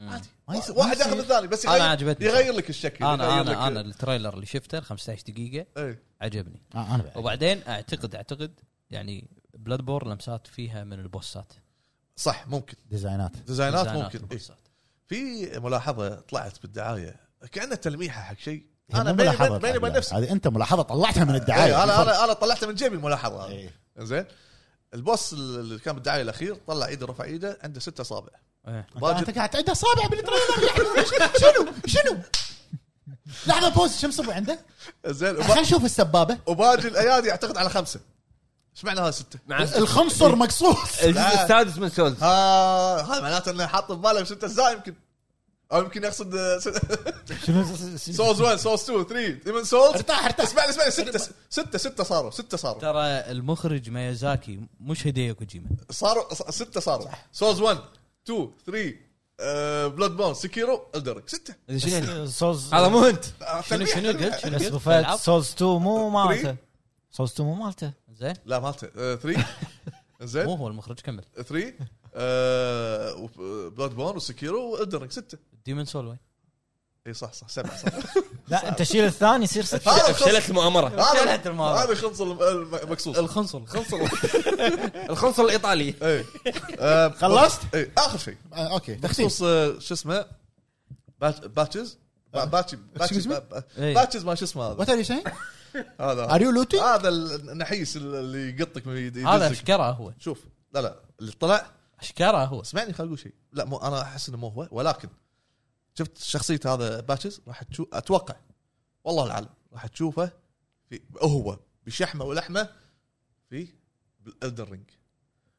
Speaker 3: عادي
Speaker 4: ما يصير- ما
Speaker 2: واحد
Speaker 4: يصير.
Speaker 2: ياخذ الثاني بس
Speaker 3: أنا
Speaker 2: يغير
Speaker 3: عجبتني.
Speaker 2: يغير لك الشكل
Speaker 3: انا
Speaker 2: يغير لك-
Speaker 3: انا انا التريلر اللي شفته ال 15 دقيقه
Speaker 2: إيه.
Speaker 3: عجبني
Speaker 4: آه، انا
Speaker 5: طيب.
Speaker 4: بعد.
Speaker 3: وبعدين اعتقد اعتقد يعني بلاد بور لمسات فيها من البوسات
Speaker 2: صح ممكن
Speaker 4: ديزاينات
Speaker 2: ديزاينات
Speaker 3: ديزاينات
Speaker 2: ممكن إيه.
Speaker 3: البوسات.
Speaker 2: في ملاحظه طلعت بالدعايه كانها تلميحه حق شيء
Speaker 4: هي
Speaker 2: انا
Speaker 4: يعني مو
Speaker 2: بيني
Speaker 4: ملاحظة
Speaker 2: بيني وبين
Speaker 4: طبعاً.
Speaker 2: نفسي
Speaker 4: هذه انت ملاحظه طلعتها من الدعايه
Speaker 2: إيه، انا انا انا طلعتها من جيبي الملاحظه هذه.
Speaker 4: إيه.
Speaker 2: زين البوس اللي كان بالدعايه الاخير طلع ايده رفع ايده عنده ست اصابع
Speaker 3: إيه.
Speaker 2: واجد-
Speaker 4: انت قاعد تعد اصابع بالتريلر يعني شنو شنو لحظه بوز شم صبع عنده
Speaker 2: زين وب-
Speaker 4: خلينا نشوف السبابه
Speaker 2: وباقي الايادي يعتقد على خمسه ايش معنى هذا سته؟
Speaker 1: مع
Speaker 4: الخنصر مقصوص
Speaker 1: الجزء السادس من سولز
Speaker 2: ها هذا معناته انه حاط بباله سته اجزاء يمكن او يمكن يقصد آه، س-
Speaker 5: شنو
Speaker 2: سولز 1 سولز 2 3 ديمن سولز
Speaker 4: ارتاح ارتاح
Speaker 2: اسمعني اسمعني سته سته سته صاروا سته صاروا
Speaker 3: ترى المخرج ميازاكي مش هديو كوجيما
Speaker 2: صاروا ص- سته صاروا سولز 1 2 3 بلاد بون سكيرو الدرك سته
Speaker 1: شنو يعني؟
Speaker 5: سولز
Speaker 1: هذا
Speaker 5: هذا
Speaker 1: مو انت
Speaker 2: آه،
Speaker 3: شنو
Speaker 2: تلميح،
Speaker 3: شنو
Speaker 2: تلميح.
Speaker 3: قلت شنو
Speaker 5: بس ابو
Speaker 3: قلت
Speaker 5: فهد
Speaker 3: العاب
Speaker 5: سولز 2 مو
Speaker 2: Three.
Speaker 5: مالته سولز 2 مو مالته
Speaker 3: زين
Speaker 2: لا مالته 3
Speaker 3: مو
Speaker 2: زين آه،
Speaker 3: هو المخرج كمل
Speaker 2: 3 بلاد بون وسكيرو والدرك سته
Speaker 3: ديمن سول وين
Speaker 2: اي إيه، صح صح سبعه صح
Speaker 5: لا انت شيل الثاني يصير ستة
Speaker 2: هذا الخنص-
Speaker 1: فشلت المؤامره
Speaker 2: هذا
Speaker 3: شلت المرة.
Speaker 2: هذا الخنص الم- المقصوص
Speaker 3: الخنصل
Speaker 1: الخنصر الايطالي
Speaker 2: ايه آه،
Speaker 4: خلصت؟
Speaker 2: ايه اخر شيء
Speaker 3: إيه.
Speaker 4: آه، اوكي تخصيص
Speaker 2: بخصوص آه، شو اسمه بات- باتشز با- باتشي باتشز
Speaker 4: Excuse me?
Speaker 2: با-
Speaker 3: آه. إيه.
Speaker 2: باتشز ما شو اسمه هذا
Speaker 4: وات ار يو سينج
Speaker 2: هذا
Speaker 4: ار يو لوتي
Speaker 2: هذا النحيس اللي يقطك من يد-
Speaker 3: هذا
Speaker 2: يدزك.
Speaker 3: اشكره هو
Speaker 2: شوف لا لا اللي طلع
Speaker 3: اشكره هو
Speaker 2: اسمعني خل اقول شيء لا مو انا احس انه مو هو ولكن شفت شخصيه هذا باتشز راح تشوف اتوقع والله العالم راح تشوفه في هو بشحمه ولحمه في الدر رينج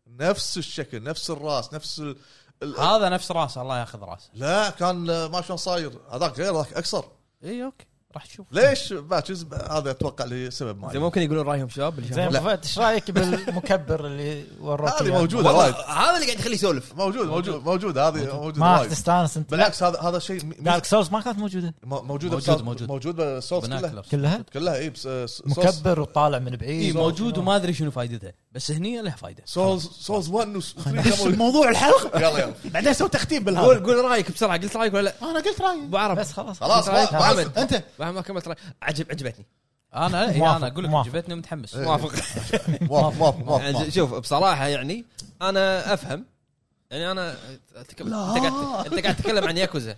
Speaker 2: نفس الشكل نفس الراس نفس ال... ال...
Speaker 3: هذا نفس راسه الله ياخذ راسه
Speaker 2: لا كان ما شلون صاير هذاك غير هذاك اقصر
Speaker 3: اي اوكي إيه، راح تشوف
Speaker 2: ليش باتشز هذا اتوقع لسبب
Speaker 1: زين
Speaker 2: معين
Speaker 1: ممكن يقولون رايهم شباب اللي
Speaker 5: زين
Speaker 1: شافوه.
Speaker 5: ابو فهد ايش رايك بالمكبر اللي وروك
Speaker 2: هذه
Speaker 5: إياه؟
Speaker 2: موجوده
Speaker 1: والله
Speaker 2: وايد
Speaker 1: هذا اللي قاعد يخليه يسولف
Speaker 2: موجود موجود موجود هذه موجوده
Speaker 5: ما راح
Speaker 2: وايد
Speaker 5: تستانس انت
Speaker 2: بالعكس هذا هذا شيء م-
Speaker 5: دارك سولز ما كانت موجوده
Speaker 2: م- موجوده
Speaker 3: موجود،
Speaker 2: بساوس-
Speaker 3: موجود.
Speaker 2: موجود بالسولز كلها
Speaker 3: بناكلرز.
Speaker 5: كلها
Speaker 2: كلها اي إيه، بس آه، سولز
Speaker 5: مكبر وطالع من
Speaker 3: اي
Speaker 5: بعيد
Speaker 3: إيه، موجود وما ادري شنو فائدتها بس هني لها فائده
Speaker 2: سولز سولز 1
Speaker 4: بس
Speaker 2: و3
Speaker 4: موضوع الحلقه
Speaker 2: يلا يلا
Speaker 4: بعدين سوي تختيم
Speaker 1: قول
Speaker 4: بالهذا
Speaker 1: قول رايك بسرعه قلت رايك ولا لا
Speaker 4: انا قلت رايي
Speaker 1: ابو عرب
Speaker 5: بس خلاص
Speaker 2: خلاص
Speaker 1: رايك
Speaker 2: ما- ما-
Speaker 1: محمد.
Speaker 4: انت
Speaker 1: ما ما كملت رايك عجب عجبتني
Speaker 3: انا إي،
Speaker 5: موافق،
Speaker 3: انا اقول إيه، لك
Speaker 5: موافق.
Speaker 3: عجبتني متحمس
Speaker 1: موافق
Speaker 2: موافق موافق موافق
Speaker 1: يعني
Speaker 2: موافق.
Speaker 1: شوف بصراحه يعني انا افهم يعني انا أتك- انت قاعد انت قاعد تتكلم عن ياكوزا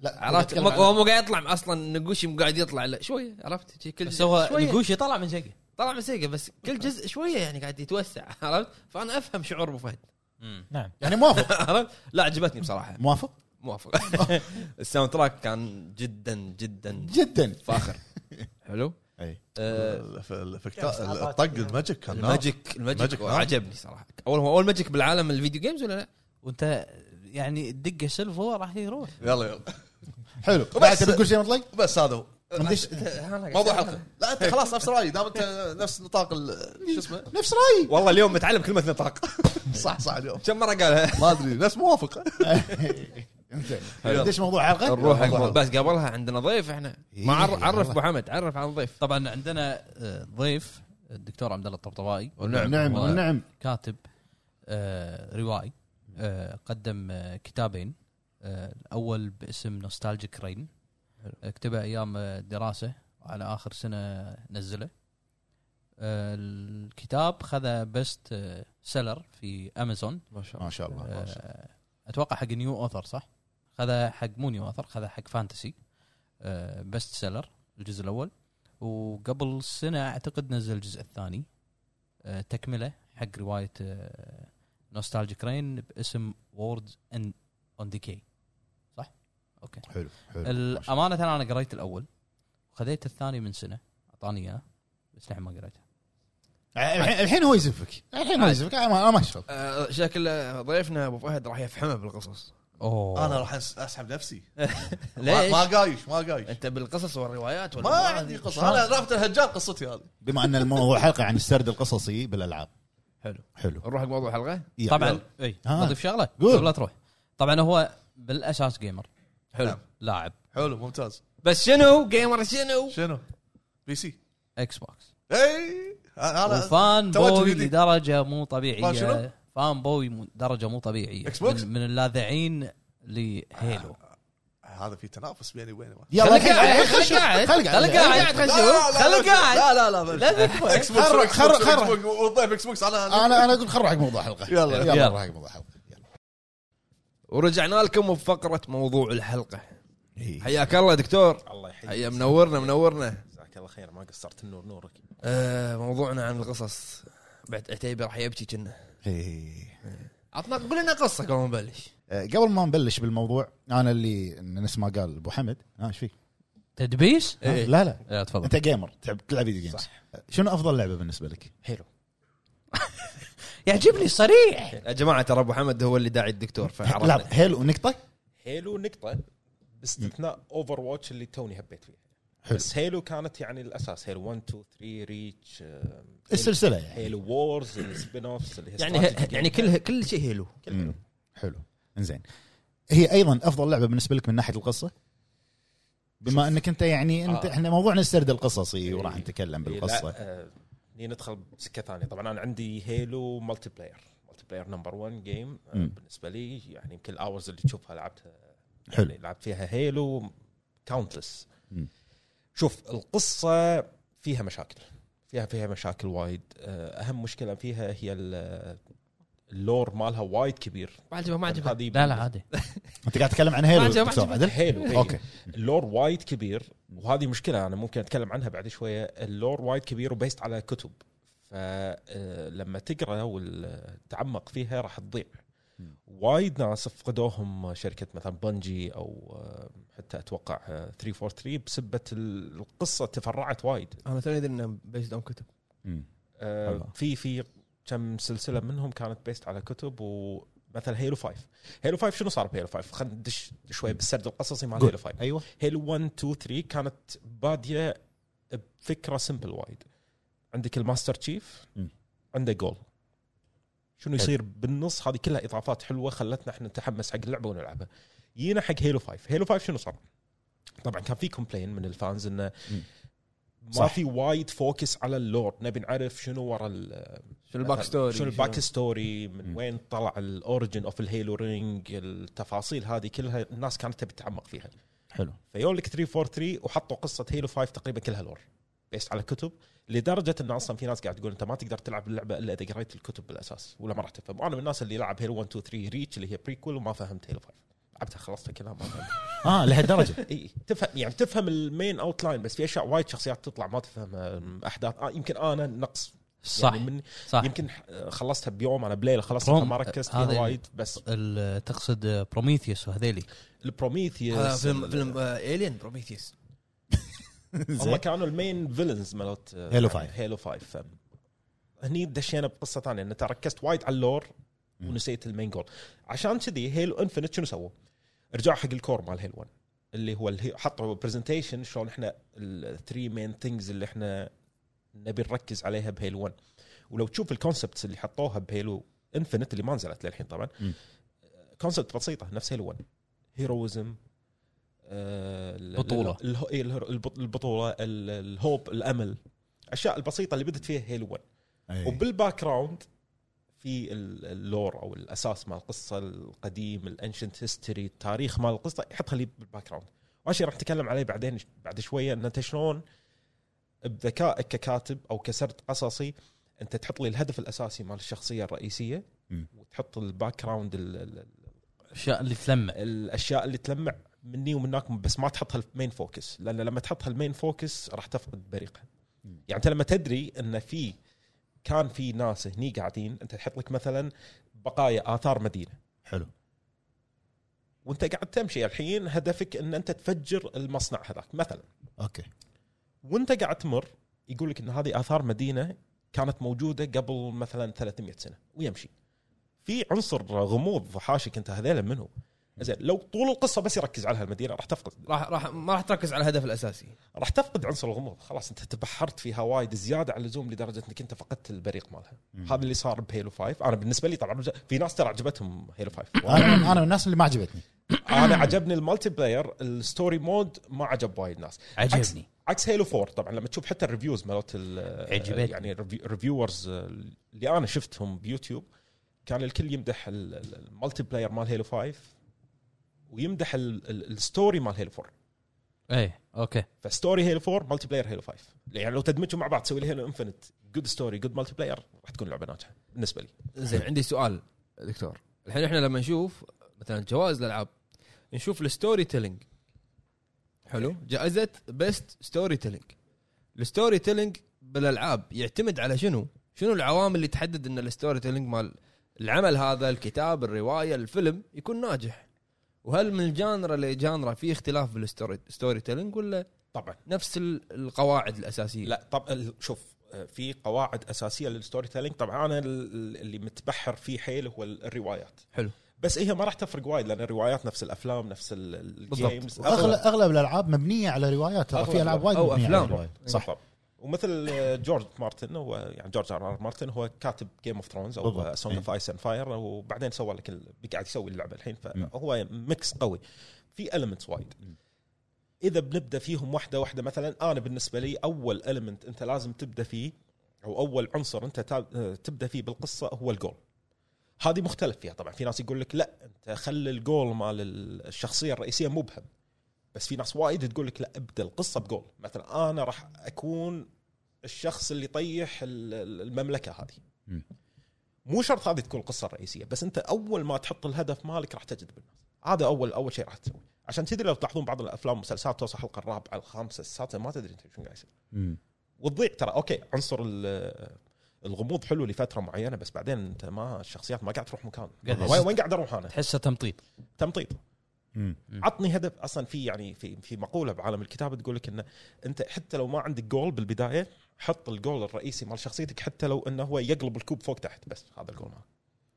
Speaker 4: لا
Speaker 1: عرفت
Speaker 4: بتكلم
Speaker 1: مو-
Speaker 4: عن-
Speaker 1: هو مو قاعد يطلع اصلا نقوشي مو قاعد يطلع الا شويه عرفت شي كل
Speaker 3: بس
Speaker 1: جزء
Speaker 3: هو
Speaker 1: شوية.
Speaker 3: نقوشي طلع من سيجا
Speaker 1: طلع من سيجا بس كل جزء شويه يعني قاعد يتوسع عرفت فانا افهم شعور ابو فهد
Speaker 5: نعم
Speaker 4: يعني موافق
Speaker 1: عرفت لا عجبتني بصراحه
Speaker 4: موافق
Speaker 1: موافق الساوند تراك كان جدا جدا
Speaker 4: جدا
Speaker 1: فاخر حلو
Speaker 4: أي.
Speaker 1: آه،
Speaker 2: الف- الافكتات الطق الماجيك كان نار.
Speaker 1: الماجيك الماجيك
Speaker 2: الماجيك نار.
Speaker 1: عجبني صراحه اول هو اول ماجيك بالعالم الفيديو جيمز ولا لا؟
Speaker 3: وانت يعني دقه سيلفر راح يروح
Speaker 2: يلا يلا
Speaker 4: حلو بعد تبي تقول شيء مطلق؟
Speaker 2: بس هذا هو
Speaker 4: ندش-
Speaker 2: موضوع حلقه لا انت خلاص نفس رايي دام انت نفس نطاق ال- شو اسمه
Speaker 4: نفس رايي
Speaker 1: والله اليوم متعلم كلمه نطاق
Speaker 2: صح صح اليوم
Speaker 1: كم مره قالها
Speaker 2: ما ادري نفس موافق
Speaker 4: انزين
Speaker 2: يلا.
Speaker 4: ندش موضوع حلقه
Speaker 1: نروح
Speaker 2: حق
Speaker 1: حق- بس قبلها عندنا ضيف احنا
Speaker 2: إيه،
Speaker 1: ما عر- عرف ابو حمد عرف عن الضيف
Speaker 3: طبعا عندنا آه، ضيف الدكتور عبد الله الطبطبائي
Speaker 1: ونعم.
Speaker 4: نعم
Speaker 3: والله
Speaker 4: نعم
Speaker 3: كاتب آه، روائي آه، قدم آه، كتابين آه، الاول باسم نوستالجيك رين كتبه ايام آه، الدراسه على اخر سنه نزله آه، الكتاب خذ بيست سيلر في امازون
Speaker 1: ما شاء الله
Speaker 4: ما شاء الله
Speaker 3: آه، اتوقع حق نيو اوثر صح؟ خذ حق مو نيو اوثر خذ حق فانتسي بست سيلر الجزء الاول وقبل سنه اعتقد نزل الجزء الثاني آه، تكمله حق روايه نوستالجيك رين باسم ووردز ان اون ديكي صح؟ اوكي
Speaker 4: حلو حلو ما شاء الله.
Speaker 3: الأمانة انا قريت الاول وخذيت الثاني من سنه اعطاني اياه بس لحين ما قريته
Speaker 4: الحين الحين هو يزفك الحين هو يزفك أنا ما أنا ما اشوف
Speaker 1: آه، شكل آه، ضيفنا ابو فهد راح يفهمه بالقصص
Speaker 3: اوه
Speaker 2: انا راح أس- اسحب نفسي ما
Speaker 1: ليش؟ إيه.
Speaker 2: ما قايش ما قايش
Speaker 1: انت بالقصص والروايات ولا
Speaker 2: ما عندي قصه انا رافت الهجان قصتي هذه
Speaker 4: بما ان الموضوع حلقه عن السرد القصصي بالالعاب
Speaker 1: حلو.
Speaker 4: حلو
Speaker 1: نروح حق موضوع الحلقه
Speaker 4: يلا.
Speaker 3: طبعا اي
Speaker 4: ها.
Speaker 3: اضيف شغله
Speaker 4: قول.
Speaker 3: إيه. قبل لا تروح طبعا هو بالاساس جيمر
Speaker 1: حلو
Speaker 3: لاعب
Speaker 2: نعم. حلو ممتاز
Speaker 1: بس شنو جيمر شنو؟
Speaker 2: شنو؟ بي سي
Speaker 3: اكس بوكس
Speaker 2: اي انا
Speaker 3: وفان
Speaker 2: توجه
Speaker 3: بوي
Speaker 2: جديد.
Speaker 3: لدرجه مو
Speaker 2: فان شنو؟
Speaker 3: طبيعيه فان بوي مو- درجه مو طبيعيه
Speaker 2: إكس بوكس؟
Speaker 3: من, من اللاذعين لهيلو
Speaker 2: هذا في تنافس بيني وبينه
Speaker 4: يلا الحين الحين
Speaker 3: خلي قاعد
Speaker 4: خلي قاعد.
Speaker 3: خلي قاعد
Speaker 2: لا،
Speaker 3: خلي
Speaker 2: لا،
Speaker 3: قاعد
Speaker 2: لا،
Speaker 3: خلي
Speaker 2: لا،
Speaker 3: قاعد
Speaker 2: لا لا لا
Speaker 3: لا تكفى.
Speaker 2: اكس بوكس
Speaker 4: خرج،
Speaker 2: اكس
Speaker 4: خرج،
Speaker 2: بوكس،
Speaker 4: خرج.
Speaker 2: اكس بوكس، والضيف اكس بوكس
Speaker 6: آه.
Speaker 2: على
Speaker 4: انا انا اقول خل نروح حق موضوع الحلقه
Speaker 2: يلا.
Speaker 4: يلا
Speaker 3: يلا.
Speaker 4: نروح حق موضوع الحلقه يلا.
Speaker 1: ورجعنا لكم بفقره موضوع الحلقه
Speaker 4: إيه.
Speaker 1: حياك الله دكتور
Speaker 7: الله يحييك
Speaker 1: هيا منورنا منورنا
Speaker 7: جزاك الله خير ما قصرت النور نورك
Speaker 1: آه موضوعنا عن القصص بعد عتيبي راح يبكي كنا
Speaker 4: إيه.
Speaker 1: عطنا قول لنا قصه قبل ما نبلش
Speaker 4: آه، قبل ما نبلش بالموضوع انا اللي نفس ما قال ابو حمد ها ايش فيك؟
Speaker 3: تدبيس؟
Speaker 4: ها؟
Speaker 1: إيه.
Speaker 4: لا لا
Speaker 3: لا تفضل
Speaker 4: انت جيمر تلعب تلعب فيديو جيمز
Speaker 7: صح
Speaker 4: شنو افضل لعبه بالنسبه لك؟
Speaker 7: حلو
Speaker 3: يعجبني صريح
Speaker 1: يا جماعه ترى ابو حمد هو اللي داعي الدكتور
Speaker 4: لا
Speaker 1: فعرفنا
Speaker 4: حلو نقطه
Speaker 7: إيه. هيلو نقطه باستثناء اوفر واتش اللي توني هبيت فيها
Speaker 4: حلو.
Speaker 7: بس هيلو كانت يعني الاساس هيلو 1 2 3 ريتش آه،
Speaker 4: السلسله يعني
Speaker 7: هيلو وورز السبين اوفس اللي هي
Speaker 1: يعني
Speaker 7: استراتيجي
Speaker 1: يعني كل كل شيء هيلو
Speaker 7: إيه.
Speaker 4: مم. حلو انزين هي ايضا افضل لعبه بالنسبه لك من ناحيه القصه بما انك انت يعني انت
Speaker 7: آه.
Speaker 4: احنا موضوعنا السرد القصصي
Speaker 7: إيه.
Speaker 4: وراح نتكلم
Speaker 7: إيه، لا،
Speaker 4: بالقصه
Speaker 7: آه، هني ندخل بسكه ثانيه طبعا انا عندي هيلو مالتي بلاير مالتي بلاير نمبر 1 جيم
Speaker 4: مم.
Speaker 7: بالنسبه آه، لي يعني يمكن الاورز اللي تشوفها لعبتها
Speaker 4: حلو
Speaker 7: يعني لعبت فيها هيلو كاونتلس
Speaker 4: مم.
Speaker 7: شوف القصه فيها مشاكل فيها فيها مشاكل وايد آه، اهم مشكله فيها هي ال- آه، اللور مالها وايد كبير يعني
Speaker 1: ما عجبه ما عجبه
Speaker 7: هذه
Speaker 3: لا لا عادي
Speaker 4: انت قاعد تتكلم عن
Speaker 1: ما
Speaker 4: هيلو
Speaker 1: عجب- ما
Speaker 4: دكتور
Speaker 1: عجب.
Speaker 4: عدل
Speaker 7: هيلو إيه.
Speaker 4: اوكي
Speaker 7: اللور وايد كبير وهذه مشكله انا ممكن اتكلم عنها بعد شويه اللور وايد كبير وبيست على كتب آه، فلما تقرا وتتعمق فيها راح تضيع
Speaker 4: مم.
Speaker 7: وايد ناس فقدوهم شركه مثلا بنجي او آه، حتى اتوقع آه، 343 بسبه ال- القصه تفرعت وايد
Speaker 1: انا توني ادري انه بيست اون كتب
Speaker 4: مم.
Speaker 7: آه،
Speaker 4: والله.
Speaker 7: في في كم سلسله منهم كانت بيست على كتب ومثلا هيلو 5 هيلو 5 شنو صار بهيلو 5 خلينا ندش شوي بالسرد القصصي مال
Speaker 4: قول.
Speaker 7: هيلو 5
Speaker 4: ايوه
Speaker 7: هيلو 1 2 3 كانت باديه بفكره سمبل وايد عندك الماستر تشيف
Speaker 4: مم.
Speaker 7: عنده جول شنو
Speaker 4: حلو.
Speaker 7: يصير بالنص هذه كلها اضافات حلوه خلتنا احنا نتحمس حق اللعبه ونلعبها جينا حق هيلو 5 هيلو 5 شنو صار طبعا كان في كومبلين من الفانز انه
Speaker 4: مم.
Speaker 7: ما
Speaker 4: صح.
Speaker 7: في وايد فوكس على اللور نبي نعرف شنو ورا ال-
Speaker 1: شنو الباك
Speaker 7: مثلاً
Speaker 1: ستوري
Speaker 7: أه، شنو الباك ستوري من
Speaker 4: مم.
Speaker 7: وين طلع الاوريجن اوف الهيلو رينج التفاصيل هذه كلها الناس كانت تبي تتعمق فيها
Speaker 4: حلو
Speaker 7: فيقول لك 343 وحطوا قصه هيلو 5 تقريبا كلها لور بيست على كتب لدرجه ان اصلا في ناس قاعد تقول انت ما تقدر تلعب اللعبه الا اذا قريت الكتب بالاساس ولا ما راح تفهم وانا من الناس اللي لعب هيلو 1 2 3 ريتش اللي هي بريكول وما فهمت هيلو 5 لعبتها خلصتها كلها ما فهمت
Speaker 5: Ah,
Speaker 4: اه لهالدرجه
Speaker 7: اي تفهم يعني تفهم المين اوت لاين بس في اشياء وايد شخصيات تطلع ما تفهم أم، احداث آه يمكن انا نقص
Speaker 3: صح
Speaker 7: يعني من
Speaker 3: صح
Speaker 7: يمكن ح- خلصتها بيوم انا بليله خلصتها
Speaker 3: بروم-
Speaker 7: ما ركزت
Speaker 3: آه. هذا
Speaker 7: فيها
Speaker 3: اللي-
Speaker 7: وايد بس
Speaker 3: ال- تقصد بروميثيوس وهذيلي
Speaker 1: هذا
Speaker 7: البروميثيوس
Speaker 1: فيلم فيلم آه، الين بروميثيوس
Speaker 7: هم
Speaker 4: زين
Speaker 7: كانوا المين فيلنز مالت آه، يعني
Speaker 4: Halo 5.
Speaker 7: هيلو 5 هني دشينا بقصه ثانيه انت ركزت وايد على اللور
Speaker 4: مم.
Speaker 7: ونسيت المين جول عشان كذي هيلو انفنت شنو سووا؟ رجعوا حق الكور مال هيلو 1 اللي هو الهي- حطوا برزنتيشن شلون احنا الثري مين ثينجز اللي احنا نبي نركز عليها بهيلو 1 ولو تشوف الكونسبتس اللي حطوها بهيلو انفنت اللي ما نزلت للحين طبعا
Speaker 4: مم.
Speaker 7: كونسبت بسيطه نفس هيلو 1 هيروزم آه،
Speaker 3: بطولة.
Speaker 7: إيه، البطوله ال- الهوب الامل الاشياء البسيطه اللي بدت فيها هيلو 1
Speaker 4: أي.
Speaker 7: وبالباك جراوند في ال- اللور او الاساس مال القصه القديم الانشنت هيستوري التاريخ مال القصه يحطها لي بالباك جراوند وهالشيء راح نتكلم عليه بعدين بعد شويه ان انت شلون بذكائك ككاتب او كسرد قصصي انت تحط لي الهدف الاساسي مال الشخصيه الرئيسيه
Speaker 4: مم.
Speaker 7: وتحط الباك جراوند ال- ال-
Speaker 3: الاشياء اللي تلمع
Speaker 7: الاشياء اللي تلمع مني ومنك بس ما تحطها المين فوكس لان لما تحطها المين فوكس راح تفقد بريقها
Speaker 4: مم.
Speaker 7: يعني انت لما تدري ان في كان في ناس هني قاعدين انت تحط لك مثلا بقايا اثار مدينه
Speaker 4: حلو
Speaker 7: وانت قاعد تمشي الحين هدفك ان انت تفجر المصنع هذاك مثلا
Speaker 4: اوكي
Speaker 7: وانت قاعد تمر يقول لك ان هذه اثار مدينه كانت موجوده قبل مثلا 300 سنه ويمشي في عنصر غموض حاشك انت هذيلا منه زين لو طول القصه بس يركز على هالمدينه راح تفقد
Speaker 1: راح راح ما راح تركز على الهدف الاساسي
Speaker 7: راح تفقد عنصر الغموض خلاص انت تبحرت فيها وايد زياده عن اللزوم لدرجه انك انت فقدت البريق مالها
Speaker 4: مم.
Speaker 7: هذا اللي صار بهيلو 5 انا بالنسبه لي طبعا في ناس ترى عجبتهم هيلو 5
Speaker 4: انا من- انا من الناس اللي ما عجبتني
Speaker 7: انا عجبني المالتي بلاير الستوري مود ما عجب وايد ناس
Speaker 3: عجبني
Speaker 7: عكس هيلو 4 طبعا لما تشوف حتى الريفيوز مالت ال-
Speaker 3: عجبتني.
Speaker 7: يعني الريفي- الريفيورز اللي انا شفتهم بيوتيوب كان الكل يمدح ال- ال- المالتي بلاير مال هيلو 5 ويمدح ال- ال- الستوري مال هيلو 4
Speaker 3: اي اوكي
Speaker 7: فستوري هيلو 4 مالتي بلاير هيلو 5 يعني لو تدمجهم مع بعض تسوي لي هيلو انفنت جود ستوري جود مالتي بلاير راح تكون لعبه ناجحه بالنسبه لي
Speaker 1: زين عندي سؤال دكتور الحين احنا لما نشوف مثلا جوائز الالعاب نشوف الستوري تيلينج حلو جائزه بيست ستوري تيلينج الستوري تيلينج بالالعاب يعتمد على شنو شنو العوامل اللي تحدد ان الستوري تيلينج مال العمل هذا الكتاب الروايه الفيلم يكون ناجح وهل من الجانرا لجانرا في اختلاف بالستوري ستوري تيلينج ولا
Speaker 7: طبعا
Speaker 1: نفس ال- القواعد الاساسيه
Speaker 7: لا طب ال- شوف آه، في قواعد اساسيه للستوري تيلينج طبعا انا ال- اللي متبحر فيه حيل هو ال- الروايات
Speaker 1: حلو.
Speaker 7: بس هي ما راح تفرق وايد لان الروايات نفس الافلام نفس ال-
Speaker 1: بالضبط.
Speaker 7: الجيمز
Speaker 4: اغلب اغلب الالعاب مبنيه على روايات ترى
Speaker 7: أغلب
Speaker 4: في العاب وايد
Speaker 1: أو
Speaker 4: مبنيه على
Speaker 1: أفلام.
Speaker 4: روايات
Speaker 7: صح ومثل آه، جورج مارتن هو يعني جورج ار ار مارتن هو كاتب جيم اوف ثرونز او
Speaker 4: بالضبط. إيه.
Speaker 7: سونج اوف ايس اند فاير وبعدين سوى لك ال- قاعد يسوي اللعبه الحين فهو ميكس قوي في المنتس وايد
Speaker 4: مم.
Speaker 7: اذا بنبدا فيهم واحده واحده مثلا انا بالنسبه لي اول المنت انت لازم تبدا فيه او اول عنصر انت تا- تبدا فيه بالقصه هو الجول هذه مختلف فيها طبعا في ناس يقول لك لا انت خلي الجول مال ال- الشخصيه الرئيسيه مبهم بس في ناس وايد تقول لك لا ابدا القصه بجول مثلا انا راح اكون الشخص اللي يطيح ال- ال- المملكه هذه
Speaker 4: مم.
Speaker 7: مو شرط هذه تكون القصه الرئيسيه بس انت اول ما تحط الهدف مالك راح تجذب الناس هذا اول اول شيء راح تسوي عشان تدري لو تلاحظون بعض الافلام والمسلسلات توصل حلقه الرابعه الخامسه السادسه ما تدري انت شنو قاعد يصير
Speaker 4: مم.
Speaker 7: وتضيع ترى اوكي عنصر ال- الغموض حلو لفتره معينه بس بعدين انت ما الشخصيات ما قاعد تروح مكان
Speaker 3: قاعد
Speaker 7: وين وين قاعد اروح انا
Speaker 3: تحسه تمطيط
Speaker 7: تمطيط
Speaker 4: مم.
Speaker 7: عطني هدف اصلا في يعني في في مقوله بعالم الكتابه تقول لك انه انت حتى لو ما عندك جول بالبدايه حط الجول الرئيسي مال شخصيتك حتى لو انه هو يقلب الكوب فوق تحت بس هذا الجول مالك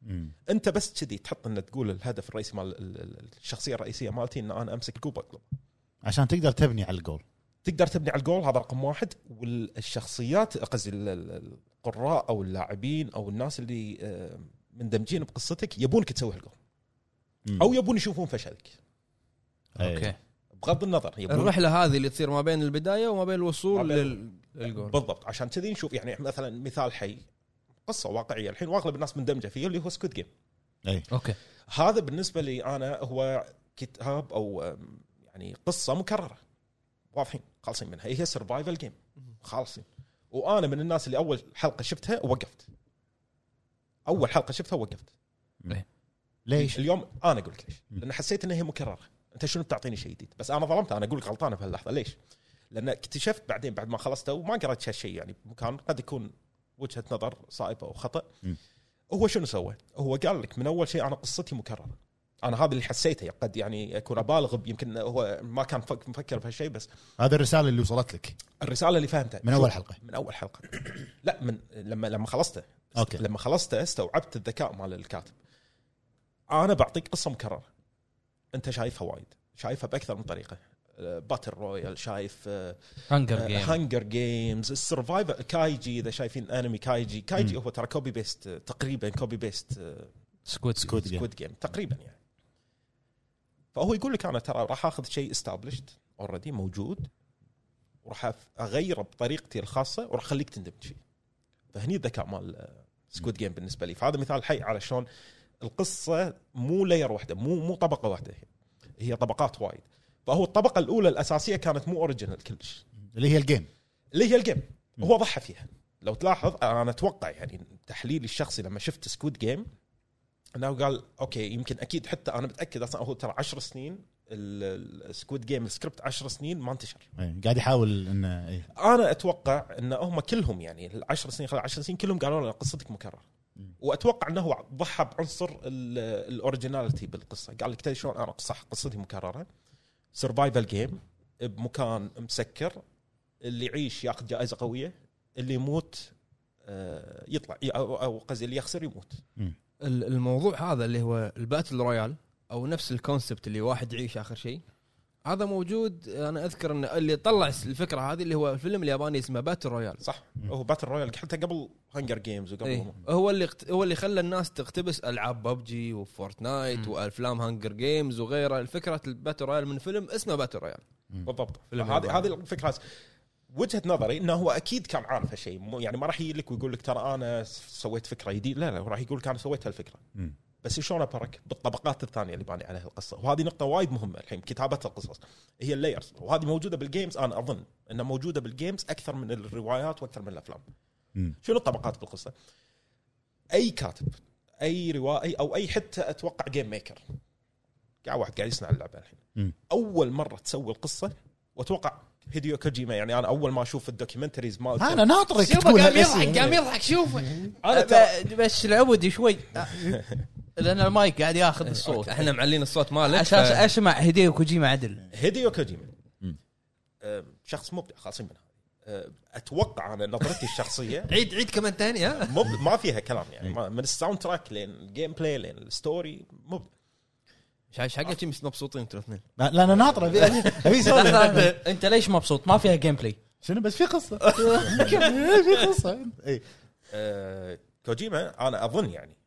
Speaker 4: مم.
Speaker 7: انت بس كذي تحط انه تقول الهدف الرئيسي مال ال- ال- الشخصيه الرئيسيه مالتي ان انا امسك الكوب واقلب
Speaker 4: عشان تقدر تبني على الجول
Speaker 7: تقدر تبني على الجول هذا رقم واحد والشخصيات قصدي ال- ال- القراء او اللاعبين او الناس اللي آه، مندمجين بقصتك يبونك تسوي هالجول
Speaker 4: مم.
Speaker 7: او يبون يشوفون فشلك
Speaker 4: أي.
Speaker 3: اوكي
Speaker 7: بغض النظر يبون
Speaker 1: الرحله هذه اللي تصير ما بين البدايه وما بين الوصول
Speaker 7: ما
Speaker 1: لل... للجول
Speaker 7: بالضبط عشان كذي نشوف يعني مثلا مثال حي قصه واقعيه الحين واغلب الناس مندمجه فيه اللي هو سكوت جيم
Speaker 4: اي
Speaker 3: اوكي
Speaker 7: هذا بالنسبه لي انا هو كتاب او أم، يعني قصه مكرره واضحين خالصين منها هي سرفايفل جيم خالصين وانا من الناس اللي اول حلقه شفتها وقفت اول حلقه شفتها وقفت
Speaker 4: ليش؟
Speaker 7: اليوم انا اقول لك ليش
Speaker 4: مم.
Speaker 7: لان حسيت انها هي مكرره انت شنو بتعطيني شيء جديد بس انا ظلمت انا اقول لك غلطانه بهاللحظه ليش لان اكتشفت بعدين بعد ما خلصته وما قرأت هالشيء يعني بمكان قد يكون وجهه نظر صائبه او خطا
Speaker 4: مم.
Speaker 7: هو شنو سوى هو قال لك من اول شيء انا قصتي مكرره انا هذا اللي حسيته قد يعني اكون ابالغ يمكن هو ما كان فك- مفكر بهالشيء بس
Speaker 4: هذه الرساله اللي وصلت لك
Speaker 7: الرساله اللي فهمتها
Speaker 4: من اول حلقه
Speaker 7: من اول حلقه لا من لما لما خلصته
Speaker 4: أوكي.
Speaker 7: لما خلصته استوعبت الذكاء مال الكاتب انا بعطيك قصه مكرره انت شايفها وايد شايفها باكثر من طريقه باتل رويال شايف آه،
Speaker 3: هانجر جيم
Speaker 7: هانجر جيمز السرفايفر كايجي اذا شايفين انمي كايجي كايجي هو ترى كوبي بيست آه، تقريبا كوبي بيست آه،
Speaker 3: سكوت سكوت
Speaker 6: سكوت جيم
Speaker 7: سكويد جيم تقريبا يعني فهو يقول لك انا ترى راح اخذ شيء استابلشت اوريدي موجود وراح أف- اغيره بطريقتي الخاصه وراح اخليك تندمج فيه فهني الذكاء مال سكويد جيم بالنسبه لي فهذا مثال حي على شلون القصه مو لاير واحده مو مو طبقه واحده هي طبقات وايد فهو الطبقه الاولى الاساسيه كانت مو اوريجينال كلش
Speaker 4: اللي هي الجيم
Speaker 7: اللي هي الجيم
Speaker 6: مم.
Speaker 7: هو ضحى فيها لو تلاحظ انا اتوقع يعني تحليلي الشخصي لما شفت سكوت جيم انه قال اوكي يمكن اكيد حتى انا متاكد اصلا هو ترى 10 سنين السكوت جيم السكريبت 10 سنين ما انتشر
Speaker 6: إيه، قاعد يحاول انه إيه.
Speaker 7: انا اتوقع ان هم كلهم يعني ال 10 سنين خلال 10 سنين كلهم قالوا لنا قصتك مكرره
Speaker 6: مم.
Speaker 7: واتوقع انه هو ضحى بعنصر ال- الاوريجيناليتي بالقصه قال لك تدري شلون انا صح قصتي مكرره سرفايفل جيم بمكان مسكر اللي يعيش ياخذ جائزه قويه اللي يموت آه، يطلع ي- او أو قصدي اللي يخسر يموت
Speaker 1: ال- الموضوع هذا اللي هو الباتل رويال او نفس الكونسبت اللي واحد يعيش اخر شيء هذا موجود انا اذكر ان اللي طلع الفكره هذه اللي هو الفيلم الياباني اسمه باتل رويال
Speaker 7: صح
Speaker 6: مم.
Speaker 7: هو باتل رويال حتى قبل هانجر جيمز وقبل
Speaker 1: إيه. هو اللي اقت- هو اللي خلى الناس تقتبس العاب ببجي
Speaker 3: مم.
Speaker 1: وفورتنايت والفلام هانجر جيمز وغيره الفكره الباتل رويال من فيلم اسمه باتل رويال
Speaker 7: بالضبط
Speaker 1: فيلم
Speaker 7: هذه
Speaker 1: ياباني.
Speaker 7: هذه الفكره وجهه نظري انه هو اكيد كان عارف هالشيء مو- يعني ما راح يجي لك ويقول لك ترى انا س- سويت فكره جديده لا لا راح يقول لك انا سويت هالفكره
Speaker 6: مم.
Speaker 7: بس شلون ابرك بالطبقات الثانيه اللي باني عليها القصه وهذه نقطه وايد مهمه الحين كتابه القصص هي اللايرز وهذه موجوده بالجيمز انا اظن انها موجوده بالجيمز اكثر من الروايات واكثر من الافلام
Speaker 6: مم.
Speaker 7: شنو الطبقات بالقصه اي كاتب اي روائي او اي حتى اتوقع جيم ميكر قاعد واحد قاعد يصنع اللعبه الحين
Speaker 6: مم.
Speaker 7: اول مره تسوي القصه واتوقع هيديو كوجيما يعني انا اول ما اشوف الدوكيومنتريز ما
Speaker 4: انا ناطرك
Speaker 8: شوفه
Speaker 4: تقول
Speaker 8: قام
Speaker 4: هالاسم.
Speaker 8: يضحك قام يضحك شوفه
Speaker 7: أنا
Speaker 8: ب- بس العبد شوي
Speaker 3: لان المايك قاعد ياخذ الصوت
Speaker 1: أوكي. احنا معلين الصوت مالك
Speaker 3: اساس
Speaker 1: ف-
Speaker 3: اسمع هديو كوجيما عدل
Speaker 7: هيديو كوجيما
Speaker 6: مم.
Speaker 7: أم، شخص مبدع خالصين منها أم، اتوقع انا نظرتي الشخصيه
Speaker 1: عيد عيد كمان ثاني ها
Speaker 7: مب... ما فيها كلام يعني
Speaker 6: إي.
Speaker 7: ما- من الساوند تراك لين الجيم بلاي لين الستوري مبدع
Speaker 1: ايش حق شي مش مبسوطين انتوا الاثنين
Speaker 4: لا لا، انا ناطره أبي- أبي- ابي سولف.
Speaker 3: لحظة، انت ليش مبسوط ما فيها جيم بلاي
Speaker 4: شنو بس في قصه في قصه إيه.
Speaker 7: آه، كوجيما انا اظن يعني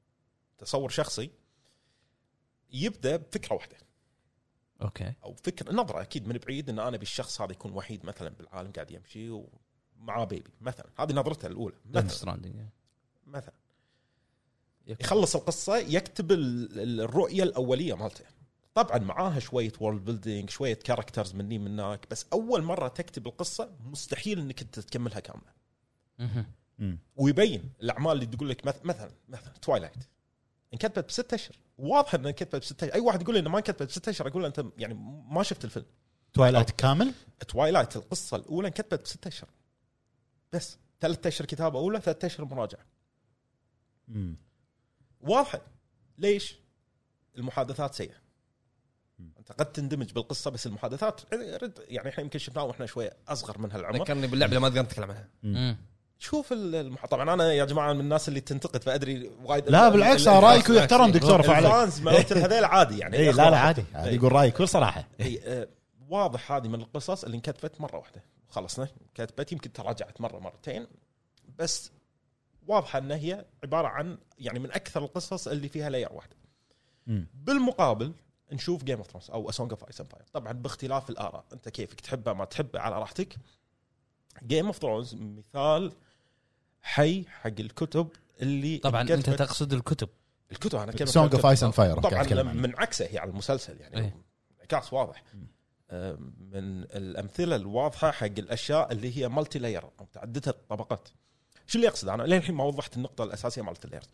Speaker 7: تصور شخصي يبدا بفكره واحده
Speaker 3: اوكي
Speaker 7: او فكر نظره اكيد من بعيد ان انا بالشخص هذا يكون وحيد مثلا بالعالم قاعد يمشي ومعاه بيبي مثلا هذه نظرته الاولى
Speaker 3: ديث
Speaker 7: مثلا
Speaker 3: ستراندنج
Speaker 7: مثلا يخلص القصه يكتب ال- ال- الرؤيه الاوليه مالته طبعا معاها شويه وورلد بيلدينج شويه كاركترز مني من هناك بس اول مره تكتب القصه مستحيل انك انت تكملها كامله
Speaker 6: مم.
Speaker 7: ويبين الاعمال اللي تقول لك مث- مثلا مثلا توايلايت انكتبت بست اشهر واضح انها انكتبت بست اشهر اي واحد يقول لي انه ما انكتبت بست اشهر اقول له انت يعني ما شفت الفيلم
Speaker 4: توايلايت كامل
Speaker 7: توايلايت القصه الاولى انكتبت بست اشهر بس ثلاثة اشهر كتابه اولى ثلاثة اشهر مراجعه
Speaker 6: مم.
Speaker 7: واضحه ليش؟ المحادثات سيئه
Speaker 6: مم.
Speaker 7: انت قد تندمج بالقصه بس المحادثات رد يعني احنا يمكن شفناه واحنا شويه اصغر من هالعمر
Speaker 1: ذكرني باللعبه اللي ما تقدر نتكلم عنها
Speaker 7: شوف ال- المح... طبعا انا يا جماعه من الناس اللي تنتقد فادري وايد
Speaker 4: لا بالعكس رايك ويحترم دكتور فعلا
Speaker 7: الفانز مالت هذيل عادي يعني
Speaker 4: اي لا لا عادي عادي
Speaker 7: إيه.
Speaker 4: يقول رايي كل صراحه
Speaker 7: إي، آه، واضح هذه من القصص اللي انكتبت مره واحده خلصنا كتبت يمكن تراجعت مره مرتين بس واضحه ان هي عباره عن يعني من اكثر القصص اللي فيها لاير واحده
Speaker 6: مم.
Speaker 7: بالمقابل نشوف جيم اوف ثرونز او سونج اوف ايس امباير طبعا باختلاف الاراء انت كيفك تحبه ما تحبه على راحتك جيم اوف ثرونز مثال حي حق الكتب اللي
Speaker 3: طبعا انت
Speaker 7: انكتبت-
Speaker 3: تقصد الكتب
Speaker 7: الكتب انا كلمة
Speaker 4: سونج اوف
Speaker 7: الكتب.
Speaker 4: ايس اند فاير
Speaker 7: طبعا لما- منعكسه هي على المسلسل يعني
Speaker 3: إيه.
Speaker 7: انعكاس واضح
Speaker 6: مم.
Speaker 7: آه، من الامثله الواضحه حق الاشياء اللي هي مالتي لاير او متعدده الطبقات شو اللي اقصد انا لين الحين ما وضحت النقطه الاساسيه مالت اللايرز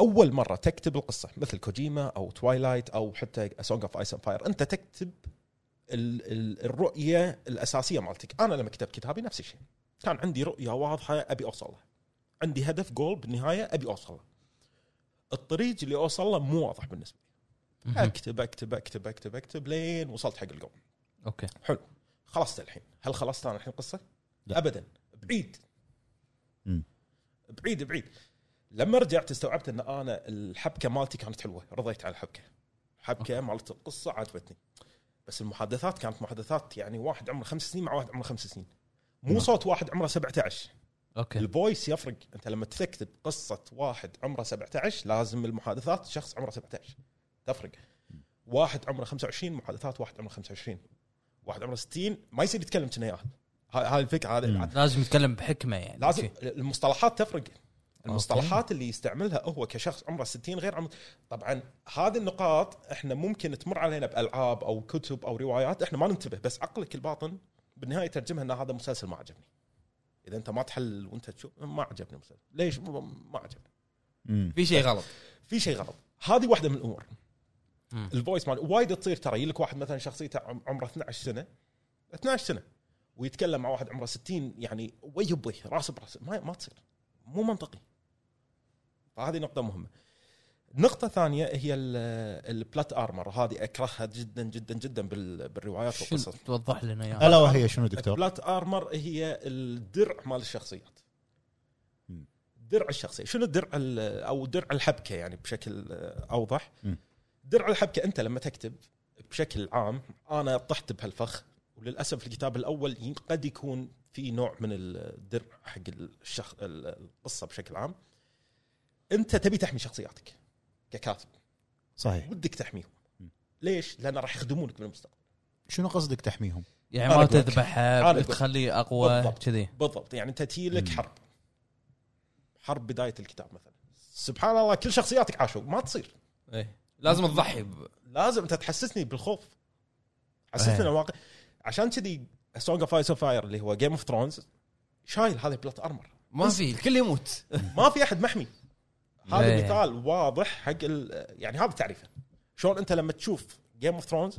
Speaker 7: اول مره تكتب القصه مثل كوجيما او توايلايت او حتى سونج اوف ايس فاير انت تكتب ال- ال- الرؤيه الاساسيه مالتك انا لما كتبت كتابي نفس الشيء كان عندي رؤيه واضحه ابي اوصل لها عندي هدف جول بالنهايه ابي اوصل له الطريق اللي اوصل له مو واضح بالنسبه اكتب اكتب اكتب اكتب اكتب لين وصلت حق القوم
Speaker 3: اوكي
Speaker 7: خلصت الحين هل خلصت انا الحين قصه
Speaker 6: لا.
Speaker 7: ابدا بعيد
Speaker 6: مم.
Speaker 7: بعيد بعيد لما رجعت استوعبت ان انا الحبكه مالتي كانت حلوه رضيت على الحبكه حبكه مالت القصه عجبتني بس المحادثات كانت محادثات يعني واحد عمره خمس سنين مع واحد عمره خمس سنين مو صوت واحد عمره 17
Speaker 3: اوكي
Speaker 7: الفويس يفرق انت لما تكتب قصه واحد عمره 17 لازم المحادثات شخص عمره 17 تفرق واحد عمره 25 محادثات واحد عمره 25 واحد عمره 60 ما يصير يتكلم كنا هاي الفكره هذه
Speaker 3: لازم يتكلم بحكمه يعني
Speaker 7: لازم المصطلحات تفرق المصطلحات اللي يستعملها هو كشخص عمره 60 غير عمر طبعا هذه النقاط احنا ممكن تمر علينا بالعاب او كتب او روايات احنا ما ننتبه بس عقلك الباطن بالنهايه يترجمها ان هذا مسلسل ما عجبني اذا انت ما تحلل وانت تشوف ما عجبني المسلسل ليش ما ما عجبني
Speaker 1: في شيء غلط
Speaker 7: في شيء غلط هذه واحده من الامور
Speaker 3: مم.
Speaker 7: الفويس مال وايد تصير ترى يجي لك واحد مثلا شخصيته عم- عمره 12 سنه 12 سنه ويتكلم مع واحد عمره 60 يعني وجه بوجه راس براس ما ما تصير مو منطقي فهذه نقطه مهمه نقطة ثانية هي البلات ارمر هذه اكرهها جدا جدا جدا بال- بالروايات
Speaker 3: شنو
Speaker 7: والقصص
Speaker 3: توضح لنا اياها
Speaker 6: الا وهي شنو دكتور؟
Speaker 7: البلات ارمر هي الدرع مال الشخصيات
Speaker 6: مم.
Speaker 7: درع الشخصيه شنو درع ال- او درع الحبكه يعني بشكل آه، اوضح
Speaker 6: مم.
Speaker 7: درع الحبكه انت لما تكتب بشكل عام انا طحت بهالفخ وللاسف الكتاب الاول ي- قد يكون في نوع من الدرع حق الشخ... ال- القصه بشكل عام انت تبي تحمي شخصياتك ككاتب
Speaker 6: صحيح
Speaker 7: ودك تحميهم
Speaker 6: مم.
Speaker 7: ليش؟ لان راح يخدمونك بالمستقبل
Speaker 6: شنو قصدك تحميهم؟
Speaker 3: يعني
Speaker 7: أنا
Speaker 3: ما
Speaker 7: أقول لك. أنا
Speaker 3: تذبحها
Speaker 7: أقول.
Speaker 3: تخليه اقوى
Speaker 7: بالضبط.
Speaker 3: كذي
Speaker 7: بالضبط يعني انت تجي لك
Speaker 6: مم.
Speaker 7: حرب حرب بدايه الكتاب مثلا سبحان الله كل شخصياتك عاشوا ما تصير
Speaker 1: ايه لازم تضحي ب-
Speaker 7: لازم انت تحسسني بالخوف حسسني
Speaker 3: أيه.
Speaker 7: ان الواقع عشان كذي سونج اوف ايس فاير اللي هو جيم اوف ثرونز شايل هذه بلات ارمر
Speaker 1: ما في الكل يموت
Speaker 7: ما في احد محمي هذا
Speaker 3: أيه.
Speaker 7: مثال واضح حق ال- يعني هذا تعريفه شلون انت لما تشوف جيم اوف ثرونز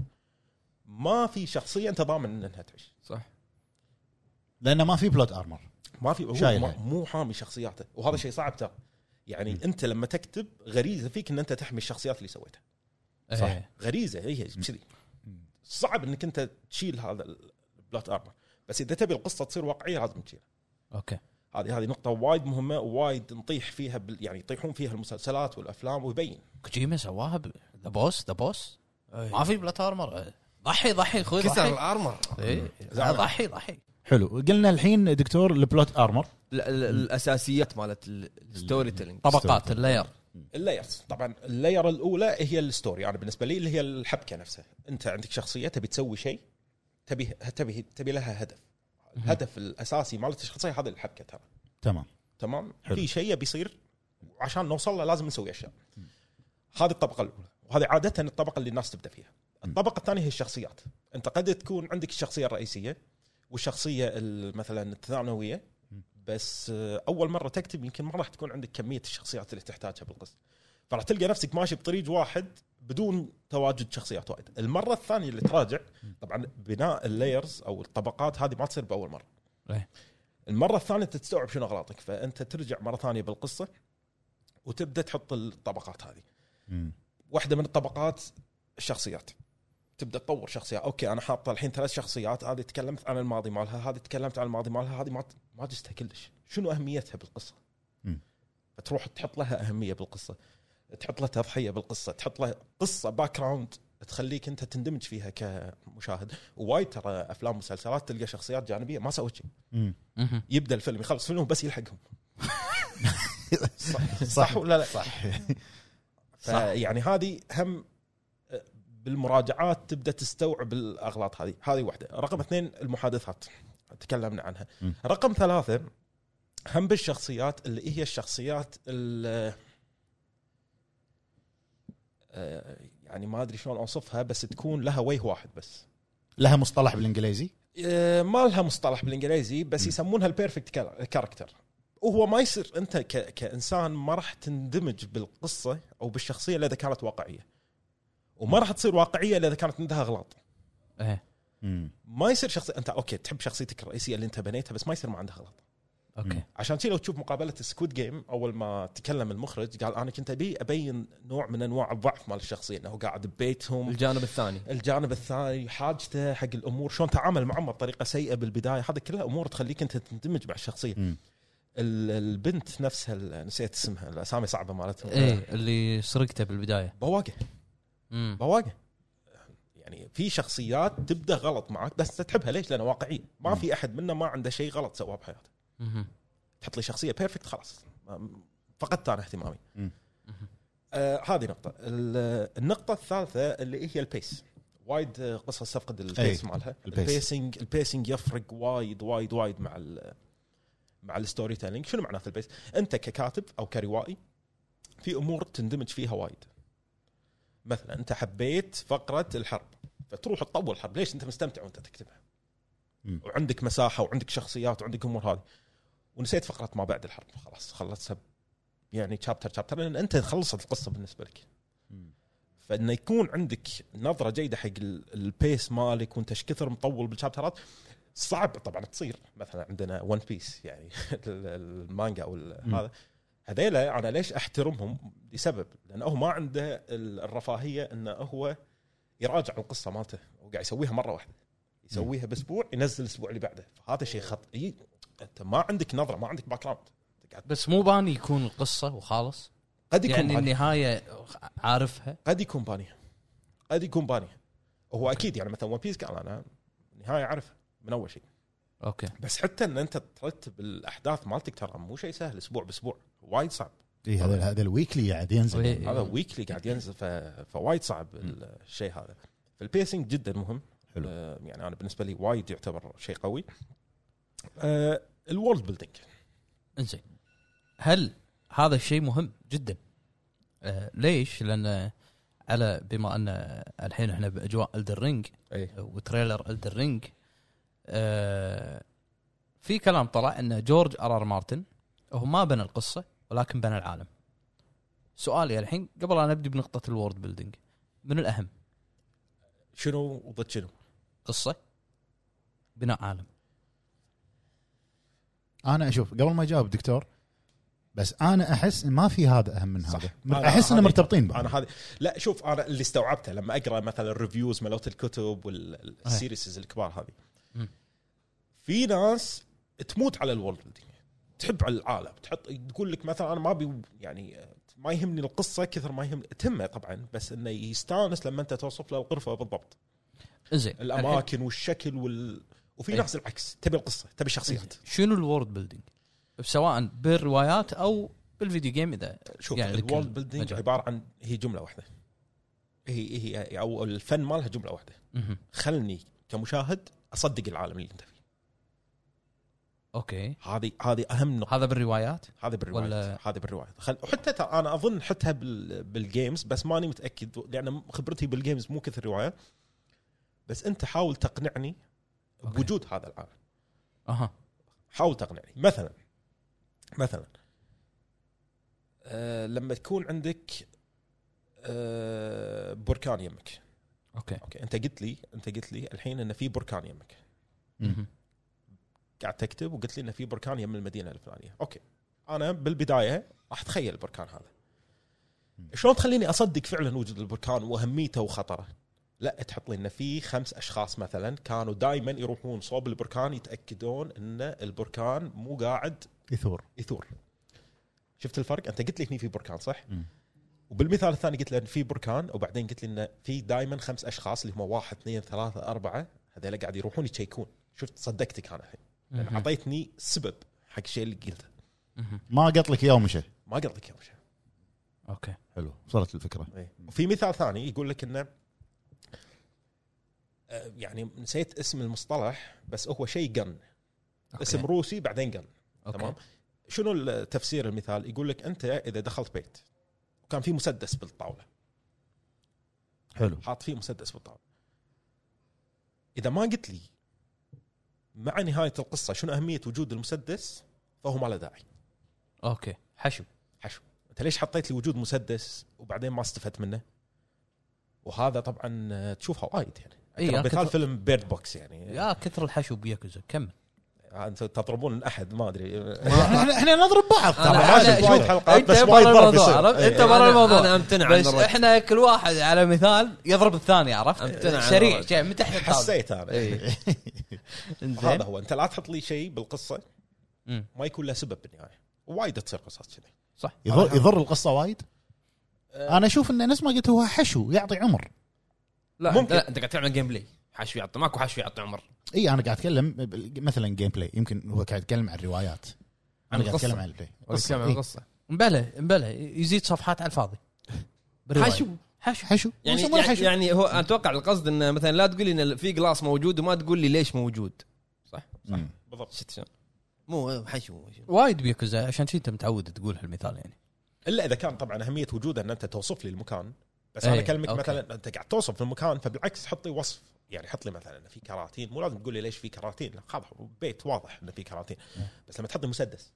Speaker 7: ما في شخصيه انت ضامن انها تعيش
Speaker 1: صح
Speaker 6: لانه ما في بلوت ارمر
Speaker 7: ما في هو
Speaker 6: شايلها.
Speaker 7: ما- مو حامي شخصياته وهذا شيء صعب ترى يعني انت لما تكتب غريزه فيك ان انت تحمي الشخصيات اللي سويتها
Speaker 3: صح
Speaker 7: غريزه هي كذي صعب انك انت تشيل هذا البلات ارمر بس اذا تبي القصه تصير واقعيه لازم تشيلها
Speaker 3: اوكي
Speaker 7: هذه هذه نقطه وايد مهمه وايد نطيح فيها بال يعني يطيحون فيها المسلسلات والافلام ويبين
Speaker 3: كوجيما سواها ذا بوس ذا بوس
Speaker 7: إيه.
Speaker 3: ما في بلات ارمر ضحي ضحي خذ
Speaker 1: كسر
Speaker 3: ضحي
Speaker 1: الارمر
Speaker 3: إيه. لا، ضحي ضحي
Speaker 6: حلو قلنا الحين دكتور البلوت ارمر
Speaker 1: ال- ال- الاساسيات مالت ال- الستوري تيلينج
Speaker 3: طبقات اللاير
Speaker 7: اللايرز طبعا اللاير الاولى هي الستوري انا يعني بالنسبه لي اللي هي الحبكه نفسها انت عندك شخصيه تبي تسوي شيء تبي تبي تبي لها هدف الهدف الاساسي مالت الشخصيه هذا الحبكه ترى
Speaker 6: تمام
Speaker 7: تمام
Speaker 6: حلو.
Speaker 7: في شيء بيصير وعشان نوصل له لازم نسوي اشياء هذه الطبقه الاولى وهذه عاده الطبقه اللي الناس تبدا فيها الطبقه الثانيه هي الشخصيات انت قد تكون عندك الشخصيه الرئيسيه والشخصيه ال- مثلا الثانويه بس آه، اول مره تكتب يمكن ما راح تكون عندك كميه الشخصيات اللي تحتاجها بالقصه فراح تلقى نفسك ماشي بطريق واحد بدون تواجد شخصيات وايد المره الثانيه اللي تراجع طبعا بناء اللايرز او الطبقات هذه ما تصير باول مره
Speaker 3: إيه.
Speaker 7: المره الثانيه انت تستوعب شنو اغلاطك فانت ترجع مره ثانيه بالقصه وتبدا تحط الطبقات هذه
Speaker 6: مم.
Speaker 7: واحده من الطبقات الشخصيات تبدا تطور شخصيه اوكي انا حاطه الحين ثلاث شخصيات هذه تكلمت عن الماضي مالها هذه تكلمت عن الماضي مالها هذه ما ما جستها كلش شنو اهميتها بالقصه
Speaker 6: مم.
Speaker 7: فتروح تحط لها اهميه بالقصه تحط لها تضحيه بالقصه تحط لها قصه باك جراوند تخليك انت تندمج فيها كمشاهد ووايد ترى افلام ومسلسلات تلقى شخصيات جانبيه ما سوت شيء
Speaker 6: مم.
Speaker 3: مهم.
Speaker 7: يبدا الفيلم يخلص فيلم بس يلحقهم صح, صح ولا لا صح يعني هذه هم بالمراجعات تبدا تستوعب الاغلاط هذه هذه واحده رقم اثنين المحادثات تكلمنا عنها
Speaker 6: مم.
Speaker 7: رقم ثلاثة هم بالشخصيات اللي هي الشخصيات ال- آه، يعني ما ادري شلون اوصفها بس تكون لها وجه واحد بس
Speaker 6: لها مصطلح بالانجليزي
Speaker 7: آه، ما لها مصطلح بالانجليزي بس
Speaker 6: م.
Speaker 7: يسمونها البيرفكت كاركتر وهو ما يصير انت ك... كانسان ما راح تندمج بالقصه او بالشخصيه الا اذا كانت واقعيه وما راح تصير واقعيه الا اذا كانت عندها غلط
Speaker 3: ايه
Speaker 6: مم.
Speaker 7: ما يصير شخص انت اوكي تحب شخصيتك الرئيسيه اللي انت بنيتها بس ما يصير ما عندها غلط
Speaker 3: اوكي
Speaker 7: عشان كذا لو تشوف مقابله سكوت جيم اول ما تكلم المخرج قال انا كنت ابي ابين نوع من انواع الضعف مال الشخصيه انه قاعد ببيتهم
Speaker 1: الجانب الثاني
Speaker 7: الجانب الثاني حاجته حق الامور شلون تعامل معهم بطريقه سيئه بالبدايه هذا كلها امور تخليك انت تندمج مع الشخصيه
Speaker 6: مم.
Speaker 7: ال- البنت نفسها ال- نسيت اسمها الاسامي صعبه مالتهم
Speaker 3: ايه اللي سرقته بالبدايه
Speaker 7: بواقه
Speaker 3: امم
Speaker 7: بواقه يعني في شخصيات تبدا غلط معك بس أنت تحبها ليش؟ لانها واقعيه ما في احد منا ما عنده شيء غلط سواه بحياته
Speaker 3: مهم.
Speaker 7: تحط لي شخصيه بيرفكت خلاص ما- فقدت انا اهتمامي
Speaker 4: مم.
Speaker 7: آه هذه نقطه ال- النقطه الثالثه اللي هي البيس وايد آه، قصص تفقد البيس
Speaker 6: أي،
Speaker 7: مالها
Speaker 6: البيس.
Speaker 7: البيسنج البيسنج يفرق وايد وايد وايد مع ال مع الستوري تيلينج شنو معناته البيس انت ككاتب او كروائي في امور تندمج فيها وايد مثلا انت حبيت فقره الحرب فتروح تطول الحرب ليش انت مستمتع وانت تكتبها
Speaker 6: مم.
Speaker 7: وعندك مساحه وعندك شخصيات وعندك امور هذه ونسيت فقره ما بعد الحرب خلاص خلصتها ب- يعني شابتر شابتر لان انت خلصت القصه بالنسبه لك فانه يكون عندك نظره جيده حق ال- البيس مالك وانت ايش كثر مطول بالشابترات صعب طبعا تصير مثلا عندنا ون بيس يعني ال- المانجا او ال-
Speaker 6: مم.
Speaker 7: هذا هذيلا انا ليش احترمهم لسبب لانه هو ما عنده ال- الرفاهيه انه هو يراجع القصه مالته وقاعد يسويها مره واحده يسويها باسبوع ينزل الاسبوع اللي بعده فهذا شيء خطئي انت ما عندك نظره ما عندك باك جراوند
Speaker 3: بس مو باني يكون القصه وخالص
Speaker 7: قد يكون
Speaker 3: يعني
Speaker 7: هذا-
Speaker 3: النهايه عارفها
Speaker 7: قد يكون بانيها قد يكون بانيها هو اكيد يعني مثلا ون بيس قال انا نهايه عارفها من اول شيء
Speaker 3: اوكي
Speaker 7: بس حتى ان انت ترتب الاحداث مالتك ترى مو شيء سهل اسبوع باسبوع وايد صعب
Speaker 6: اي إيه، هذا هذا الويكلي قاعد ينزل
Speaker 4: إيه.
Speaker 7: هذا ويكلي قاعد ينزل ف... فوايد صعب ال- الشيء هذا فالبيسنج جدا مهم
Speaker 6: حلو.
Speaker 7: آه، يعني انا بالنسبه لي وايد يعتبر شيء قوي آه الورلد بيلدينج
Speaker 3: انزين هل هذا الشيء مهم جدا آه ليش لان على بما ان الحين احنا باجواء الدرينج
Speaker 7: اي
Speaker 3: وتريلر الدرينج آه في كلام طلع ان جورج ار ار مارتن هو ما بنى القصه ولكن بنى العالم سؤالي الحين قبل ان نبدي بنقطه الورد بيلدينج من الاهم
Speaker 7: شنو وضد شنو؟
Speaker 3: قصه بناء عالم
Speaker 6: انا اشوف قبل ما يجاوب دكتور بس انا احس إن ما في هذا اهم من
Speaker 7: صح.
Speaker 6: هذا
Speaker 7: أنا-
Speaker 6: احس انه
Speaker 7: هذه-
Speaker 6: مرتبطين
Speaker 3: نعم.
Speaker 6: بعض
Speaker 7: انا هذا لا شوف انا اللي استوعبته لما اقرا مثلا الريفيوز مالت الكتب والسيريسز الكبار هذه
Speaker 3: مم.
Speaker 7: في ناس تموت على الورلد بيلدينج تحب على العالم تحط تقول لك مثلا انا ما ابي يعني ما يهمني القصه كثر ما يهمني تهمه طبعا بس انه يستانس لما انت توصف له الغرفه بالضبط
Speaker 3: انزين الحين
Speaker 7: الاماكن والشكل وال وفي
Speaker 3: إيه.
Speaker 7: ناس العكس تبي القصه تبي الشخصيات
Speaker 3: شنو الورد بيلدينج سواء بالروايات او بالفيديو جيم اذا
Speaker 7: شوف
Speaker 3: يعني
Speaker 7: يعني
Speaker 3: لكن
Speaker 7: الورلد بيلدينج
Speaker 3: مجال.
Speaker 7: عباره عن هي جمله واحده هي هي او الفن مالها جمله واحده
Speaker 3: مهم.
Speaker 7: خلني كمشاهد اصدق العالم اللي انت فيه
Speaker 3: اوكي
Speaker 7: هذه هذه اهم نقطه
Speaker 3: هذا بالروايات
Speaker 7: هذه
Speaker 3: ولا-
Speaker 7: بالروايات هذه بالروايات خل... وحتى ترى انا اظن حتى بال... بالجيمز بس ماني متاكد لان خبرتي بالجيمز مو كثر روايات بس انت حاول تقنعني
Speaker 3: أوكي.
Speaker 7: بوجود هذا العالم
Speaker 3: اها
Speaker 7: حاول تقنعني مثلا مثلا أه لما تكون عندك أه بركان يمك
Speaker 3: اوكي
Speaker 7: اوكي انت قلت لي انت قلت لي الحين ان في بركان يمك
Speaker 3: مهم.
Speaker 7: قاعد تكتب وقلت لي انه في بركان يم المدينه الفلانيه اوكي انا بالبدايه راح اتخيل البركان هذا شلون تخليني اصدق فعلا وجود البركان واهميته وخطره لا تحط لي انه في خمس اشخاص مثلا كانوا دائما يروحون صوب البركان يتاكدون ان البركان مو قاعد
Speaker 6: يثور
Speaker 7: يثور شفت الفرق انت قلت لي هني في بركان صح
Speaker 6: مم.
Speaker 7: وبالمثال الثاني قلت لي إن في بركان وبعدين قلت لي انه في دائما خمس اشخاص اللي هم واحد اثنين ثلاثه اربعه هذول قاعد يروحون يشيكون شفت صدقتك انا الحين لان
Speaker 3: مهم.
Speaker 7: اعطيتني يعني سبب حق الشيء اللي قلته
Speaker 3: مهم.
Speaker 6: ما قط لك اياه ومشى
Speaker 7: ما قلتك يا مشا
Speaker 3: اوكي
Speaker 6: حلو وصلت الفكره
Speaker 7: إيه. وفي مثال ثاني يقول لك انه آه، يعني نسيت اسم المصطلح بس هو شيء قن
Speaker 3: أوكي.
Speaker 7: اسم روسي بعدين قن
Speaker 3: أوكي.
Speaker 7: تمام شنو ال- تفسير المثال يقول لك انت اذا دخلت بيت وكان في مسدس بالطاوله
Speaker 6: حلو
Speaker 7: حاط فيه مسدس بالطاوله اذا ما قلت لي مع نهايه القصه شنو اهميه وجود المسدس فهو ما له داعي
Speaker 3: اوكي حشو
Speaker 7: حشو انت ليش حطيت لي وجود مسدس وبعدين ما استفدت منه وهذا طبعا آه، تشوفها وايد يعني
Speaker 3: إيه،
Speaker 7: ترى
Speaker 3: أنا
Speaker 7: مثال
Speaker 3: كنت-
Speaker 7: فيلم بيرد بوكس يعني آه،
Speaker 3: يا كثر الحشو بياكوزا كمل
Speaker 7: انتم تضربون احد ما ادري
Speaker 6: احنا احنا نضرب بعض
Speaker 3: أنا-
Speaker 6: ترى.
Speaker 3: أنا-
Speaker 7: عادي، وايد
Speaker 3: شوف،
Speaker 7: حلقات،
Speaker 3: أنت
Speaker 7: بس
Speaker 3: برا
Speaker 7: وايد ضرب
Speaker 3: الموضوع،
Speaker 7: يصير.
Speaker 3: عرفت؟
Speaker 7: إيه.
Speaker 3: انت برا
Speaker 1: أنا-
Speaker 3: الموضوع
Speaker 1: أنا أمتنع عن
Speaker 3: بس
Speaker 1: الرد.
Speaker 3: احنا كل واحد على مثال يضرب الثاني عرفت
Speaker 1: أمتنع عن
Speaker 3: سريع
Speaker 1: الرد.
Speaker 3: شيء من تحت الطاوله
Speaker 7: حسيت انا
Speaker 3: إيه. انزين
Speaker 7: هذا هو انت لا تحط لي شيء بالقصه
Speaker 3: مم.
Speaker 7: ما يكون له سبب بالنهايه وايد تصير قصص كذي
Speaker 6: يضر يضر القصه وايد انا اشوف انه نفس ما قلت هو حشو يعطي عمر
Speaker 1: لا
Speaker 7: ممكن.
Speaker 1: لا انت قاعد تلعب جيم بلاي حشو يعطي ماكو حشو يعطي عمر
Speaker 6: اي انا قاعد اتكلم بال- مثلا جيم بلاي يمكن هو قاعد يتكلم عن الروايات انا قاعد
Speaker 1: القصة.
Speaker 6: اتكلم عن البلاي
Speaker 1: قصه
Speaker 6: إي.
Speaker 1: قصه
Speaker 3: مبلى مبلى يزيد صفحات على الفاضي بالرواية.
Speaker 1: حشو
Speaker 3: حشو
Speaker 6: حشو
Speaker 1: يعني
Speaker 6: يسمونه
Speaker 1: يعني,
Speaker 6: حشو.
Speaker 1: يعني هو أنا اتوقع القصد انه مثلا لا تقول لي ان في قلاص موجود وما تقول لي ليش موجود
Speaker 6: مم.
Speaker 7: بالضبط
Speaker 1: شفت شلون؟ مو حشو
Speaker 3: وايد بيكوزا عشان شي انت متعود تقول هالمثال يعني
Speaker 7: الا اذا كان طبعا اهميه وجوده ان انت توصف لي المكان بس
Speaker 3: إيه،
Speaker 7: انا اكلمك
Speaker 3: أوكي.
Speaker 7: مثلا انت قاعد توصف المكان فبالعكس حط لي وصف يعني حط لي مثلا إن في كراتين مو لازم تقول لي ليش في كراتين لا خلاص بيت واضح انه في كراتين بس لما تحط لي مسدس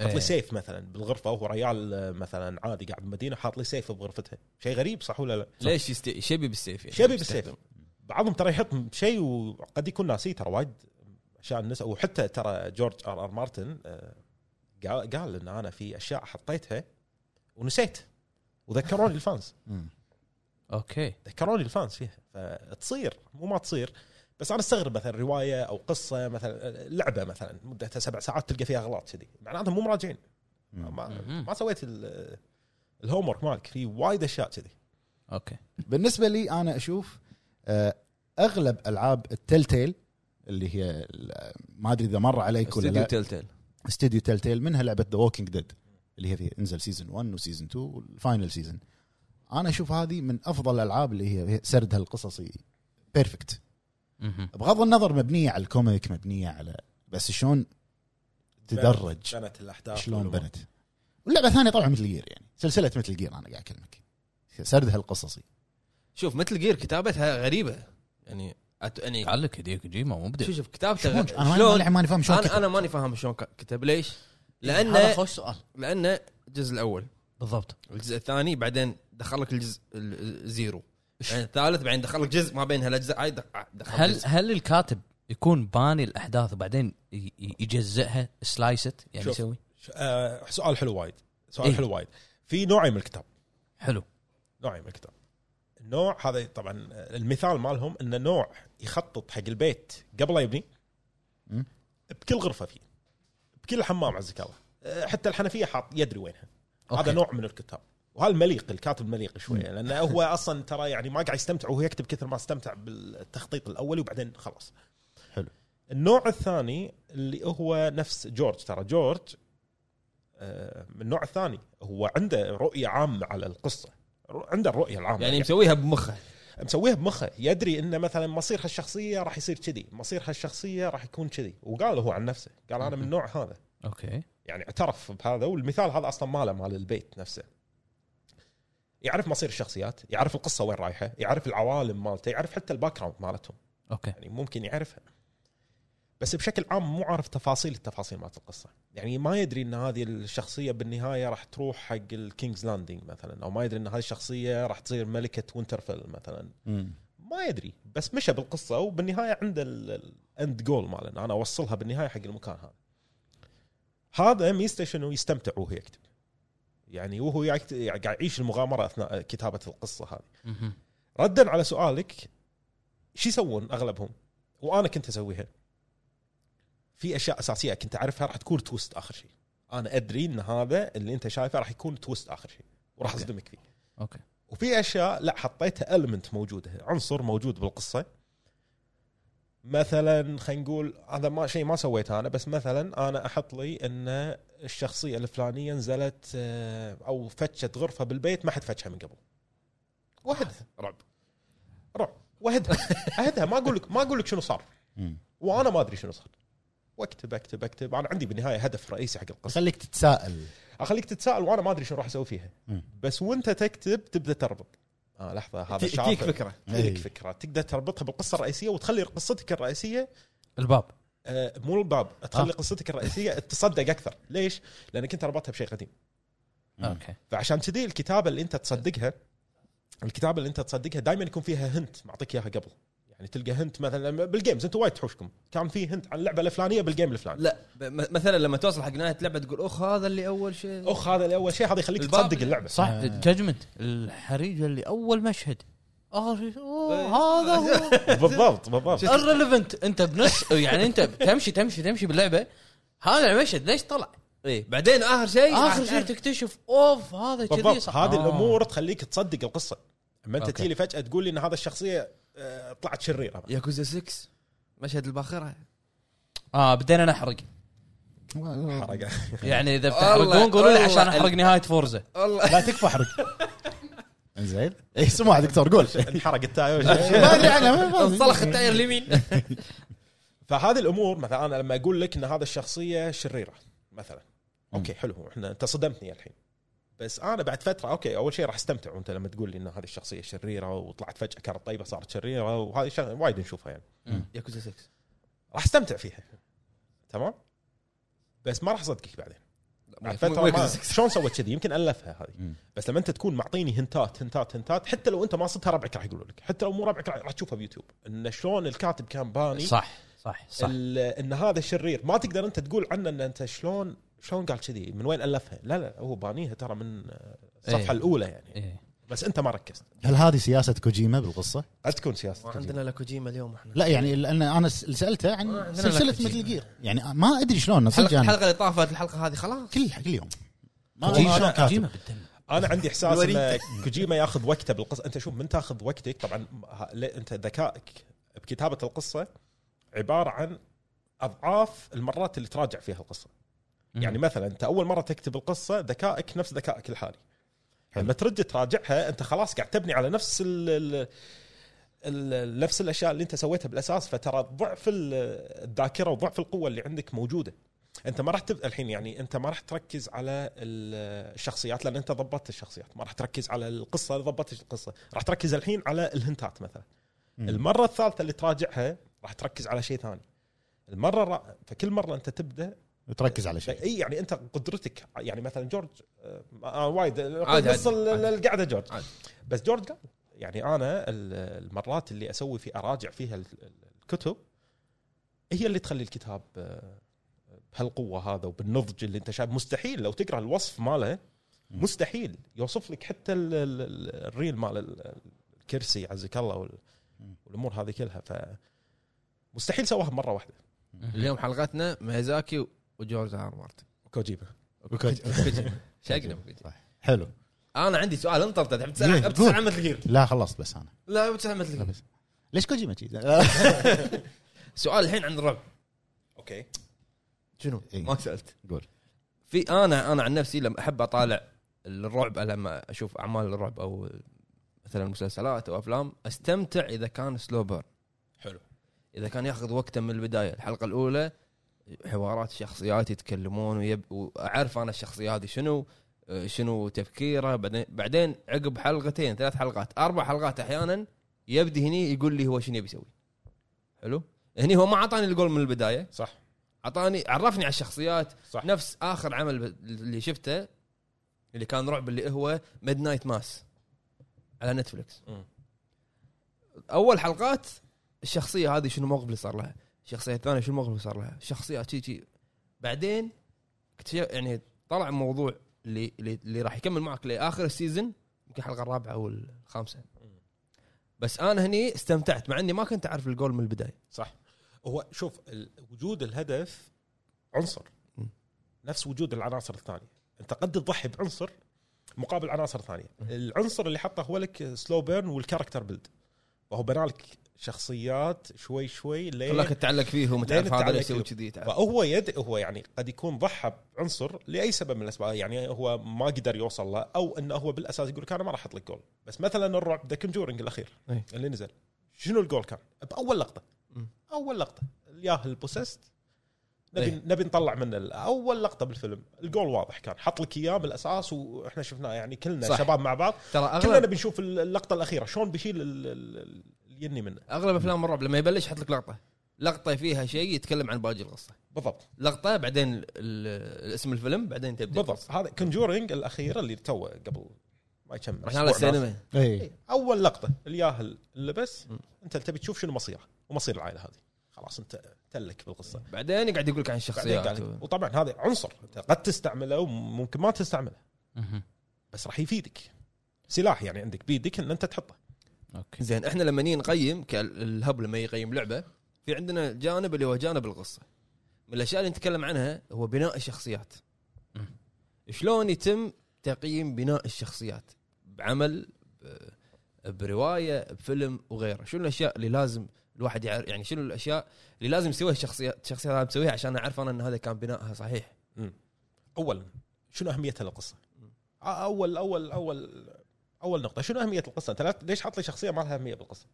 Speaker 7: حط
Speaker 3: إيه.
Speaker 7: لي سيف مثلا بالغرفه وهو ريال آه، مثلا عادي قاعد بمدينه حاط لي سيف بغرفتها شيء غريب صح ولا لا؟
Speaker 1: ليش يستي... شبي بالسيف يعني
Speaker 7: شبي بالسيف.
Speaker 1: يستخدم.
Speaker 7: بعضهم ترى يحط شيء وقد يكون ناسيه ترى وايد اشياء الناس وحتى ترى جورج ار ار مارتن آه، قال قال ان انا في اشياء حطيتها ونسيت وذكروني الفانز
Speaker 3: اوكي
Speaker 7: ذكروني الفانز فيها فتصير مو ما تصير بس انا استغرب مثلا روايه او قصه مثلا لعبه مثلا مدتها سبع ساعات تلقى فيها اغلاط كذي معناتها مو مراجعين ما,
Speaker 3: مم.
Speaker 7: ما سويت ال- الهوم ورك مالك في وايد اشياء كذي
Speaker 3: اوكي
Speaker 4: بالنسبه لي انا اشوف آه، اغلب العاب التل تيل اللي هي ال- ما ادري اذا مر عليك ولا
Speaker 1: استوديو
Speaker 4: لا
Speaker 1: تيل تيل
Speaker 4: استديو تيل تيل منها لعبه ذا ووكينج ديد اللي هي في انزل سيزون 1 وسيزون 2 والفاينل سيزون انا اشوف هذه من افضل الالعاب اللي هي هي سردها القصصي بيرفكت
Speaker 3: مهم.
Speaker 4: بغض النظر مبنيه على الكوميك مبنيه على بس شلون تدرج
Speaker 7: بنت الاحداث
Speaker 4: شلون
Speaker 7: والأمور.
Speaker 4: بنت واللعبه الثانيه طبعا مثل جير يعني سلسله مثل جير انا قاعد اكلمك سردها القصصي
Speaker 1: شوف مثل جير كتابتها غريبه يعني أت... يعني
Speaker 3: تعلق هديو كوجيما
Speaker 1: شوف
Speaker 3: مبدع
Speaker 1: شوف كتابته
Speaker 4: شلون
Speaker 1: غ...
Speaker 4: انا ما-
Speaker 1: شلون
Speaker 4: ما- ماني فاهم شلون
Speaker 1: انا
Speaker 4: كتب.
Speaker 1: انا ماني فاهم شلون ك- كتب ليش؟
Speaker 3: هذا
Speaker 1: لانه
Speaker 3: خوش سؤال
Speaker 1: لانه الجزء الاول
Speaker 3: بالضبط
Speaker 1: الجزء الثاني بعدين دخل لك الجزء ال- الزيرو بعدين الثالث بعدين دخل لك جزء ما بين هالاجزاء هاي دخل دخل
Speaker 3: هل
Speaker 1: جزء.
Speaker 3: هل الكاتب يكون باني الاحداث وبعدين ي- ي- يجزئها سلايست يعني
Speaker 7: شوف.
Speaker 3: يسوي
Speaker 7: آه، سؤال حلو وايد سؤال
Speaker 3: إيه.
Speaker 7: إيه؟ حلو وايد في نوعين من الكتاب
Speaker 3: حلو
Speaker 7: نوعين من الكتاب النوع هذا طبعا المثال مالهم ان نوع يخطط حق البيت قبل لا يبني
Speaker 4: مم.
Speaker 7: بكل غرفه فيه بكل حمام عزك الله آه، حتى الحنفيه حاط يدري وينها
Speaker 3: أوكي.
Speaker 7: هذا نوع من الكتاب وهذا المليق الكاتب المليق شويه لانه هو اصلا ترى يعني ما قاعد يستمتع وهو يكتب كثر ما استمتع بالتخطيط الاولي وبعدين خلاص
Speaker 4: حلو.
Speaker 7: النوع الثاني اللي هو نفس جورج ترى جورج آه، من النوع الثاني هو عنده رؤيه عامه على القصه رو- عنده الرؤيه العامه
Speaker 1: يعني مسويها بمخه
Speaker 7: مسويها بمخه يدري انه مثلا مصير هالشخصيه راح يصير كذي مصير هالشخصيه راح يكون كذي وقال هو عن نفسه قال انا من النوع هذا
Speaker 3: اوكي
Speaker 7: يعني اعترف بهذا والمثال هذا اصلا ماله مال البيت نفسه يعرف مصير الشخصيات يعرف القصه وين رايحه يعرف العوالم مالته يعرف حتى الباك جراوند مالتهم
Speaker 3: اوكي
Speaker 7: يعني ممكن يعرفها بس بشكل عام مو عارف تفاصيل التفاصيل مالت القصه يعني ما يدري ان هذه الشخصيه بالنهايه راح تروح حق الكينجز لاندنج مثلا او ما يدري ان هذه الشخصيه راح تصير ملكه وينترفيل مثلا
Speaker 4: مم.
Speaker 7: ما يدري بس مشى بالقصه وبالنهايه عنده الاند جول ماله انا اوصلها بالنهايه حق المكان هذا هذا ميزته شنو يستمتع وهو يكتب يعني وهو يكت- قاعد يعيش المغامره اثناء كتابه القصه هذه
Speaker 3: مهم.
Speaker 7: ردا على سؤالك شو يسوون اغلبهم؟ وانا كنت اسويها. في اشياء اساسيه كنت اعرفها راح تكون توست اخر شيء. انا ادري ان هذا اللي انت شايفه راح يكون توست اخر شيء وراح
Speaker 3: أوكي.
Speaker 7: اصدمك فيه.
Speaker 3: اوكي
Speaker 7: وفي اشياء لا حطيتها المنت موجوده، عنصر موجود بالقصه. مثلا خلينا نقول هذا ما شيء ما سويته انا بس مثلا انا احط لي ان الشخصيه الفلانيه نزلت آه، او فتشت غرفه بالبيت ما حد فتشها من قبل. وحدها
Speaker 1: رعب
Speaker 7: روح وهدها اهدها ما اقول لك ما اقول لك شنو صار
Speaker 4: مم.
Speaker 7: وانا ما ادري شنو صار واكتب اكتب اكتب انا عندي بالنهايه هدف رئيسي حق القصه
Speaker 4: خليك تتساءل
Speaker 7: اخليك تتساءل وانا ما ادري شنو راح اسوي فيها
Speaker 4: مم.
Speaker 7: بس وانت تكتب تبدا تربط اه لحظه هذا
Speaker 1: تي-
Speaker 7: الشاطئ
Speaker 1: تجيك فكره
Speaker 7: تجيك
Speaker 4: إي.
Speaker 7: فكره تقدر تربطها بالقصه الرئيسيه وتخلي قصتك الرئيسيه
Speaker 3: الباب
Speaker 7: آه، مو الباب تخلي قصتك الرئيسيه تصدق اكثر ليش؟ لانك انت ربطها بشيء قديم
Speaker 3: اوكي
Speaker 7: فعشان كذي الكتابه اللي انت تصدقها الكتابه اللي انت تصدقها دائما يكون فيها هنت معطيك اياها قبل يعني تلقى هنت مثلا بالجيمز انتم وايد تحوشكم كان في هنت عن اللعبه الفلانيه بالجيم الفلاني
Speaker 1: لا ب- م- مثلا لما توصل حق نهايه اللعبه تقول اخ هذا اللي اول شيء
Speaker 7: اخ هذا اللي اول شيء هذا يخليك
Speaker 1: الباب.
Speaker 7: تصدق اللعبه
Speaker 3: صح
Speaker 4: آه.
Speaker 3: الججمنت الحريقه اللي اول مشهد آه، شو- أوه، هذا هو
Speaker 7: بالضبط بالضبط
Speaker 3: الريليفنت انت بنص يعني انت تمشي تمشي تمشي باللعبه
Speaker 8: هذا المشهد ليش طلع؟
Speaker 1: اي إيه، بعدين اخر شيء
Speaker 8: اخر شيء تكتشف اوف هذا كذي
Speaker 7: بالضبط
Speaker 8: صح
Speaker 7: هذه
Speaker 5: آه.
Speaker 7: الامور تخليك تصدق القصه اما انت
Speaker 3: أوكي.
Speaker 7: تجي لي فجاه تقول لي ان هذا الشخصيه آه، طلعت شريره
Speaker 1: ياكوزا 6 مشهد الباخره
Speaker 3: اه بدينا نحرق
Speaker 7: حرقة.
Speaker 3: يعني اذا
Speaker 1: والله-
Speaker 3: بتحرقون قولوا لي
Speaker 1: والله
Speaker 3: عشان
Speaker 1: ال-
Speaker 3: احرق نهايه فورزا
Speaker 1: والله
Speaker 6: لا تكفى احرق زين اي سمع دكتور قول
Speaker 7: انحرق التاير
Speaker 6: ما ادري عنها ما- ما-
Speaker 1: انصلخ التاير اليمين
Speaker 7: فهذه الامور مثلا انا لما اقول لك ان هذا الشخصيه شريره مثلا اوكي حلو احنا انت صدمتني الحين بس انا بعد فتره اوكي اول شيء راح استمتع وانت لما تقول لي ان هذه الشخصيه شريره وطلعت فجاه كانت طيبه صارت شريره وهذه شغله وايد نشوفها يعني
Speaker 1: ياكوزا 6
Speaker 7: راح استمتع فيها تمام بس ما راح اصدقك بعدين بعد
Speaker 1: مو- مو
Speaker 7: فتره ما-
Speaker 1: ياكوزا 6
Speaker 7: شلون سويت كذي يمكن الفها هذه
Speaker 4: مم.
Speaker 7: بس لما انت تكون معطيني هنتات هنتات هنتات حتى لو انت ما صدتها ربعك راح يقولوا لك حتى لو مو ربعك راح راح تشوفها بيوتيوب ان شلون الكاتب كان باني
Speaker 3: صح صح صح
Speaker 7: طيب. ال- ان هذا شرير ما تقدر انت تقول عنه ان انت شلون شلون قال كذي من وين الفها لا لا هو بانيها ترى من آه، الصفحه
Speaker 3: إيه.
Speaker 7: الاولى يعني
Speaker 3: إيه.
Speaker 7: بس انت ما ركزت
Speaker 6: هل هذه سياسه كوجيما بالقصه؟
Speaker 7: قد تكون سياسه
Speaker 1: ما عندنا لا كوجيما اليوم احنا
Speaker 6: لا يعني لان انا س- اللي سالته عن
Speaker 1: عندنا
Speaker 6: سلسله
Speaker 1: لا كوجيما.
Speaker 6: مثل جير يعني ما ادري شلون صدق
Speaker 1: الحلقه
Speaker 6: أنا.
Speaker 1: الحلقة اللي طافت الحلقه هذه خلاص
Speaker 6: كل كل يوم ما
Speaker 3: كوجيما-
Speaker 6: ما شلون كاتب.
Speaker 3: كوجيما بالدم.
Speaker 7: انا عندي احساس ان
Speaker 1: الوريد.
Speaker 7: كوجيما ياخذ وقته بالقصه انت شوف من تاخذ وقتك طبعا ه- ليه- انت ذكائك بكتابه القصه عباره عن اضعاف المرات اللي تراجع فيها القصه
Speaker 3: مم.
Speaker 7: يعني مثلا انت اول مره تكتب القصه ذكائك نفس ذكائك الحالي لما ترجع تراجعها انت خلاص قاعد تبني على نفس ال ال ال- نفس الاشياء اللي انت سويتها بالاساس فترى ضعف ال- الذاكره وضعف القوه اللي عندك موجوده انت ما راح تب... الحين يعني انت ما راح تركز على ال- الشخصيات لان انت ضبطت الشخصيات ما راح تركز على القصه ضبطت القصه راح تركز الحين على الهنتات مثلا
Speaker 6: مم.
Speaker 7: المره الثالثه اللي تراجعها راح تركز على شيء ثاني المره الرا... فكل مره انت تبدا
Speaker 6: تركز على شيء
Speaker 7: اي يعني انت قدرتك يعني مثلا جورج آه، آه وايد
Speaker 1: عادي،
Speaker 7: نص ال-
Speaker 1: عادي.
Speaker 7: القعده جورج
Speaker 1: عادي.
Speaker 7: بس جورج قال يعني انا ال- المرات اللي اسوي في اراجع فيها ال- ال- الكتب هي اللي تخلي الكتاب آه، بهالقوه هذا وبالنضج اللي انت شايف مستحيل لو تقرا الوصف ماله مستحيل يوصف لك حتى ال- ال- ال- الريل مال ال- الكرسي عزك الله وال- والامور هذه كلها ف مستحيل سواها مره واحده
Speaker 1: اليوم حلقتنا ميزاكي وجورج ار آر مارتن
Speaker 7: كوجيبا
Speaker 1: كوجيما. شقنا بكوجيما.
Speaker 6: حلو
Speaker 1: انا عندي سؤال انطرت تحب
Speaker 6: ليه؟
Speaker 1: تسال أبي تسأل عن مثل جير
Speaker 6: لا خلصت بس انا
Speaker 1: لا أبي تسأل عن مثل جير
Speaker 6: خلص. ليش كوجيما شي؟
Speaker 1: سؤال الحين عن الربع
Speaker 7: اوكي
Speaker 1: شنو؟
Speaker 6: إيه.
Speaker 1: ما سالت
Speaker 6: قول.
Speaker 1: في انا انا عن نفسي لما احب اطالع الرعب لما اشوف اعمال الرعب او مثلا مسلسلات او افلام استمتع اذا كان سلو بيرن
Speaker 7: حلو.
Speaker 1: اذا كان ياخذ وقته من البدايه الحلقه الاولى حوارات شخصيات يتكلمون ويب... واعرف انا الشخصيه هذه شنو آه، شنو تفكيره بعدين بعدين عقب حلقتين ثلاث حلقات اربع حلقات احيانا يبدي هني يقول لي هو شنو يبي يسوي حلو هني هو ما اعطاني الجول من البدايه
Speaker 7: صح
Speaker 1: اعطاني عرفني على الشخصيات
Speaker 7: صح.
Speaker 1: صح. نفس اخر عمل ب- اللي شفته اللي كان رعب اللي هو ميد نايت ماس على نتفلكس
Speaker 7: مم.
Speaker 1: اول حلقات الشخصيه هذه شنو الموقف اللي صار لها الشخصيه الثانيه شنو الموقف اللي صار لها الشخصيه شي شي بعدين اكتشف يعني طلع موضوع اللي اللي, اللي راح يكمل معك لاخر السيزون يمكن الحلقه الرابعه او الخامسه بس انا هني استمتعت مع اني ما كنت اعرف الجول من البدايه
Speaker 7: صح هو شوف ال- وجود الهدف عنصر
Speaker 1: م.
Speaker 7: نفس وجود العناصر الثانيه انت قد تضحي بعنصر مقابل عناصر ثانيه العنصر اللي حطه هو لك سلو بيرن والكاركتر بيلد وهو بنى لك شخصيات شوي شوي لين
Speaker 1: خلاك تتعلق فيهم
Speaker 7: لين
Speaker 1: وتعرف هذا اللي
Speaker 7: تعلق
Speaker 1: يسوي
Speaker 7: فيهم.
Speaker 1: كذي تعرف.
Speaker 7: فهو يد هو يعني قد يكون ضحى بعنصر لاي سبب من الاسباب يعني هو ما قدر يوصل له او انه هو بالاساس يقول لك انا ما راح احط لك جول بس مثلا الرعب ذا كونجورنج الاخير
Speaker 1: أي.
Speaker 7: اللي نزل شنو الجول كان؟ باول لقطه
Speaker 1: مم.
Speaker 7: اول لقطه الياهل بوسست نبي
Speaker 1: أي.
Speaker 7: نبي نطلع منه ال- اول لقطه بالفيلم الجول واضح كان حط لك اياه بالاساس واحنا شفناه يعني كلنا صح.
Speaker 1: صح.
Speaker 7: شباب مع بعض
Speaker 1: ترى
Speaker 7: كلنا
Speaker 1: اغلب
Speaker 7: نبي نشوف اللقطه الاخيره شلون بيشيل ال- ال- ال- اليني منه
Speaker 1: اغلب افلام الرعب لما يبلش يحط لك لقطه لقطه فيها شيء يتكلم عن باقي القصه
Speaker 7: بالضبط
Speaker 1: لقطه بعدين ال- ال- اسم الفيلم بعدين تبدا
Speaker 7: بالضبط هذا كونجورنج الاخيره اللي تو قبل ما يكمل
Speaker 1: رحنا على
Speaker 7: أسبوع نازل.
Speaker 1: السينما
Speaker 6: اي
Speaker 7: إيه. اول لقطه الياهل اللبس
Speaker 1: مم.
Speaker 7: انت تبي تشوف شنو مصيره ومصير العائله هذه خلاص انت تلك بالقصه
Speaker 1: بعدين يقعد يقول لك عن
Speaker 7: بعدين
Speaker 1: الشخصيات
Speaker 7: قاعد-
Speaker 1: و-
Speaker 7: وطبعا هذا عنصر انت قد تستعمله وممكن ما تستعمله
Speaker 3: مهم.
Speaker 7: بس راح يفيدك سلاح يعني عندك بيدك ان انت تحطه
Speaker 3: اوكي
Speaker 1: زين احنا لما نيجي نقيم كالهب لما يقيم لعبه في عندنا جانب اللي هو جانب القصه من الاشياء اللي نتكلم عنها هو بناء الشخصيات
Speaker 3: مم.
Speaker 1: شلون يتم تقييم بناء الشخصيات بعمل ب- بروايه بفيلم وغيره شنو الاشياء اللي لازم الواحد يعرف يعني شنو الاشياء اللي لازم يسويها الشخصيات الشخصيات هذه مسويها عشان اعرف انا ان هذا كان بناءها صحيح
Speaker 7: اولا شنو اهميه القصه؟ آه، اول اول اول اول نقطه شنو اهميه القصه؟ انت لا- ليش حاط لي شخصيه ما لها اهميه بالقصه؟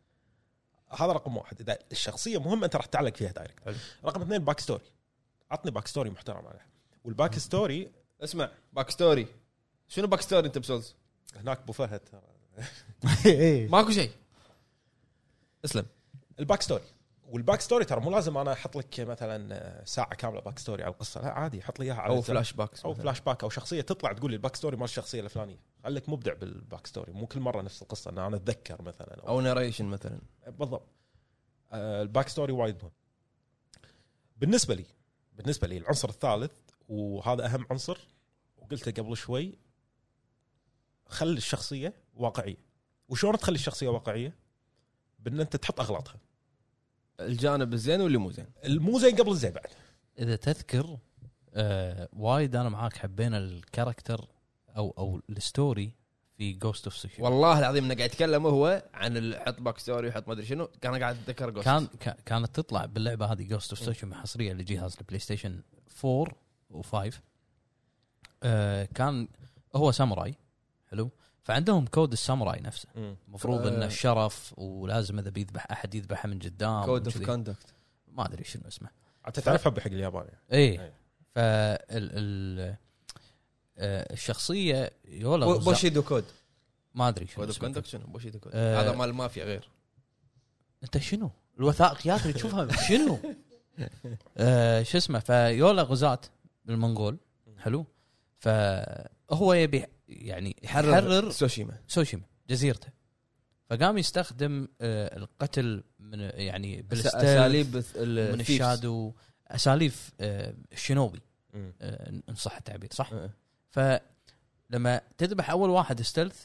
Speaker 7: هذا رقم واحد اذا الشخصيه مهمه انت راح تعلق فيها دايركت
Speaker 3: حلو.
Speaker 7: رقم اثنين باك ستوري عطني باك ستوري محترم عليه والباك ستوري
Speaker 1: اسمع باك ستوري شنو باك ستوري انت بسولز؟
Speaker 7: هناك ابو فهد ترى
Speaker 6: إيه.
Speaker 1: ماكو شيء اسلم
Speaker 7: الباك ستوري والباك ستوري ترى مو لازم انا احط لك مثلا ساعه كامله باك ستوري على القصه لا عادي حط لي اياها على
Speaker 1: او
Speaker 7: الزمن.
Speaker 1: فلاش باكس
Speaker 7: او
Speaker 1: مثلاً.
Speaker 7: فلاش باك او شخصيه تطلع تقول لي الباك ستوري مال الشخصيه الفلانيه خليك مبدع بالباك ستوري مو كل مره نفس القصه ان انا اتذكر مثلا
Speaker 1: او ناريشن مثلا
Speaker 7: بالضبط آه، الباك ستوري وايد مهم بالنسبه لي بالنسبه لي العنصر الثالث وهذا اهم عنصر وقلته قبل شوي خل الشخصيه واقعيه وشلون تخلي الشخصيه واقعيه بان انت تحط اغلاطها
Speaker 1: الجانب الزين واللي مو زين
Speaker 7: المو زين قبل الزين بعد
Speaker 3: اذا تذكر آه وايد انا معاك حبينا الكاركتر او او الستوري في جوست اوف سوشيما
Speaker 1: والله العظيم انه قاعد يتكلم هو عن ال- حط باك ستوري وحط ما ادري شنو كان قاعد اتذكر جوست
Speaker 3: كان كا- كانت تطلع باللعبه هذه جوست
Speaker 1: إيه.
Speaker 3: اوف سوشيما حصريه لجهاز البلاي ستيشن 4 و5 آه كان هو ساموراي حلو فعندهم كود الساموراي نفسه المفروض
Speaker 1: آه.
Speaker 3: انه الشرف ولازم اذا بيذبح احد يذبحه من قدام
Speaker 1: كود اوف
Speaker 3: وكذي.
Speaker 1: كوندكت
Speaker 3: ما ادري شنو اسمه
Speaker 7: حتى تعرفها بحق الياباني
Speaker 3: ايه
Speaker 1: إيه.
Speaker 7: أي.
Speaker 3: فال ال آه، الشخصيه يولا غزال-
Speaker 1: بوشيدو كود
Speaker 3: ما ادري شنو
Speaker 1: كود اوف
Speaker 3: اسمه.
Speaker 1: كوندكت شنو بوشيدو كود
Speaker 3: آه.
Speaker 1: هذا مال مافيا غير
Speaker 3: انت شنو؟ الوثائقيات اللي تشوفها شنو؟ آه شو اسمه فيولا غزاة المنغول حلو فهو يبي يعني يحرر, يحرر
Speaker 1: سوشيما
Speaker 3: سوشيما جزيرته فقام يستخدم آه القتل من يعني بالستيلث آه،
Speaker 1: اساليب
Speaker 3: من الشادو اساليب آه الشنوبي
Speaker 7: مم.
Speaker 3: آه ان صح التعبير صح؟ فلما تذبح اول واحد ستيلث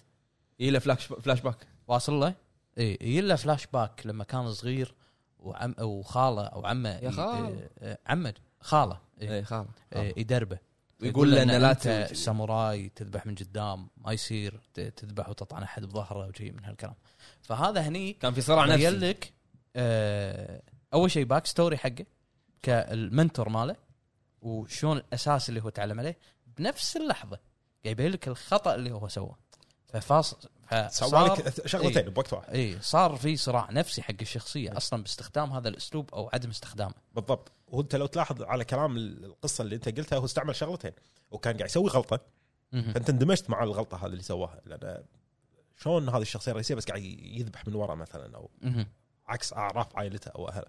Speaker 1: يلا فلاش فلاش باك
Speaker 3: واصل إيه، له؟ اي يلا فلاش باك لما كان صغير وعم وخاله او عمه
Speaker 1: يا خال.
Speaker 3: إيه، إيه، عمه خاله إيه،
Speaker 1: اي خالد
Speaker 3: إيه، يدربه
Speaker 1: ويقول له انه لا
Speaker 3: أنت
Speaker 1: تسوي كذي.
Speaker 3: ساموراي تذبح من قدام ما يصير ت- تذبح وتطعن احد بظهره وشي من هالكلام فهذا هني
Speaker 1: كان في صراع
Speaker 3: عمل
Speaker 1: نفسي
Speaker 3: لك آه، اول شيء باك ستوري حقه كالمنتور ماله وشلون الاساس اللي هو تعلم عليه بنفس اللحظه قاعد يبين لك الخطا اللي هو سواه ففاص
Speaker 7: سوى
Speaker 3: فصار
Speaker 7: لك
Speaker 3: إيه.
Speaker 7: شغلتين بوقت واحد
Speaker 3: اي صار في صراع نفسي حق الشخصيه اصلا باستخدام هذا الاسلوب او عدم استخدامه
Speaker 7: بالضبط وانت لو تلاحظ على كلام ال- القصه اللي انت قلتها هو استعمل شغلتين وكان قاعد يسوي غلطه فانت اندمجت مع الغلطه هذه اللي سواها لان شلون هذه الشخصيه الرئيسيه بس قاعد يذبح من ورا مثلا او
Speaker 3: مهم.
Speaker 7: عكس اعراف عائلته او اهله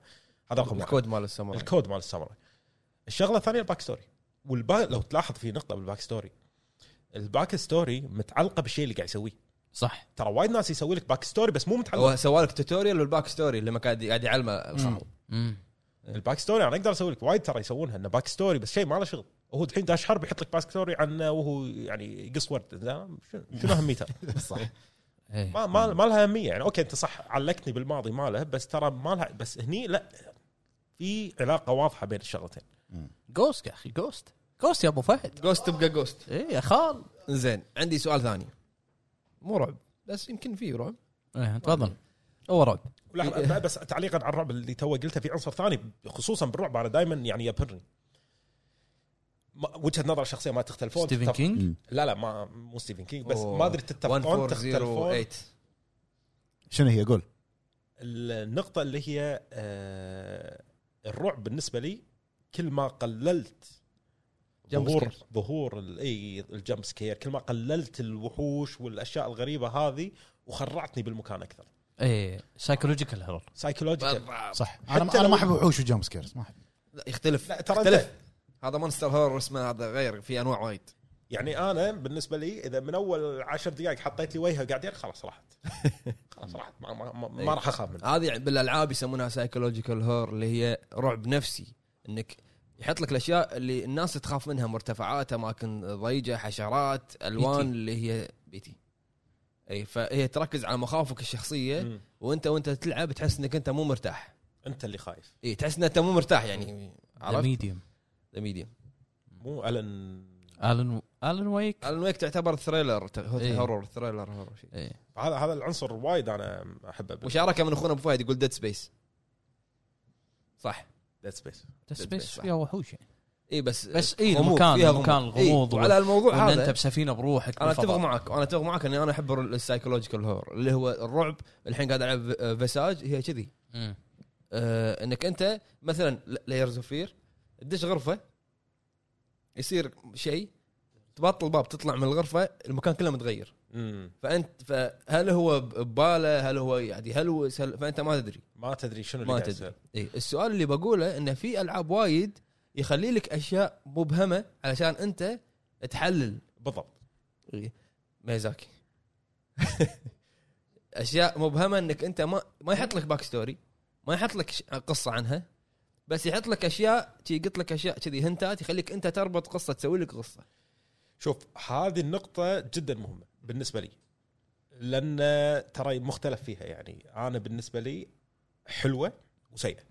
Speaker 7: هذا رقم واحد
Speaker 1: الكود مال الساموراي
Speaker 7: الكود مال الساموراي الشغله الثانيه الباك ستوري والبا... لو تلاحظ في نقطه بالباك ستوري الباك ستوري متعلقه بالشيء اللي قاعد يسويه
Speaker 3: صح
Speaker 7: ترى وايد ناس يسوي لك باك ستوري بس مو متعلق
Speaker 1: هو سوى لك توتوريال والباك ستوري لما قاعد قاعد يعلمه الخال
Speaker 3: مم.
Speaker 7: الباك ستوري انا اقدر اسوي لك وايد ترى يسوونها انه باك ستوري بس شيء ما له شغل هو الحين داش حرب يحط لك باك ستوري عن وهو يعني يقص ورد زين، شنو شنو اهميته؟
Speaker 3: إيه.
Speaker 7: ما ما, ما لها اهميه يعني اوكي انت صح علقتني بالماضي ماله بس ترى ما لها بس هني لا في علاقه واضحه بين الشغلتين
Speaker 3: جوست يا اخي جوست جوست يا ابو فهد
Speaker 1: جوست تبقى جوست
Speaker 3: اي يا خال
Speaker 1: زين عندي سؤال ثاني مو رعب بس يمكن فيه رعب
Speaker 3: إيه، تفضل هو رعب
Speaker 7: ولحظة، بس تعليقا على الرعب اللي تو قلته في عنصر ثاني خصوصا بالرعب انا دائما يعني يبهرني ما- وجهه نظر الشخصيه ما تختلفون
Speaker 3: ستيفن
Speaker 7: تتفق-
Speaker 3: كينج
Speaker 7: لا لا ما مو ستيفن كينج بس
Speaker 1: أوه.
Speaker 7: ما ادري تتفقون تختلفون
Speaker 1: 1408
Speaker 4: شنو هي قول
Speaker 7: النقطة اللي هي آه، الرعب بالنسبة لي كل ما قللت
Speaker 1: Jump
Speaker 7: ظهور
Speaker 1: scare.
Speaker 7: ظهور ال- اي الجمب سكير كل ما قللت الوحوش والاشياء الغريبه هذه وخرعتني بالمكان اكثر
Speaker 3: اي سايكولوجيكال هيرور
Speaker 7: سايكولوجيكال
Speaker 4: صح انا انا ما احب وحوش وجمب سكيرز ما احب
Speaker 1: لا يختلف
Speaker 7: لا ترى
Speaker 1: اختلف.
Speaker 7: انت
Speaker 1: هذا مونستر هورر اسمه هذا غير في انواع وايد
Speaker 7: يعني انا بالنسبه لي اذا من اول عشر دقائق حطيت لي وجهه قاعدين خلاص راحت خلاص راحت ما, ما, ما, ما راح اخاف منها
Speaker 1: هذه بالالعاب يسمونها سايكولوجيكال هور اللي هي رعب نفسي انك يحط لك الاشياء اللي الناس تخاف منها مرتفعات اماكن ضيقه حشرات الوان اللي هي بيتي اي فهي تركز على مخاوفك الشخصيه
Speaker 7: مم.
Speaker 1: وانت وانت تلعب تحس انك انت مو مرتاح
Speaker 7: انت اللي خايف
Speaker 1: اي تحس انك انت مو مرتاح يعني عرفت
Speaker 3: ميديوم
Speaker 1: ذا ميديم
Speaker 7: مو الن
Speaker 3: الن الن ويك
Speaker 1: الان ويك تعتبر ثريلر ت- هو
Speaker 3: إيه.
Speaker 1: هورر ثريلر هورر شيء
Speaker 3: إيه.
Speaker 7: هذا هذا العنصر وايد انا احبه
Speaker 1: وشاركه من اخونا ابو فهد يقول ديد سبيس صح
Speaker 7: ديد سبيس
Speaker 3: سبيس فيها وحوش يعني
Speaker 1: اي إيه، بس
Speaker 3: بس اي
Speaker 1: غموض،
Speaker 3: المكان
Speaker 1: فيها
Speaker 3: المكان
Speaker 1: غموض. إيه،
Speaker 3: الغموض
Speaker 1: وعلى الموضوع
Speaker 3: وان انت
Speaker 1: هذا
Speaker 3: بسفينه بروحك
Speaker 1: انا
Speaker 3: بالفضاء.
Speaker 1: اتفق معك انا اتفق معك اني انا احب السايكولوجيكال هور اللي هو الرعب الحين قاعد العب فيساج هي كذي
Speaker 3: مم.
Speaker 1: آه انك انت مثلا لايرز اوف فير تدش غرفه يصير شيء تبطل الباب تطلع من الغرفه المكان كله متغير
Speaker 7: امم
Speaker 1: فانت فهل هو بباله هل هو يعني هلوس هل فانت ما تدري
Speaker 7: ما تدري شنو اللي
Speaker 1: ما
Speaker 7: قاعد
Speaker 1: تدري
Speaker 7: يصير.
Speaker 1: اي إيه، السؤال اللي بقوله انه في العاب وايد يخلي لك اشياء مبهمه علشان انت تحلل إيه،
Speaker 7: بالضبط
Speaker 1: ميزاكي اشياء مبهمه انك انت ما ما يحط لك باك ستوري ما يحط لك ش- قصه عنها بس يحط لك اشياء شي يقط لك اشياء كذي هنتات يخليك انت تربط قصه تسوي لك قصه
Speaker 7: شوف هذه النقطة جدا مهمة بالنسبة لي لأن ترى مختلف فيها يعني أنا بالنسبة لي حلوة وسيئة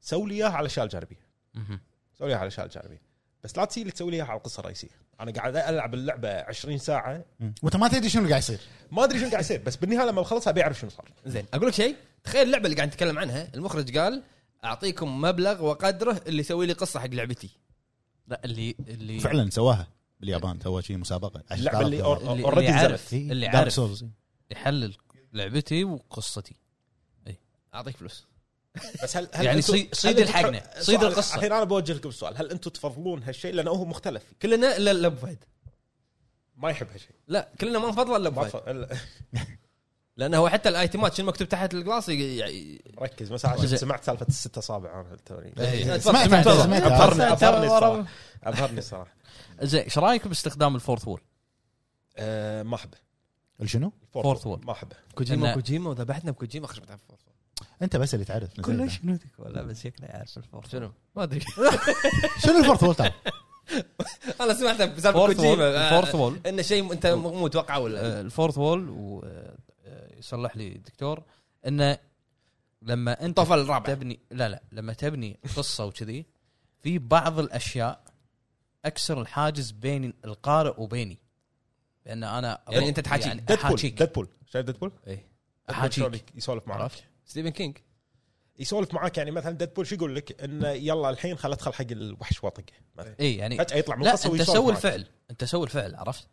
Speaker 7: سوي لي إياها على الأشياء الجانبية
Speaker 3: مهم.
Speaker 7: سوي لي إياها على الأشياء الجانبية بس لا تسيلي تسوي لي إياها على القصة الرئيسية أنا قاعد ألعب اللعبة 20 ساعة
Speaker 6: وانت ما تدري شنو قاعد يصير
Speaker 7: ما أدري شنو قاعد يصير بس بالنهاية لما بخلصها بيعرف شنو صار
Speaker 1: زين اقول لك شيء تخيل اللعبه اللي قاعد نتكلم عنها المخرج قال اعطيكم مبلغ وقدره اللي يسوي لي قصه حق لعبتي
Speaker 3: لا اللي اللي
Speaker 6: فعلا سواها باليابان سوى شيء مسابقه عشان
Speaker 7: اللعبة
Speaker 6: تعرف
Speaker 7: اللي
Speaker 6: دولار.
Speaker 3: اللي-
Speaker 7: اوريدي
Speaker 3: اللي عارف اللي
Speaker 7: نزلت
Speaker 6: إيه، Dark
Speaker 3: عارف
Speaker 6: Souls.
Speaker 3: يحلل لعبتي وقصتي
Speaker 1: اعطيك فلوس
Speaker 7: بس هل,
Speaker 3: يعني
Speaker 7: أنتم-
Speaker 3: صيد- صيد
Speaker 7: أنتم
Speaker 3: الحقنة،
Speaker 7: تحب-
Speaker 3: صيد
Speaker 7: سؤال-
Speaker 3: القصة.
Speaker 7: الحين انا بوجه لكم سؤال هل انتم تفضلون هالشيء لانه هو مختلف
Speaker 1: كلنا الا الا ابو فهد
Speaker 7: ما يحب هالشيء
Speaker 1: لا كلنا ما نفضله الا ابو
Speaker 3: طيب.
Speaker 7: ما
Speaker 1: فهد
Speaker 7: تف-
Speaker 1: لانه هو حتى الايتمات شنو مكتوب تحت الجلاس ي- يعني
Speaker 7: ركز بس عشان سمعت سالفه الست اصابع انا توني
Speaker 1: إيه، تفضل،
Speaker 6: إيه، سمعت
Speaker 1: تفضل.
Speaker 6: سمعت
Speaker 7: ابهرني
Speaker 3: سمعت-
Speaker 7: ابهرني
Speaker 3: ورا-
Speaker 7: الصراحه ابهرني الصراحه
Speaker 3: زين ايش رايك باستخدام الفورث وول؟
Speaker 7: أه، ما احبه
Speaker 6: شنو؟
Speaker 3: Fourth wall.
Speaker 7: ما احبه
Speaker 1: كوجيما
Speaker 3: إنه-
Speaker 1: كوجيما وذبحتنا بكوجيما خرج بتعرف
Speaker 6: انت بس اللي تعرف
Speaker 3: شنو ولا بس شكله عارف الفورث
Speaker 1: شنو؟ ما ادري
Speaker 6: شنو الفورث وولتر؟
Speaker 1: انا سمعت بسالفه
Speaker 3: فورث وول
Speaker 1: كوجيما
Speaker 3: الفورث وول
Speaker 1: انه شيء انت مو متوقعه ولا
Speaker 3: آه، الفورث وول ويصلح لي الدكتور انه لما انت
Speaker 1: الطفل الرابع
Speaker 3: تبني لا لا لما تبني قصه وكذي في بعض الاشياء اكسر الحاجز بين القارئ وبيني بان انا
Speaker 1: يعني أنت تحاكي.
Speaker 7: ديدبول
Speaker 3: احاكيك
Speaker 7: ديدبول شايف ديدبول؟
Speaker 1: إيه.
Speaker 7: ديدبول
Speaker 3: أحاكيك.
Speaker 7: شلون يسولف معك
Speaker 3: عرفت؟
Speaker 1: ستيفن كينج
Speaker 7: يسولف معك يعني مثلا ديدبول شو يقول لك انه يلا الحين خل ادخل حق الوحش واطقه مثلا
Speaker 3: اي يعني
Speaker 7: فجاه يطلع من
Speaker 3: لا
Speaker 7: القصه
Speaker 3: انت
Speaker 7: ويسولف
Speaker 3: سوي
Speaker 7: معك.
Speaker 3: الفعل انت سوي الفعل عرفت؟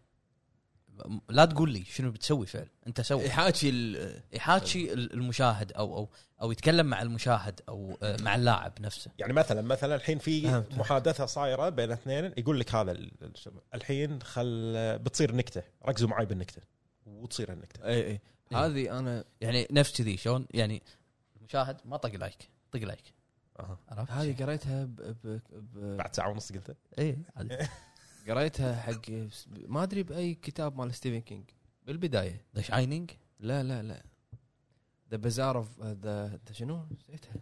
Speaker 3: م- لا تقول لي شنو بتسوي فعل انت سوي
Speaker 1: يحاكي ال-
Speaker 3: يحاكي ال- المشاهد او او او يتكلم مع المشاهد او آه، مع اللاعب نفسه
Speaker 7: يعني مثلا مثلا الحين في
Speaker 1: فهمت.
Speaker 7: محادثه صايره بين اثنين يقول لك هذا ال- ال- الحين خل بتصير نكته ركزوا معي بالنكته وتصير النكته
Speaker 1: اي اي إيه، هذه انا
Speaker 3: يعني نفس كذي شلون يعني المشاهد ما طق لايك طق لايك
Speaker 7: أها.
Speaker 3: عرفت؟
Speaker 1: هذه قريتها ب... ب... ب...
Speaker 7: بعد ساعه ونص قلتها
Speaker 3: اي إيه، عادي.
Speaker 1: قريتها حق ما ادري باي كتاب مال ستيفن كينج بالبدايه
Speaker 3: ذا شاينينج
Speaker 1: لا لا لا ذا بازار اوف ذا uh, شنو نسيتها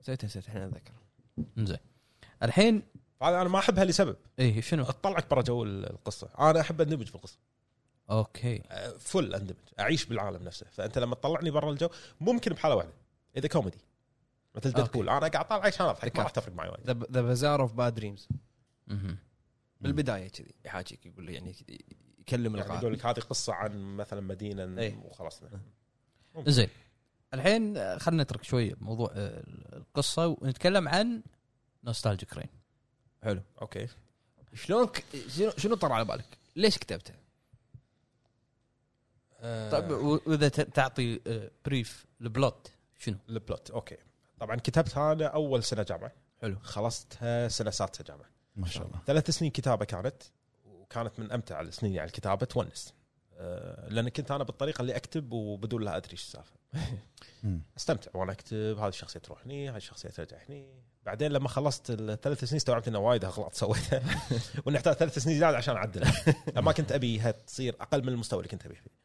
Speaker 1: نسيتها نسيتها الحين اتذكر
Speaker 3: زين الحين
Speaker 7: هذا انا ما احبها لسبب
Speaker 3: اي شنو؟
Speaker 7: تطلعك برا جو ال- القصه انا احب اندمج في القصه
Speaker 3: اوكي
Speaker 7: أه، فل اندمج اعيش بالعالم نفسه فانت لما تطلعني برا الجو ممكن بحاله واحده اذا كوميدي مثل
Speaker 3: أوكي.
Speaker 7: ديدبول انا قاعد طالع عشان اضحك
Speaker 1: ذكرت.
Speaker 7: ما راح تفرق معي وايد
Speaker 1: ذا بازار اوف باد دريمز
Speaker 3: مهم.
Speaker 1: بالبدايه كذي يحاكيك يقول لي يعني كذي يكلم
Speaker 7: يعني
Speaker 1: القارئ
Speaker 7: يقول لك هذه قصه عن مثلا مدينه
Speaker 1: إيه.
Speaker 7: وخلاص
Speaker 3: زين الحين آه، خلينا نترك شوي موضوع آه، القصه ونتكلم عن نوستالجيك رين
Speaker 1: حلو
Speaker 7: اوكي
Speaker 1: شلون ك... شنو- شنو طر على بالك؟ ليش كتبته؟
Speaker 7: آه.
Speaker 3: طيب و- واذا ت- تعطي بريف البلوت شنو؟
Speaker 7: البلوت اوكي طبعا كتبتها انا اول سنه جامعه
Speaker 1: حلو.
Speaker 7: خلصتها سنه سادسه جامعه
Speaker 6: ما شاء الله
Speaker 7: ثلاث سنين كتابه كانت وكانت من امتع السنين يعني الكتابه تونس أه، لان كنت انا بالطريقه اللي اكتب وبدون لا ادري ايش السالفه
Speaker 6: مم.
Speaker 7: استمتع وانا اكتب هذه الشخصيه تروح هني هذه الشخصيه ترجع هني بعدين لما خلصت الثلاث سنين استوعبت انه وايد اغلاط سويتها وان احتاج ثلاث سنين زياده عشان اعدلها لأن ما كنت ابيها تصير اقل من المستوى اللي كنت ابيه فيه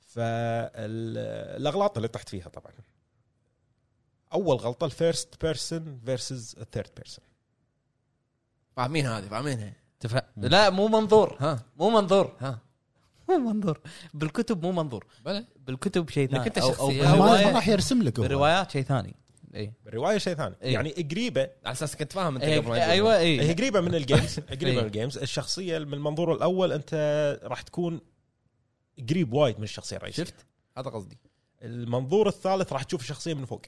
Speaker 7: فالاغلاط اللي طحت فيها طبعا اول غلطه الفيرست بيرسون فيرسز الثيرد بيرسون
Speaker 1: فاهمين هذه فاهمينها
Speaker 3: تفا... لا مو منظور
Speaker 1: ها
Speaker 3: مو منظور
Speaker 1: ها
Speaker 3: مو منظور بالكتب مو منظور
Speaker 1: بلى
Speaker 3: بالكتب شيء ثاني
Speaker 1: إنك أنت
Speaker 3: او, أو
Speaker 1: شخصية.
Speaker 6: ما ما
Speaker 3: بالرواية-
Speaker 6: راح يرسم لك هو.
Speaker 3: بالروايات شيء ثاني اي
Speaker 7: الروايه شيء ثاني
Speaker 3: إيه.
Speaker 7: يعني قريبه
Speaker 1: على اساس كنت فاهم انت
Speaker 3: إيه،
Speaker 1: قبل ما
Speaker 3: ايوه
Speaker 7: هي
Speaker 3: اي
Speaker 7: قريبه من الجيمز قريبه
Speaker 3: إيه.
Speaker 7: من الجيمز الشخصيه من المنظور الاول انت راح تكون قريب وايد من الشخصيه الرئيسيه
Speaker 1: شفت هذا قصدي
Speaker 7: المنظور الثالث راح تشوف الشخصيه من فوق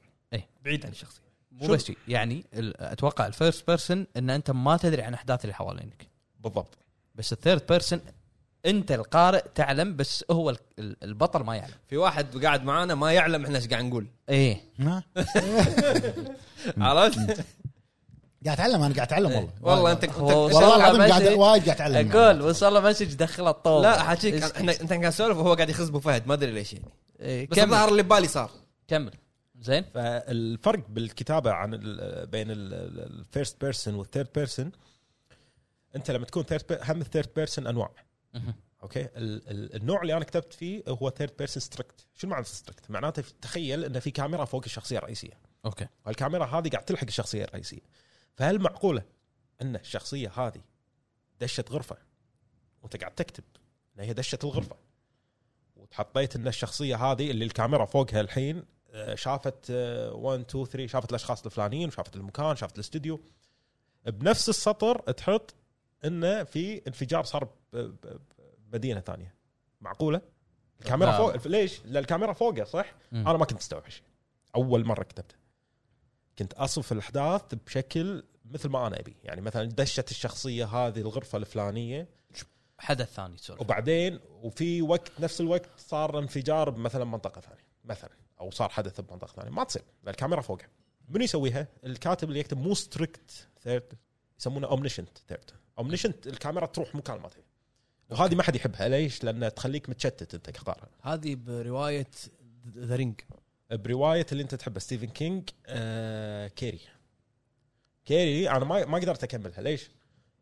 Speaker 1: بعيد عن الشخصيه
Speaker 3: مو
Speaker 7: شو-
Speaker 3: بس شي. يعني ال- اتوقع الفيرست بيرسون ان انت ما تدري عن احداث اللي حوالينك
Speaker 7: بالضبط
Speaker 3: بس الثيرد بيرسون انت القارئ تعلم بس هو ال- ال- البطل ما يعلم
Speaker 1: في واحد قاعد معانا ما يعلم احنا ايش قاعد نقول
Speaker 3: ايه
Speaker 4: ها؟
Speaker 1: عرفت؟
Speaker 4: قاعد اتعلم انا قاعد اتعلم والله
Speaker 1: إيه، والله انت
Speaker 3: هو-
Speaker 1: أنت-
Speaker 4: والله العظيم
Speaker 3: بس-
Speaker 4: قاعد
Speaker 1: إيه.
Speaker 4: وايد قاعد اتعلم يعني.
Speaker 3: اقول وصل له مسج دخله الطول
Speaker 1: لا حاجيك احنا انت قاعد تسولف وهو قاعد يخز ابو فهد ما ادري ليش يعني
Speaker 3: إيه،
Speaker 1: بس
Speaker 3: كمل
Speaker 1: الظاهر اللي ببالي صار
Speaker 3: كمل زين
Speaker 7: فالفرق بالكتابه عن ال بين الفيرست بيرسون والثيرد بيرسون انت لما تكون ثيرد هم الثيرد بيرسون انواع
Speaker 3: مهم.
Speaker 7: اوكي ال- ال- النوع اللي انا كتبت فيه هو ثيرد بيرسون ستريكت شو معنى ستريكت معناته في- تخيل ان في كاميرا فوق الشخصيه الرئيسيه
Speaker 3: اوكي
Speaker 7: والكاميرا هذه قاعد تلحق الشخصيه الرئيسيه فهل معقوله ان الشخصيه هذه دشت غرفه وانت قاعد تكتب ان هي دشت الغرفه وتحطيت ان الشخصيه هذه اللي الكاميرا فوقها الحين آه، شافت 1 2 3 شافت الاشخاص الفلانيين وشافت المكان شافت الاستوديو بنفس السطر تحط انه في انفجار صار ب- ب- بمدينه ثانيه معقوله؟ الكاميرا
Speaker 3: لا.
Speaker 7: فوق ليش؟ لأن الكاميرا فوقه صح؟
Speaker 3: مم.
Speaker 7: انا ما كنت استوعب شيء اول مره كتبته كنت اصف الاحداث بشكل مثل ما انا ابي يعني مثلا دشت الشخصيه هذه الغرفه الفلانيه
Speaker 3: حدث ثاني سوري
Speaker 7: وبعدين وفي وقت نفس الوقت صار انفجار بمثلا منطقه ثانيه مثلا او صار حدث بمنطقه ثانيه ما تصير لأن الكاميرا فوقها من يسويها الكاتب اللي يكتب مو ستريكت ثيرد يسمونه اومنيشنت ثيرد اومنيشنت الكاميرا تروح مكان ما تبي وهذه ما حد يحبها ليش؟ لان تخليك متشتت انت كقارئ
Speaker 1: هذه بروايه ذا رينج
Speaker 7: بروايه اللي انت تحبه ستيفن كينج آه كيري كيري انا ما ما قدرت اكملها ليش؟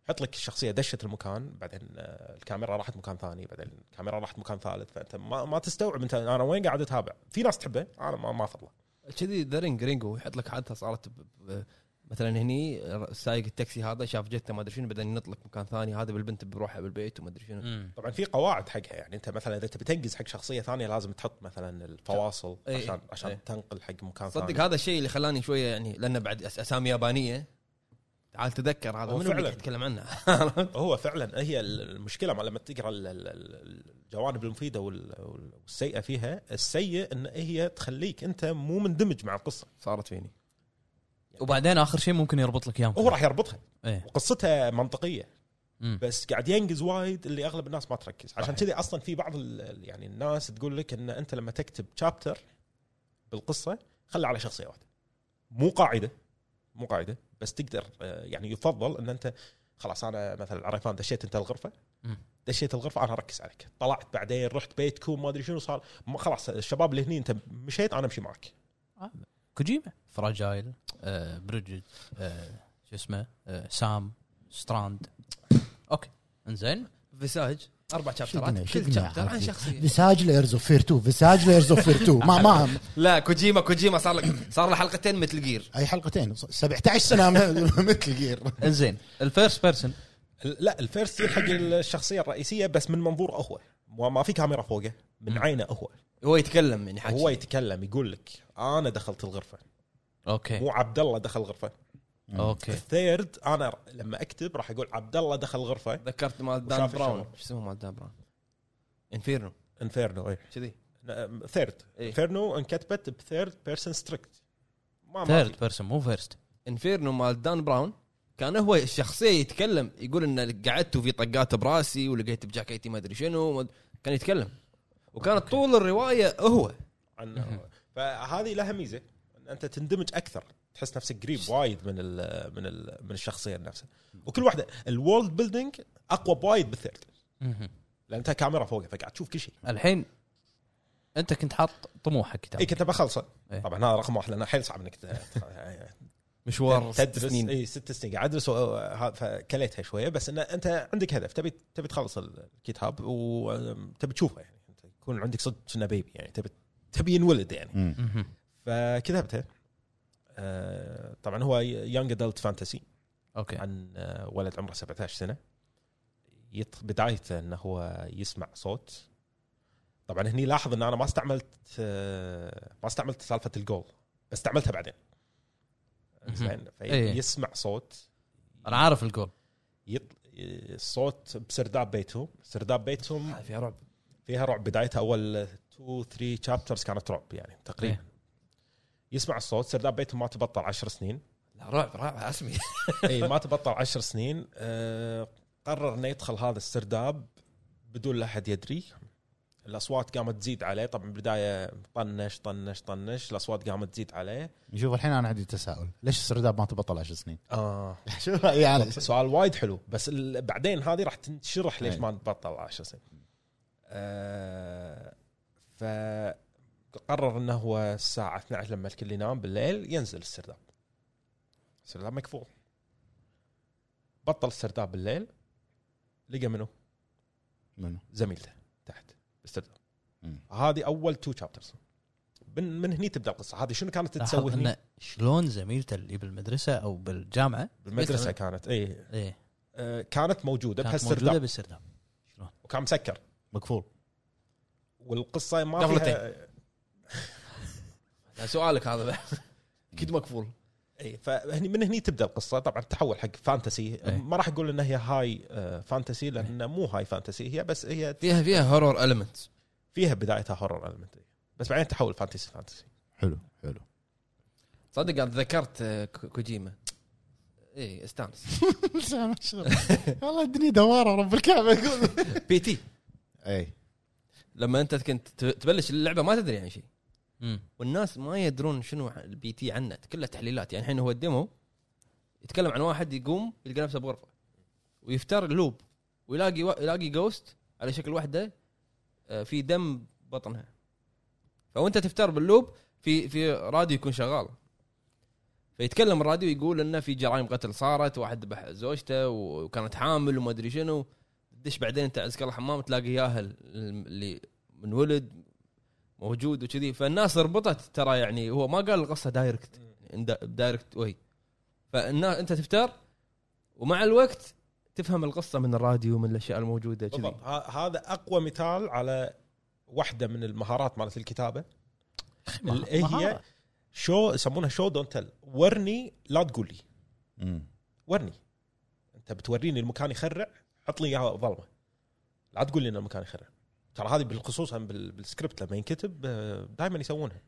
Speaker 7: حط لك الشخصيه دشت المكان بعدين آه الكاميرا راحت مكان ثاني بعدين الكاميرا راحت مكان ثالث فانت ما, ما تستوعب انت انا وين قاعد اتابع في ناس تحبه انا ما, ما افضله
Speaker 1: كذي ذا رينج رينجو يحط لك حادثه صارت ب... ب... مثلا هني سايق التاكسي هذا شاف جته ما ادري شنو بعدين ينطلق مكان ثاني هذا بالبنت بروحها بالبيت وما ادري شنو
Speaker 3: مم.
Speaker 7: طبعا في قواعد حقها يعني انت مثلا اذا تبي تنجز حق شخصيه ثانيه لازم تحط مثلا الفواصل
Speaker 1: إي.
Speaker 7: عشان عشان
Speaker 1: إي.
Speaker 7: تنقل حق مكان ثاني
Speaker 1: صدق هذا الشيء اللي خلاني شويه يعني لان بعد أس- اسامي يابانيه تعال تذكر هذا
Speaker 7: هو
Speaker 1: منو اللي
Speaker 7: فعلاً.
Speaker 1: تتكلم عنها
Speaker 7: هو فعلا هي المشكله مع لما تقرا ال- ال- ال- الجوانب المفيده وال- وال- والسيئه فيها السيء ان هي تخليك انت مو مندمج مع القصه
Speaker 1: صارت فيني
Speaker 3: وبعدين اخر شيء ممكن يربط لك اياهم
Speaker 7: هو راح يربطها
Speaker 3: إيه.
Speaker 7: وقصتها منطقيه
Speaker 3: مم.
Speaker 7: بس قاعد ينجز وايد اللي اغلب الناس ما تركز عشان كذي اصلا في بعض ال- يعني الناس تقول لك ان انت لما تكتب شابتر بالقصه خلي على شخصيه واحده مو قاعده مو قاعده بس تقدر آه، يعني يفضل ان انت خلاص انا مثلا عرفان دشيت انت الغرفه
Speaker 3: مم.
Speaker 7: دشيت الغرفه انا اركز عليك طلعت بعدين رحت بيتكم ما ادري شنو صار ما- خلاص الشباب اللي هني انت مشيت انا امشي معك
Speaker 3: كوجيما فراجايل آه بريدج آه شو اسمه آه سام ستراند اوكي انزين
Speaker 1: فيساج اربع
Speaker 6: قلنا؟
Speaker 1: شابترات
Speaker 6: شو
Speaker 1: كل
Speaker 6: قلنا
Speaker 1: شابتر عن
Speaker 6: عرفي؟
Speaker 1: شخصيه
Speaker 6: فيساج لايرز اوف فير 2 فيساج لايرز اوف فير 2 ما ما هم.
Speaker 1: لا كوجيما كوجيما صار لك صار له حلقتين مثل جير
Speaker 6: اي حلقتين 17 سنه مثل جير
Speaker 3: انزين الفيرست بيرسون
Speaker 7: ال- لا الفيرست حق الشخصيه الرئيسيه بس من منظوره هو ما- ما في كاميرا فوقه من عينه هو
Speaker 1: هو يتكلم يعني حاجة
Speaker 7: هو يتكلم يقول لك انا دخلت الغرفه
Speaker 3: اوكي
Speaker 7: مو عبد الله دخل الغرفه
Speaker 3: إيه. اوكي
Speaker 7: الثيرد انا ر- لما اكتب راح اقول عبد الله دخل غرفه
Speaker 1: تذكرت مال دان
Speaker 7: وشاف
Speaker 1: براون
Speaker 7: الشغل.
Speaker 1: شو اسمه مال دان براون انفيرنو
Speaker 7: انفيرنو اي
Speaker 1: كذي
Speaker 7: إيه. ثيرد
Speaker 1: إيه.
Speaker 7: انفيرنو انكتبت بثيرد بيرسون ستريكت ما ما في.
Speaker 3: ثيرد بيرسون مو فيرست
Speaker 1: انفيرنو مال دان براون كان هو الشخصيه يتكلم يقول ان قعدت وفي طقات براسي ولقيت بجاكيتي ما ادري شنو وما- كان يتكلم وكانت طول الروايه هو
Speaker 7: عن فهذه لها ميزه ان انت تندمج اكثر تحس نفسك قريب وايد من ال من ال من الشخصيه نفسها وكل واحده الوورلد بيلدينج اقوى بوايد بالثيرد لان انت كاميرا فوقها فقاعد تشوف كل شيء
Speaker 3: الحين انت كنت حاط طموحك
Speaker 7: اي
Speaker 3: كتاب
Speaker 7: إيه، كنت بخلصه
Speaker 3: إيه.
Speaker 7: طبعا هذا رقم واحد لانه حيل صعب انك ت-
Speaker 1: مشوار ست
Speaker 7: تدرس
Speaker 1: يعني سنين
Speaker 7: اي إيه، ست سنين قاعد ادرس و- ها- فكليتها شويه بس ان انت عندك هدف تبي تبي تخلص الكتاب وتبي تشوفه يعني انت يكون عندك صدق انه بيبي يعني تبي تبي ينولد يعني
Speaker 3: مهم.
Speaker 7: فكتبته آه، طبعا هو يونج ادلت فانتسي
Speaker 3: اوكي
Speaker 7: عن آه، ولد عمره 17 سنه يط... بدايته انه هو يسمع صوت طبعا هني لاحظ ان انا ما استعملت آه، ما استعملت سالفه الجول بس استعملتها بعدين زين
Speaker 3: إيه.
Speaker 7: فيسمع صوت
Speaker 3: انا عارف الجول
Speaker 7: يط... الصوت بسرداب بيتهم سرداب بيتهم
Speaker 1: هاي فيها رعب
Speaker 7: فيها رعب بدايتها اول 2 3 شابترز كانت رعب يعني تقريبا
Speaker 3: إيه.
Speaker 7: يسمع الصوت سرداب بيتهم ما تبطل 10 سنين
Speaker 1: لا رعب رعب اسمي
Speaker 7: اي إيه، ما تبطل 10 سنين آه، قرر انه يدخل هذا السرداب بدون لا احد يدري الاصوات قامت تزيد عليه طبعا بدايه طنش طنش طنش الاصوات قامت تزيد عليه
Speaker 6: شوف الحين انا عندي تساؤل ليش السرداب ما تبطل 10 سنين؟
Speaker 7: آه.
Speaker 6: شوف يعني
Speaker 7: سؤال وايد حلو بس ال- بعدين هذه راح تنشرح ليش ما نبطل 10 سنين آه فقرر انه هو الساعه 12 لما الكل ينام بالليل ينزل السرداب السرداب مكفوض بطل السرداب بالليل لقى منه
Speaker 4: منو؟
Speaker 7: زميلته تحت بالسرداب
Speaker 4: مم.
Speaker 7: هذه اول تو شابترز من من هني تبدا القصه هذه شنو كانت تسوي
Speaker 3: لاحظ
Speaker 7: هني
Speaker 3: انه شلون زميلته اللي بالمدرسه او بالجامعه
Speaker 7: بالمدرسه كانت اي
Speaker 3: ايه
Speaker 7: آه كانت موجوده
Speaker 3: كانت موجوده
Speaker 7: بهالسرداب
Speaker 3: بالسرداب
Speaker 7: وكان مسكر
Speaker 6: مقفول
Speaker 7: والقصه ما
Speaker 1: دبلتين.
Speaker 7: فيها
Speaker 1: سؤالك هذا بعد. اكيد مقفول
Speaker 7: اي فهني من هني تبدا القصه طبعا تحول حق فانتسي
Speaker 3: إي.
Speaker 7: ما راح اقول انها هي هاي آه، فانتسي لان مو هاي فانتسي هي بس هي
Speaker 1: فيها فيها هورور المنت
Speaker 7: فيها بدايتها هورر المنت بس بعدين تحول فانتسي فانتسي
Speaker 4: حلو حلو
Speaker 1: صدق انا تذكرت آه، ك- كوجيما اي استانس
Speaker 6: والله الدنيا دواره رب الكعبه
Speaker 1: بي تي
Speaker 4: اي
Speaker 6: إيه.
Speaker 1: لما انت كنت ت- تبلش اللعبه ما تدري عن شيء
Speaker 3: مم.
Speaker 1: والناس ما يدرون شنو ح- البي تي عنه كلها تحليلات يعني الحين هو الديمو يتكلم عن واحد يقوم يلقى نفسه بغرفه ويفتر لوب ويلاقي و... يلاقي جوست على شكل وحده آه، في دم بطنها فوانت تفتر باللوب في في راديو يكون شغال فيتكلم الراديو يقول انه في جرائم قتل صارت واحد ذبح زوجته و- وكانت حامل وما ادري شنو تدش بعدين انت عزك الله حمام تلاقي ياها ال- اللي من ولد موجود وكذي فالناس ربطت ترى يعني هو ما قال القصه دايركت يعني دا- دايركت وي فالناس انت تفتر ومع الوقت تفهم القصه من الراديو من الاشياء الموجوده كذي
Speaker 7: بالضبط ه- هذا اقوى مثال على واحده من المهارات مالت الكتابه اللي هي شو يسمونها شو دونت تل ورني لا تقول لي
Speaker 4: مم.
Speaker 7: ورني انت بتوريني المكان يخرع حط لي اياه ظلمه لا تقول لي ان المكان يخرع ترى هذه بالخصوص هم بال- بالسكريبت لما ينكتب دائما يسوونها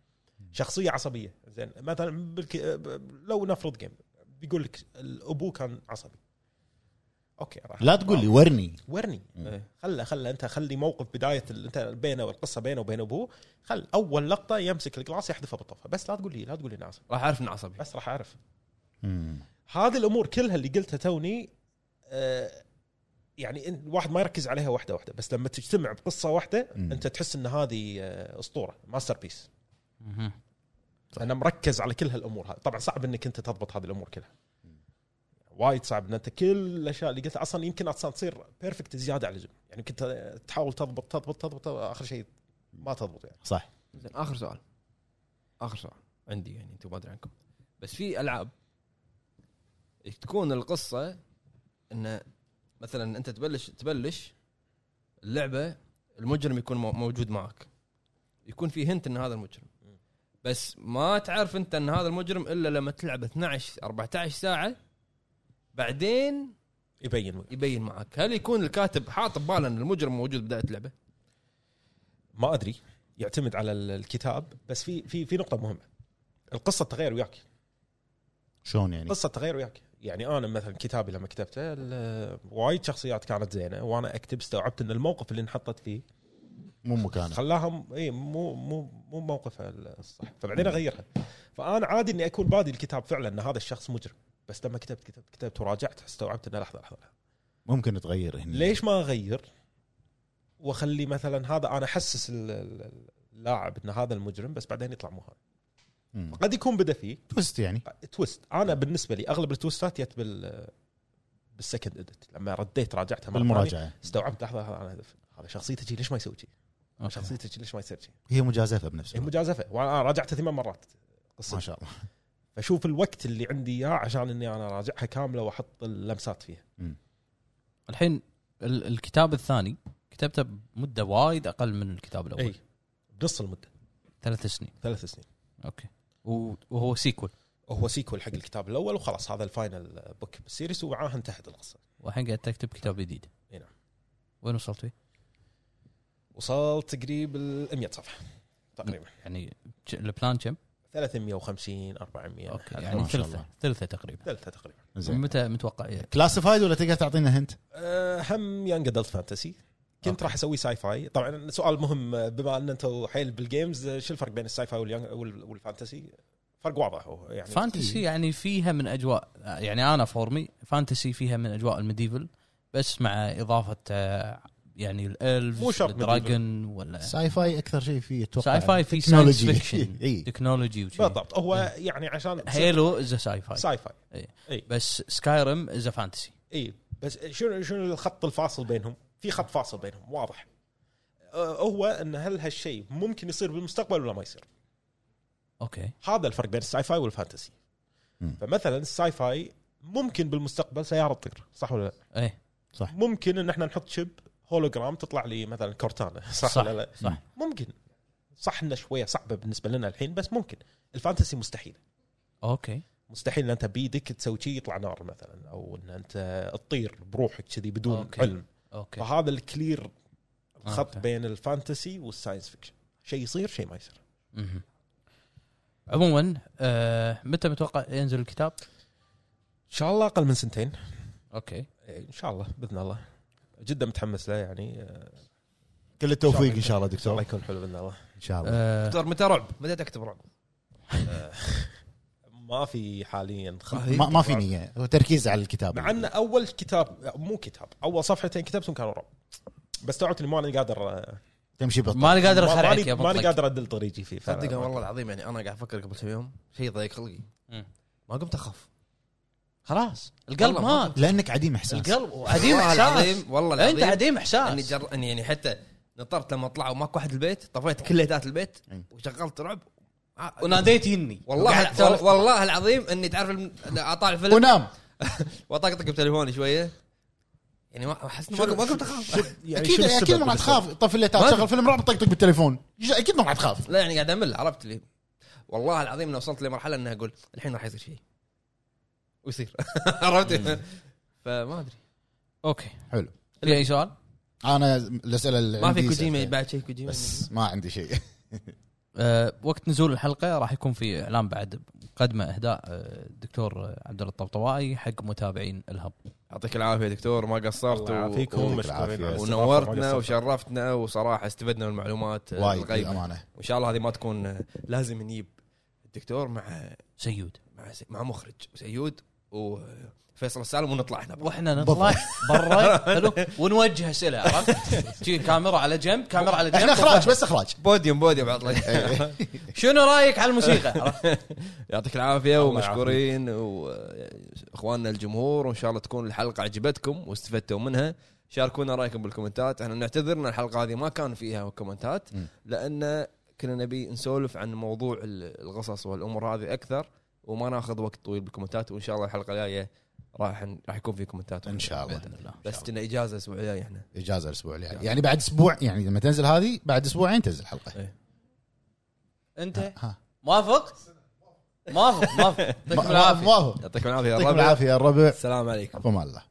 Speaker 7: شخصيه عصبيه زين مثلا بالك... آه، لو نفرض جيم بيقول لك الابو كان عصبي اوكي راح
Speaker 6: لا تقول لي ورني
Speaker 7: ورني
Speaker 4: مم.
Speaker 7: إيه. خله خله انت خلي موقف بدايه ال- انت بينه والقصه بينه وبين ابوه خل اول لقطه يمسك الجلاس يحذفه بالطفه بس لا تقول لي لا تقول لي انا عصبي
Speaker 1: راح اعرف انه عصبي
Speaker 7: بس راح اعرف
Speaker 4: مم.
Speaker 7: هذه الامور كلها اللي قلتها توني آه، يعني إن- الواحد ما يركز عليها واحده واحده بس لما تجتمع بقصه واحده
Speaker 4: مم.
Speaker 7: انت تحس ان هذه آه، اسطوره ماستر بيس
Speaker 3: مهم.
Speaker 7: انا مركز على كل هالامور هذه طبعا صعب انك انت تضبط هذه الامور كلها وايد صعب ان انت كل الاشياء اللي قلتها اصلا يمكن اصلا تصير بيرفكت زياده على اللزوم يعني كنت تحاول تضبط تضبط تضبط اخر شيء ما تضبط يعني
Speaker 1: زين اخر سؤال اخر سؤال عندي يعني انتم ما ادري عنكم بس في العاب تكون القصه ان مثلا انت تبلش تبلش اللعبه المجرم يكون مو- موجود معك يكون في هنت ان هذا المجرم بس ما تعرف انت ان هذا المجرم الا لما تلعب 12 14 ساعه بعدين
Speaker 7: يبين
Speaker 1: يبين معك هل يكون الكاتب حاط بباله ان المجرم موجود بدايه اللعبه
Speaker 7: ما ادري يعتمد على ال- الكتاب بس في في في نقطه مهمه القصه تتغير وياك
Speaker 6: شلون يعني؟
Speaker 7: قصه تغير وياك يعني انا مثلا كتابي لما كتبته ال- وايد شخصيات كانت زينه وانا اكتب استوعبت ان الموقف اللي انحطت فيه
Speaker 6: مو مكانه
Speaker 7: خلاها اي مو مو مو موقفها الصح فبعدين اغيرها فانا عادي اني اكون بادي الكتاب فعلا ان هذا الشخص مجرم بس لما كتبت كتبت كتبت وراجعت استوعبت انه لحظه لحظه لحظة.
Speaker 6: ممكن تغير هنا
Speaker 7: ليش ما اغير واخلي مثلا هذا انا احسس ال- ال- اللاعب ان هذا المجرم بس بعدين يطلع مو هذا
Speaker 6: مم.
Speaker 7: قد يكون بدا فيه
Speaker 6: توست يعني
Speaker 7: تويست انا بالنسبه لي اغلب التويستات جت بال بالسكند اديت لما رديت راجعتها مرة ثانية،
Speaker 6: بالمراجعه
Speaker 7: استوعبت لحظه هذا أنا هدف. هذا شخصيته شي، ليش ما يسوي شي؟
Speaker 3: أوكي.
Speaker 7: شخصيته شي، ليش ما يصير شي؟
Speaker 6: هي مجازفه بنفس
Speaker 7: هي
Speaker 6: الوقت
Speaker 7: مجازفه وانا راجعتها ثمان مرات
Speaker 6: ما
Speaker 7: قصة
Speaker 6: شاء الله
Speaker 7: فشوف الوقت اللي عندي اياه عشان اني انا راجعها كامله واحط اللمسات فيها
Speaker 3: الحين ال- الكتاب الثاني كتبته بمده وايد اقل من الكتاب الاول
Speaker 7: اي بنص المده
Speaker 3: ثلاث سنين
Speaker 7: ثلاث سنين
Speaker 3: اوكي و- وهو سيكول
Speaker 7: هو سيكول حق الكتاب الاول وخلاص هذا الفاينل بوك بالسيريس ومعاه انتهت القصه
Speaker 3: والحين قاعد تكتب كتاب جديد
Speaker 7: اي نعم.
Speaker 3: وين وصلت فيه؟
Speaker 7: وصلت قريب ال 100 صفحه تقريبا
Speaker 6: نعم.
Speaker 3: يعني ج- البلان كم؟
Speaker 7: 350 400
Speaker 3: اوكي
Speaker 7: هذا
Speaker 3: يعني
Speaker 7: ما شاء الله. يعني
Speaker 3: ثلثه ثلثه تقريبا
Speaker 7: ثلثه تقريبا
Speaker 4: زين
Speaker 3: متى متوقع
Speaker 6: كلاسيفايد ولا تقدر تعطينا هنت؟
Speaker 7: أه، هم يانج ادلت فانتسي كنت راح اسوي ساي فاي طبعا سؤال مهم أه، بما ان انتم حيل بالجيمز أه، شو الفرق بين الساي فاي واليانج وال- والفانتسي فرق واضح هو يعني
Speaker 3: فانتسي يعني فيها من اجواء يعني انا فورمي فانتسي فيها من اجواء الميديفل بس مع اضافه آه، يعني الالف
Speaker 7: مو شرط
Speaker 3: الدراجون ولا
Speaker 6: ساي فاي اكثر شيء فيه اتوقع
Speaker 3: ساي
Speaker 4: يعني.
Speaker 3: فاي في ساينس
Speaker 6: تكنولوجي.
Speaker 3: فيكشن
Speaker 6: إي.
Speaker 3: تكنولوجي وشي.
Speaker 7: بالضبط هو يعني عشان
Speaker 3: هيلو از ساي فاي
Speaker 7: ساي فاي
Speaker 3: بس سكايرم از فانتسي
Speaker 7: اي إيه، بس شنو شنو الخط الفاصل بينهم؟ في خط فاصل بينهم واضح. أه، هو ان هل هالشيء ممكن يصير بالمستقبل ولا ما يصير؟
Speaker 3: اوكي
Speaker 7: هذا الفرق بين الساي فاي والفانتسي.
Speaker 4: مم.
Speaker 7: فمثلا الساي فاي ممكن بالمستقبل سياره تطير صح ولا لا؟
Speaker 3: ايه
Speaker 7: ممكن ان احنا نحط شيب هولوجرام تطلع لي مثلا كورتانا صح,
Speaker 3: صح.
Speaker 7: ولا لا؟
Speaker 3: صح.
Speaker 7: ممكن صح انه شويه صعبه بالنسبه لنا الحين بس ممكن الفانتسي مستحيل
Speaker 3: اوكي
Speaker 7: مستحيل ان انت بايدك تسوي شيء يطلع نار مثلا او ان انت تطير بروحك كذي بدون
Speaker 3: أوكي.
Speaker 7: أوكي. علم
Speaker 3: اوكي
Speaker 7: فهذا الكلير خط
Speaker 3: أوكي.
Speaker 7: بين الفانتسي والساينس فيكشن شيء يصير شيء ما يصير
Speaker 3: مهم. عموما آه، متى متوقع ينزل الكتاب؟
Speaker 7: ان شاء الله اقل من سنتين
Speaker 3: اوكي
Speaker 7: إيه، ان شاء الله باذن الله جدا متحمس له يعني آه، ان
Speaker 6: كل التوفيق ان شاء الله
Speaker 7: شاء
Speaker 6: دكتور
Speaker 7: الله يكون حلو باذن الله
Speaker 6: ان شاء الله
Speaker 3: آه،
Speaker 1: دكتور متى رعب؟ متى تكتب رعب؟
Speaker 7: ما في حاليا خط
Speaker 6: ما, ما في نيه هو تركيز على الكتاب
Speaker 7: مع ان اول كتاب مو كتاب اول صفحتين كتبتهم كانوا رعب بس استوعبت اني ماني قادر آه،
Speaker 6: تمشي بطل
Speaker 3: ماني قادر
Speaker 7: ما-
Speaker 3: اخرعك يا
Speaker 7: ماني ماني
Speaker 3: بطل
Speaker 7: قادر ادل طريقي فيه فأنا-
Speaker 1: صدق والله العظيم يعني انا قاعد افكر قبل كم يوم شيء ضيق خلقي
Speaker 3: مم.
Speaker 1: ما قمت اخاف
Speaker 3: خلاص القلب
Speaker 1: والله
Speaker 3: مات
Speaker 6: لانك عديم احساس
Speaker 3: القلب عديم
Speaker 1: والله
Speaker 3: احساس
Speaker 1: العظيم والله
Speaker 3: انت
Speaker 1: العظيم
Speaker 3: عديم
Speaker 1: اني
Speaker 3: احساس
Speaker 1: جر... اني يعني حتى نطرت لما طلعوا ماكو واحد البيت طفيت كل ليتات البيت
Speaker 4: أي.
Speaker 1: وشغلت رعب آه،
Speaker 3: وناديت يني
Speaker 1: والله
Speaker 3: وقعدت
Speaker 1: وال- والله العظيم اني تعرف الم... اطالع فيلم
Speaker 6: ونام
Speaker 1: واطقطق بتليفوني شويه يعني ما احس إنه ما ما قمت اخاف
Speaker 7: يعني
Speaker 6: اكيد
Speaker 7: شنو السبب
Speaker 6: اكيد ما راح
Speaker 7: بالنسبة لك؟
Speaker 6: تخاف طفل
Speaker 1: ما
Speaker 6: تشغل
Speaker 1: أدري.
Speaker 6: فيلم رعب طقطق بالتليفون ج- اكيد ما راح تخاف
Speaker 1: لا يعني قاعد امل عرفت لي والله العظيم اني وصلت لمرحله اني اقول الحين راح يصير شيء ويصير عرفت فما ادري
Speaker 3: اوكي
Speaker 4: حلو.
Speaker 3: في اي سؤال؟
Speaker 6: انا الاسئله اللي
Speaker 1: ما
Speaker 6: عندي
Speaker 1: في كوجيما
Speaker 6: سألتها.
Speaker 1: بعد شيء كوجيما
Speaker 6: يعني.
Speaker 1: يعني.
Speaker 6: بس ما عندي شيء
Speaker 3: أه وقت نزول الحلقه راح يكون في اعلان بعد مقدمه اهداء آه، الدكتور آه، عبد الله الطبطوائي حق متابعين الهب
Speaker 1: يعطيك العافيه دكتور ما قصرت
Speaker 7: الله يعافيكم
Speaker 4: يعطيك
Speaker 7: مشكورين
Speaker 4: العافية.
Speaker 7: على الاستضافة،
Speaker 1: ونورتنا
Speaker 7: ما قصرت.
Speaker 1: وشرفتنا وصراحه استفدنا من المعلومات
Speaker 6: وايد
Speaker 1: الغيبه
Speaker 6: للامانه
Speaker 1: وان شاء الله هذه ما تكون لازم نجيب الدكتور مع
Speaker 3: سيود
Speaker 1: مع مع مخرج سيود وفيصل السالم ونطلع احنا برا.
Speaker 3: واحنا نطلع برا حلو ونوجه اسئله عرفت؟ تجي كاميرا على جنب كاميرا على جنب
Speaker 6: احنا اخراج بس اخراج
Speaker 1: بوديوم بوديوم
Speaker 7: إيه.
Speaker 1: عطلك
Speaker 3: شنو رايك على الموسيقى؟ عرفت؟
Speaker 1: يعطيك العافيه
Speaker 7: الله
Speaker 1: ومشكورين واخواننا الجمهور وان شاء الله تكون الحلقه عجبتكم واستفدتوا منها شاركونا رايكم بالكومنتات احنا نعتذر ان الحلقه هذه ما كان فيها كومنتات
Speaker 4: مم.
Speaker 1: لان كنا نبي نسولف عن موضوع ال- القصص والامور هذه اكثر وما ناخذ وقت طويل بالكومنتات وان شاء الله الحلقه الجايه راح راح يكون في كومنتات
Speaker 6: ان شاء الله
Speaker 3: باذن الله
Speaker 1: بس كنا اجازه اسبوعيه احنا
Speaker 6: اجازه الاسبوع اللي يعني. يعني بعد اسبوع يعني لما تنزل هذه بعد اسبوعين تنزل الحلقه
Speaker 3: انت
Speaker 6: ها.
Speaker 3: موافق؟ موافق موافق يعطيكم
Speaker 6: ما
Speaker 3: العافيه
Speaker 6: ما هو
Speaker 1: يعطيكم العافيه يا
Speaker 6: يعطيكم
Speaker 1: الربع
Speaker 6: العافيه يا الربع
Speaker 1: السلام عليكم
Speaker 6: فما الله